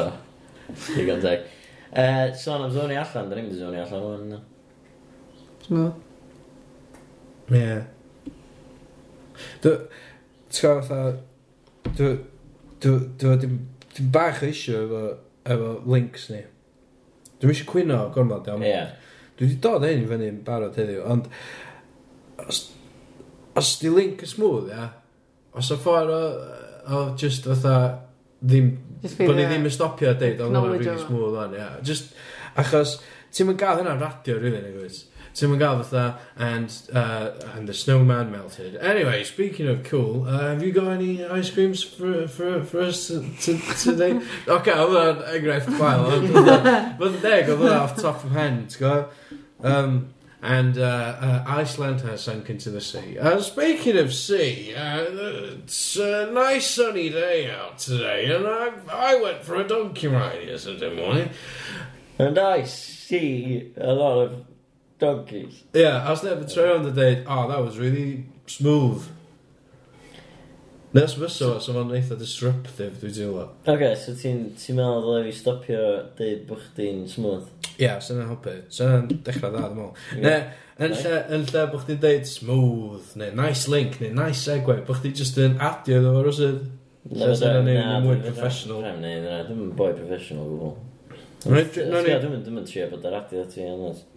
Speaker 4: digon teg. Uh, son am zoni allan, da ni'n zoni allan hwn. na.
Speaker 3: Smooth.
Speaker 2: Ie. Dw... Ti'n gwybod fatha... Dw... Dw... Dw... Dwi'n bach o isio efo, efo links ni. Dwi'n eisiau cwyno gormod iawn.
Speaker 4: Ie.
Speaker 2: Dwi wedi dod hyn i fyny yn barod heddiw, ond os, os di link yn smooth, ia, os y ffordd o, o just fatha, ddim,
Speaker 3: Just
Speaker 2: bod ni
Speaker 3: feindio-
Speaker 2: ddim yn stopio a deud, ond hwnna'n
Speaker 3: Acknowledge
Speaker 2: really
Speaker 3: o.
Speaker 2: smooth o'n, ia. Just, achos, ti'n mynd gael hynna'n radio, rili, neu gwrs. Ti'n mynd gael fatha, and, uh, and the snowman melted. Anyway, speaking of cool, uh, have you got any ice creams for, for, for us to, to, today?
Speaker 3: <laughs>
Speaker 2: Oce, oedd hwnna'n enghraifft gwael, ond oedd hwnna- Fydd yn deg, oedd hwnna off top of hen, ti'n gwybod? Um, and uh, uh, Iceland has sunk into the sea. Uh, speaking of sea, uh, it's a nice sunny day out today, and I, I went for a donkey ride yesterday morning.
Speaker 4: And I see a lot of donkeys.
Speaker 2: Yeah, I was never trying on the day. Oh, that was really smooth. Nes fyso os yma'n eitha disruptive, dwi'n teimlo.
Speaker 4: Ok, so ti'n ti meddwl ddylai fi stopio deud bod chdi'n smooth?
Speaker 2: Ie, yeah, sy'n helpu. Sy'n dechrau dda, dwi'n meddwl. Ne, yn lle, yn lle bod chdi'n deud smooth, neu nice link, neu nice segue, bod chdi jyst yn adio iddo fo rysydd. Lle sy'n yna ni'n mwy professional.
Speaker 4: Dwi'n neud yna, dwi'n yn boi professional gwbl.
Speaker 2: Rhaid-
Speaker 4: Dwi'n
Speaker 2: nawn ni-
Speaker 4: dwi'n trio bod ar adio ti anodd.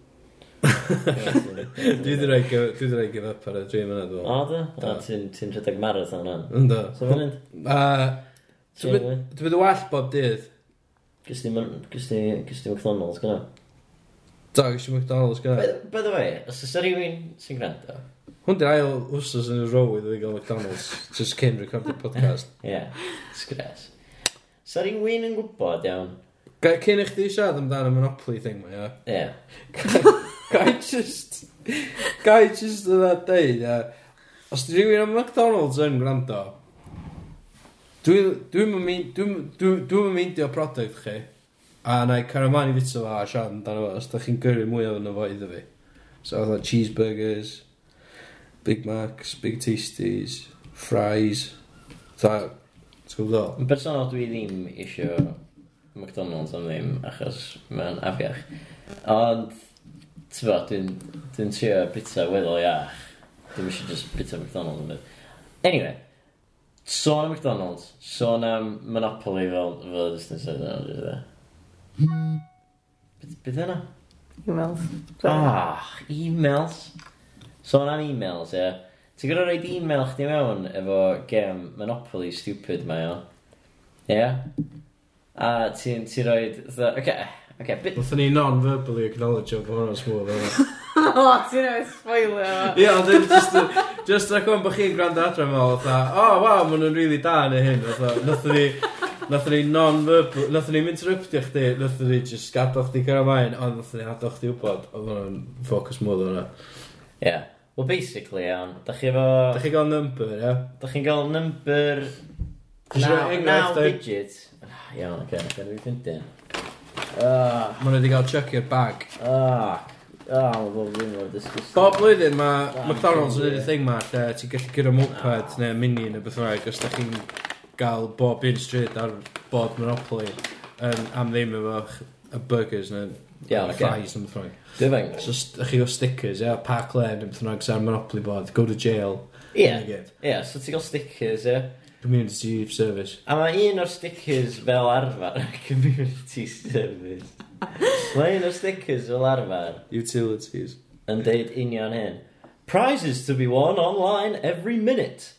Speaker 4: Dwi
Speaker 2: Dwi wedi rhoi give- dwi wedi rhoi give up ar y dream yna, dwi'n
Speaker 4: O,
Speaker 2: meddwl.
Speaker 4: da?
Speaker 2: Do.
Speaker 4: O, ti'n ti'n rhedeg marathon hwn.
Speaker 2: Ynddo.
Speaker 4: So fan hyn?
Speaker 2: A, Ti'n mynd-
Speaker 4: Ti'n
Speaker 2: Dwi'n mynd well bob dydd.
Speaker 4: Gysdi McDonald's gyda.
Speaker 2: Da, gysio McDonald's gyda.
Speaker 4: By the way, os oes rhywun sy'n gwrando?
Speaker 2: Hwn di'r ail wsos yn y row i ddweud gael McDonald's, just cyn record y
Speaker 4: <laughs>
Speaker 2: podcast.
Speaker 4: Ie, sgres. Os oes rhywun yn gwybod iawn?
Speaker 2: Ga- Cyn i chdi siarad amdano Monopoly thing ma, ia.
Speaker 4: Ie.
Speaker 2: Gai just... Gai just yna deud, ia. Os di rhywun am McDonald's yn gwrando, dwi'n dwi mynd meindio product chi, a na i caraman i fito fa a siarad amdano fo, os da chi'n gyrru mwy o'n fo iddo fi. So oedd cheeseburgers, Big Macs, Big Tasties, fries, ta, ti'n gwybod?
Speaker 4: Yn bersonol dwi ddim isio McDonald's am ddim achos mae'n afiach. Ond, ti'n fawr, dwi'n dwi trio bita weddol iach. Dwi'n eisiau just bita McDonald's yn byd. Anyway, sôn am McDonald's, sôn am Monopoly fel, fel y distance oedd yna. rwy'n dda. Beth- Beth yna?
Speaker 3: Emails.
Speaker 4: Ah, emails. Sôn am emails, ie. Ti'n gwrdd rhaid email chdi mewn efo gem Monopoly stupid mae o. Ie? A ti'n ti roed... Oce, oce, bit...
Speaker 2: Nothen ni non-verbally acknowledge o bod hwnna'n smooth o'n
Speaker 3: <laughs> O, ti'n ei spoilio.
Speaker 2: Ie, ond yn just, just ac o'n bod chi'n gwrando adre fel, fatha, o, oh, waw, maen nhw'n really da neu hyn, fatha, nathon ni, nathon ni non-verbal, nathon ni'n interruptio chdi, nathon ni just gadal chdi gyda maen, ond nathon ni hadal chdi wybod, oedd hwnna'n ffocws mwyd o'na.
Speaker 4: Ie. Well, basically, iawn, da chi
Speaker 2: Da
Speaker 4: efo...
Speaker 2: chi gael number, ia?
Speaker 4: Da chi'n gael number...
Speaker 2: Isio
Speaker 4: Naw,
Speaker 2: rhoi
Speaker 4: naw
Speaker 2: enghraifft, eh?
Speaker 4: digit. Ah, Iawn, oce, oce, dwi'n ffindi. Ah,
Speaker 2: Maen nhw wedi cael chuckio'r bag.
Speaker 4: ah, ah, mae'n bob ddim o'r disgusting.
Speaker 2: Bob blwyddyn mae McDonald's yn edrych thing ma, lle ti'n gallu gyrra moped neu mini neu beth rhaid, os da chi'n gael bob un stryd ar bob Monopoly, um, am ddim efo ch- y burgers neu
Speaker 4: Iawn, ocê.
Speaker 2: fries neu beth rhaid.
Speaker 4: Dwi'n fawr.
Speaker 2: So, s- ych chi o stickers, ia, Park Lane, neu beth bynnag, sa'r Monopoly board, go to jail. Hynny
Speaker 4: Ie,
Speaker 2: gyd.
Speaker 4: ie, so ti'n gael stickers, ie.
Speaker 2: Community service.
Speaker 4: A mae un o'r stickers fel arfer Community service Mae un o'r stickers fel arfer
Speaker 2: Utilities.
Speaker 4: Yn deud union hyn Prizes to be won online every minute.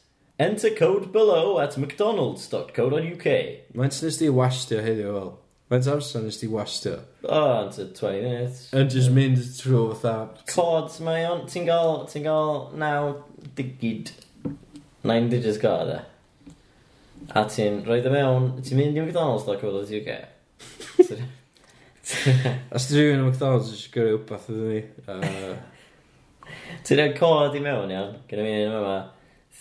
Speaker 4: Enter code below at mcdonalds.co.uk.
Speaker 2: Mae'n nes di wastio heddiw fel. Mae'n amser nes di wastio.
Speaker 4: Oh, into 20 minutes.
Speaker 2: Yn just mynd trwy fatha.
Speaker 4: Cords mae o'n... Ti'n gael... Ti'n gael naw digid. Nine digits gael yda. A ti'n rhoi dy mewn... Ti'n mynd i McDonald's.co.uk. Ti'n-
Speaker 2: Os di rhywun o McDonald's eisiau gyrru wbath iddyn ni. Yy,
Speaker 4: Ti'n rhoi cod i mewn, iawn. Gyda mi yn yma.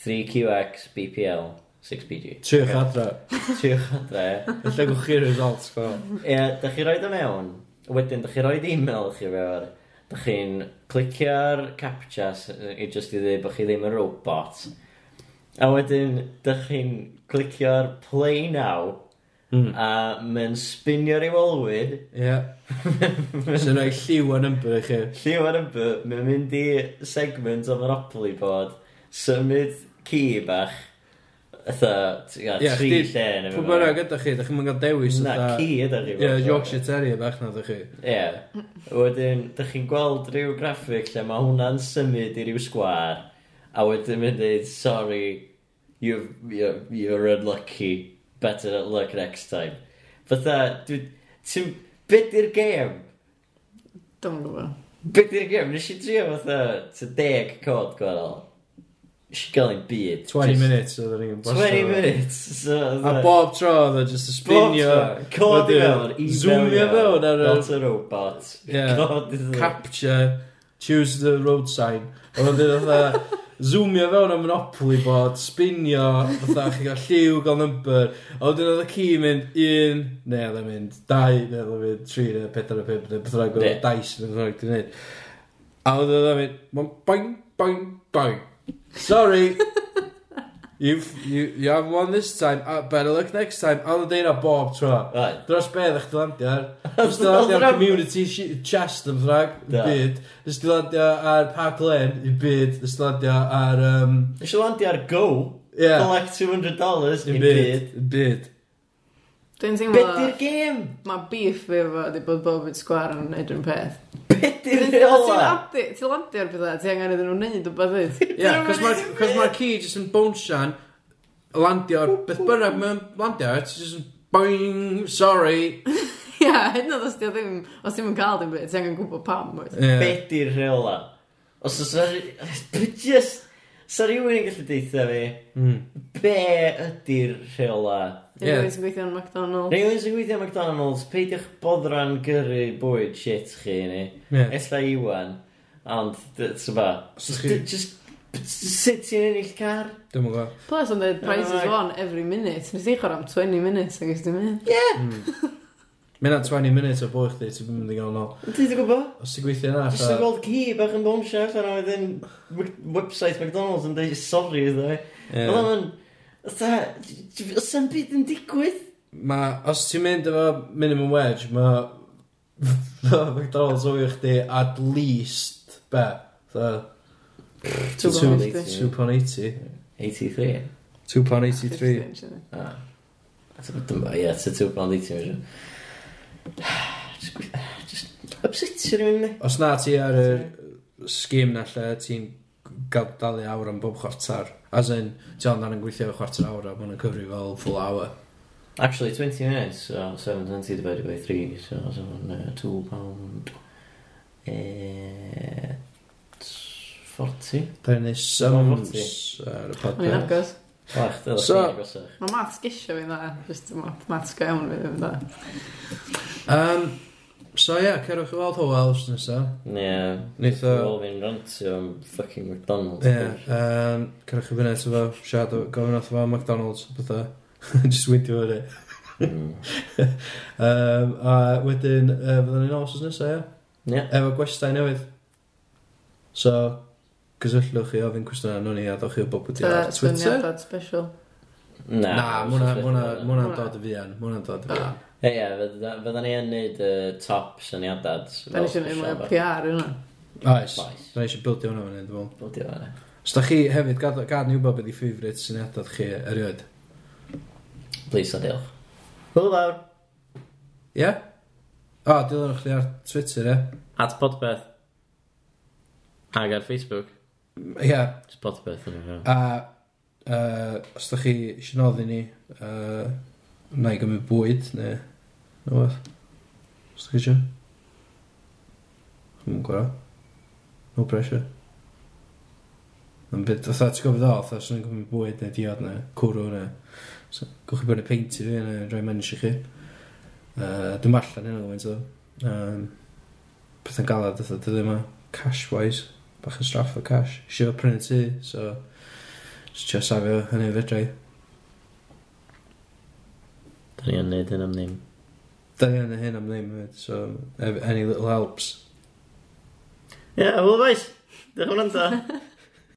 Speaker 4: 3QX BPL 6PG.
Speaker 2: Triwch adra.
Speaker 4: Tiwch adre.
Speaker 2: Alla gwch chi'r results gweld.
Speaker 4: Ie, da chi roi dy mewn. Wedyn, da chi roed e-mail chi fewn. Da chi'n clicio ar captcha s- i just i ddweud bod chi ddim yn robot. A wedyn, da chi'n clicio ar play now.
Speaker 2: Mm.
Speaker 4: A mae'n spinio'r i wolwyd.
Speaker 2: Ie. Sy'n rhoi lliw o number i chi.
Speaker 4: Lliw ar ymbw, mae'n mynd i segment o Monopoly bod. Symud ci bach. Ytha,
Speaker 2: Ie,
Speaker 4: tri
Speaker 2: chdi-
Speaker 4: lle yn
Speaker 2: Pwy bynnag gyda chi, da chi'n mynd gael dewis
Speaker 4: Na,
Speaker 2: fatha-
Speaker 4: ci ydych chi.
Speaker 2: Ie,
Speaker 4: fod.
Speaker 2: Yorkshire Terrier bach na ddech chi.
Speaker 4: Ie. Wedyn, dych chi'n gweld rhyw graffig lle mae hwnna'n symud i ryw sgwar, a wedyn mynd dweud, sorry, you've, you're, you're unlucky, better luck next time. Fytha, dwi- ti'n... Be di'r gêm?
Speaker 3: Dwi'n gwybod.
Speaker 4: Be di'r gêm? Nes i drio fatha, ti'n deg cod gwahanol. Nes i gael ein byd.
Speaker 2: 20
Speaker 4: Just
Speaker 2: minutes oedd ni'n
Speaker 4: 20 minutes. So,
Speaker 2: A
Speaker 4: fatha-
Speaker 2: bob tro oedd o just y spinio.
Speaker 4: Bob tro, Cod i
Speaker 2: wedyn
Speaker 4: fewn, i
Speaker 2: Zoomio fewn ar y
Speaker 4: Not a robot.
Speaker 2: Ie.
Speaker 4: Cod i fewn.
Speaker 2: capture, choose the road sign. Ond oedd yn fatha, zoomio fewn am Monopoly board, spinio, fatha chi gael lliw, gael number. A wedyn oedd y ci yn mynd un, neu oedd yn mynd dau, neu oedd yn mynd tri, neu pedwar, neu pump, neu beth rhaid
Speaker 4: Ie.
Speaker 2: gwneud dice, neu beth rhaid gwneud. A oedd yn mynd, mae'n boing, boing, boing. Sorry. You've, you, you haven't won this time, uh, better luck next time. A oedd yn deud o bob tro.
Speaker 4: Right.
Speaker 2: Dros be ddech chi landio ar? <laughs> Dros di landio ar community shi- chest yn ffrag, i
Speaker 4: Da.
Speaker 2: byd. Dros di landio ar Park Lane, i byd. Dros di landio ar... Um,
Speaker 4: Nes i landio ar Go,
Speaker 2: Ie.
Speaker 4: collect $200
Speaker 2: i
Speaker 4: i
Speaker 2: byd.
Speaker 4: byd.
Speaker 2: I byd.
Speaker 3: Dwi'n
Speaker 4: Be
Speaker 3: teimlo...
Speaker 4: di'r gêm?
Speaker 3: Mae beef fi efo di bod bob yn sgwar yn neud yn peth.
Speaker 4: Be
Speaker 3: Ti'n
Speaker 4: di'r reola?
Speaker 3: landio- ti'n landio ar bethau, ti angen iddyn nhw wneud o bethau.
Speaker 2: <laughs> Ie, cos mae'r ci jyst yn bonsian, landio ar beth bynnag mae'n landio ar, it's just boing, sorry.
Speaker 3: Ia, hyd yn oed os ti o ddim, os ti'n cael dim byd, ti angen gwybod pam. wyt?
Speaker 4: Be
Speaker 2: Ie.
Speaker 4: di'r reola? Os oes na... <laughs> Just... Sa rhywun yn gallu deitha fi,
Speaker 2: Mm.
Speaker 4: be ydi'r rheola?
Speaker 2: Ie.
Speaker 3: Rwy'n sy'n gweithio yn McDonald's.
Speaker 4: Rhywun sy'n gweithio am McDonald's, peidiwch boddran gyrru bwyd shit chi ni.
Speaker 2: Ie.
Speaker 4: Ella iwan. Ond, sy'n ba?
Speaker 2: Os chi-
Speaker 4: Just... just- Sut ti'n ennill car?
Speaker 2: Dwi'n mwyn gwybod.
Speaker 3: Plus, ond dweud
Speaker 4: Alright.
Speaker 3: prices won every minute. Nes i chwarae am 20 minutes, ac ysdi mynd.
Speaker 2: Mae'n 20 minutes o boi chdi, ti'n mynd i gael nôl.
Speaker 4: Dwi'n gwybod?
Speaker 2: Os ti'n gweithio yna,
Speaker 4: Jyst yn gweld ci bach yn bonsio allan a wedyn Mc- website McDonald's yn dweud sorry iddo fi.
Speaker 2: Ie.
Speaker 4: Oedd o'n... Oedd o'n byd yn digwydd?
Speaker 2: Ma, os ti'n mynd efo minimum wedge, ma ma McDonald's o'i chdi at least, be, tha,
Speaker 3: Two pound eighty.
Speaker 2: 2.80.
Speaker 4: 83.
Speaker 2: 2.83.
Speaker 4: Ah. Dyma, ie, it's a two pound 80
Speaker 2: <sighs>
Speaker 4: measure. Just gwy- Just upsetio rhywun ni.
Speaker 2: Os na ti ar y sgim na lle, ti'n gael dalu awr am bob chwarter. As in, ti ond yn gweithio chwarter awr a mae'n cyfri fel full hour.
Speaker 4: Actually, 20 minutes, so 720 divided by 3, so that's on uh, 2 pound... Eh... 40?
Speaker 2: Da ni'n ei
Speaker 4: forty.
Speaker 2: sums ar y
Speaker 3: O'n i'n
Speaker 2: podcast.
Speaker 3: agos.
Speaker 4: Wach, dyna
Speaker 2: So-
Speaker 4: chi'n agosach.
Speaker 3: Mae maths gisio fi'n dda. Just ma- maths go iawn fi'n dda.
Speaker 2: Um, so ie, yeah, cerwch i weld Howell os nesaf.
Speaker 4: Ie.
Speaker 2: Neith o-
Speaker 4: Wel, fi'n rantio am fucking McDonald's.
Speaker 2: Ie, yym, cerwch i fyny eto fo, siarad o, gofyn wrtho fo am McDonald's, <laughs> bethau. Just wyndio fyny. <laughs>
Speaker 4: Mm.
Speaker 2: Um, a wedyn, uh, fyddwn ni'n os nesaf, ie?
Speaker 4: Ie.
Speaker 2: Efo gwestai newydd. So, gysylltwch i ofyn cwestiynau nhw'n ni a ddowch chi o bob wedi ar Twitter.
Speaker 3: Dyniadad special.
Speaker 4: Na,
Speaker 2: Na, mwna, mwna, mwna
Speaker 3: Na.
Speaker 2: dod y fian, mwna dod y fian.
Speaker 4: Ie, ie, fydda fyddan ni yn neud y top syniadad.
Speaker 3: Da ni eisiau gwneud mwy o PR yna.
Speaker 2: Oes,
Speaker 4: Oes.
Speaker 2: da ni eisiau bildio hwnna fyny, dwi'n meddwl.
Speaker 4: Bloody hell, ie.
Speaker 2: Os da chi hefyd, gad gad ni wybod beth i ffifrit syniadad chi erioed.
Speaker 4: Please, a diolch. Hwyl fawr.
Speaker 2: Ie? O, dilynwch chi ar Twitter, ie?
Speaker 7: At Podbeth. Ag ar Facebook.
Speaker 2: Ia,
Speaker 4: Spot beth yn yna.
Speaker 2: a uh, os da chi eisiau noddi ni, uh, na i gymryd bwyd, neu no beth. Os da chi eisiau? Chwm yn gwrdd. No pressure. Yn byd, oedd ti'n gofod o, oedd o'n gymryd bwyd, neu diod, neu cwrw, neu... So, gwch chi bod yn peint i fi, neu rhoi menys i chi. Uh, dim allan hynny, gwynt o. Um, pethau'n galad, oedd o, dydw yma, cash-wise, bach yn straff o cash. Eisiau prynu tŷ, so... Just trio safio hynny fedrai.
Speaker 4: Da ni yn neud yn am ddim.
Speaker 2: Da ni yn y hyn am ddim, hefyd, so ev- any little helps.
Speaker 4: Ie, yeah, wel, faes. Diolch yn fawr am wrando.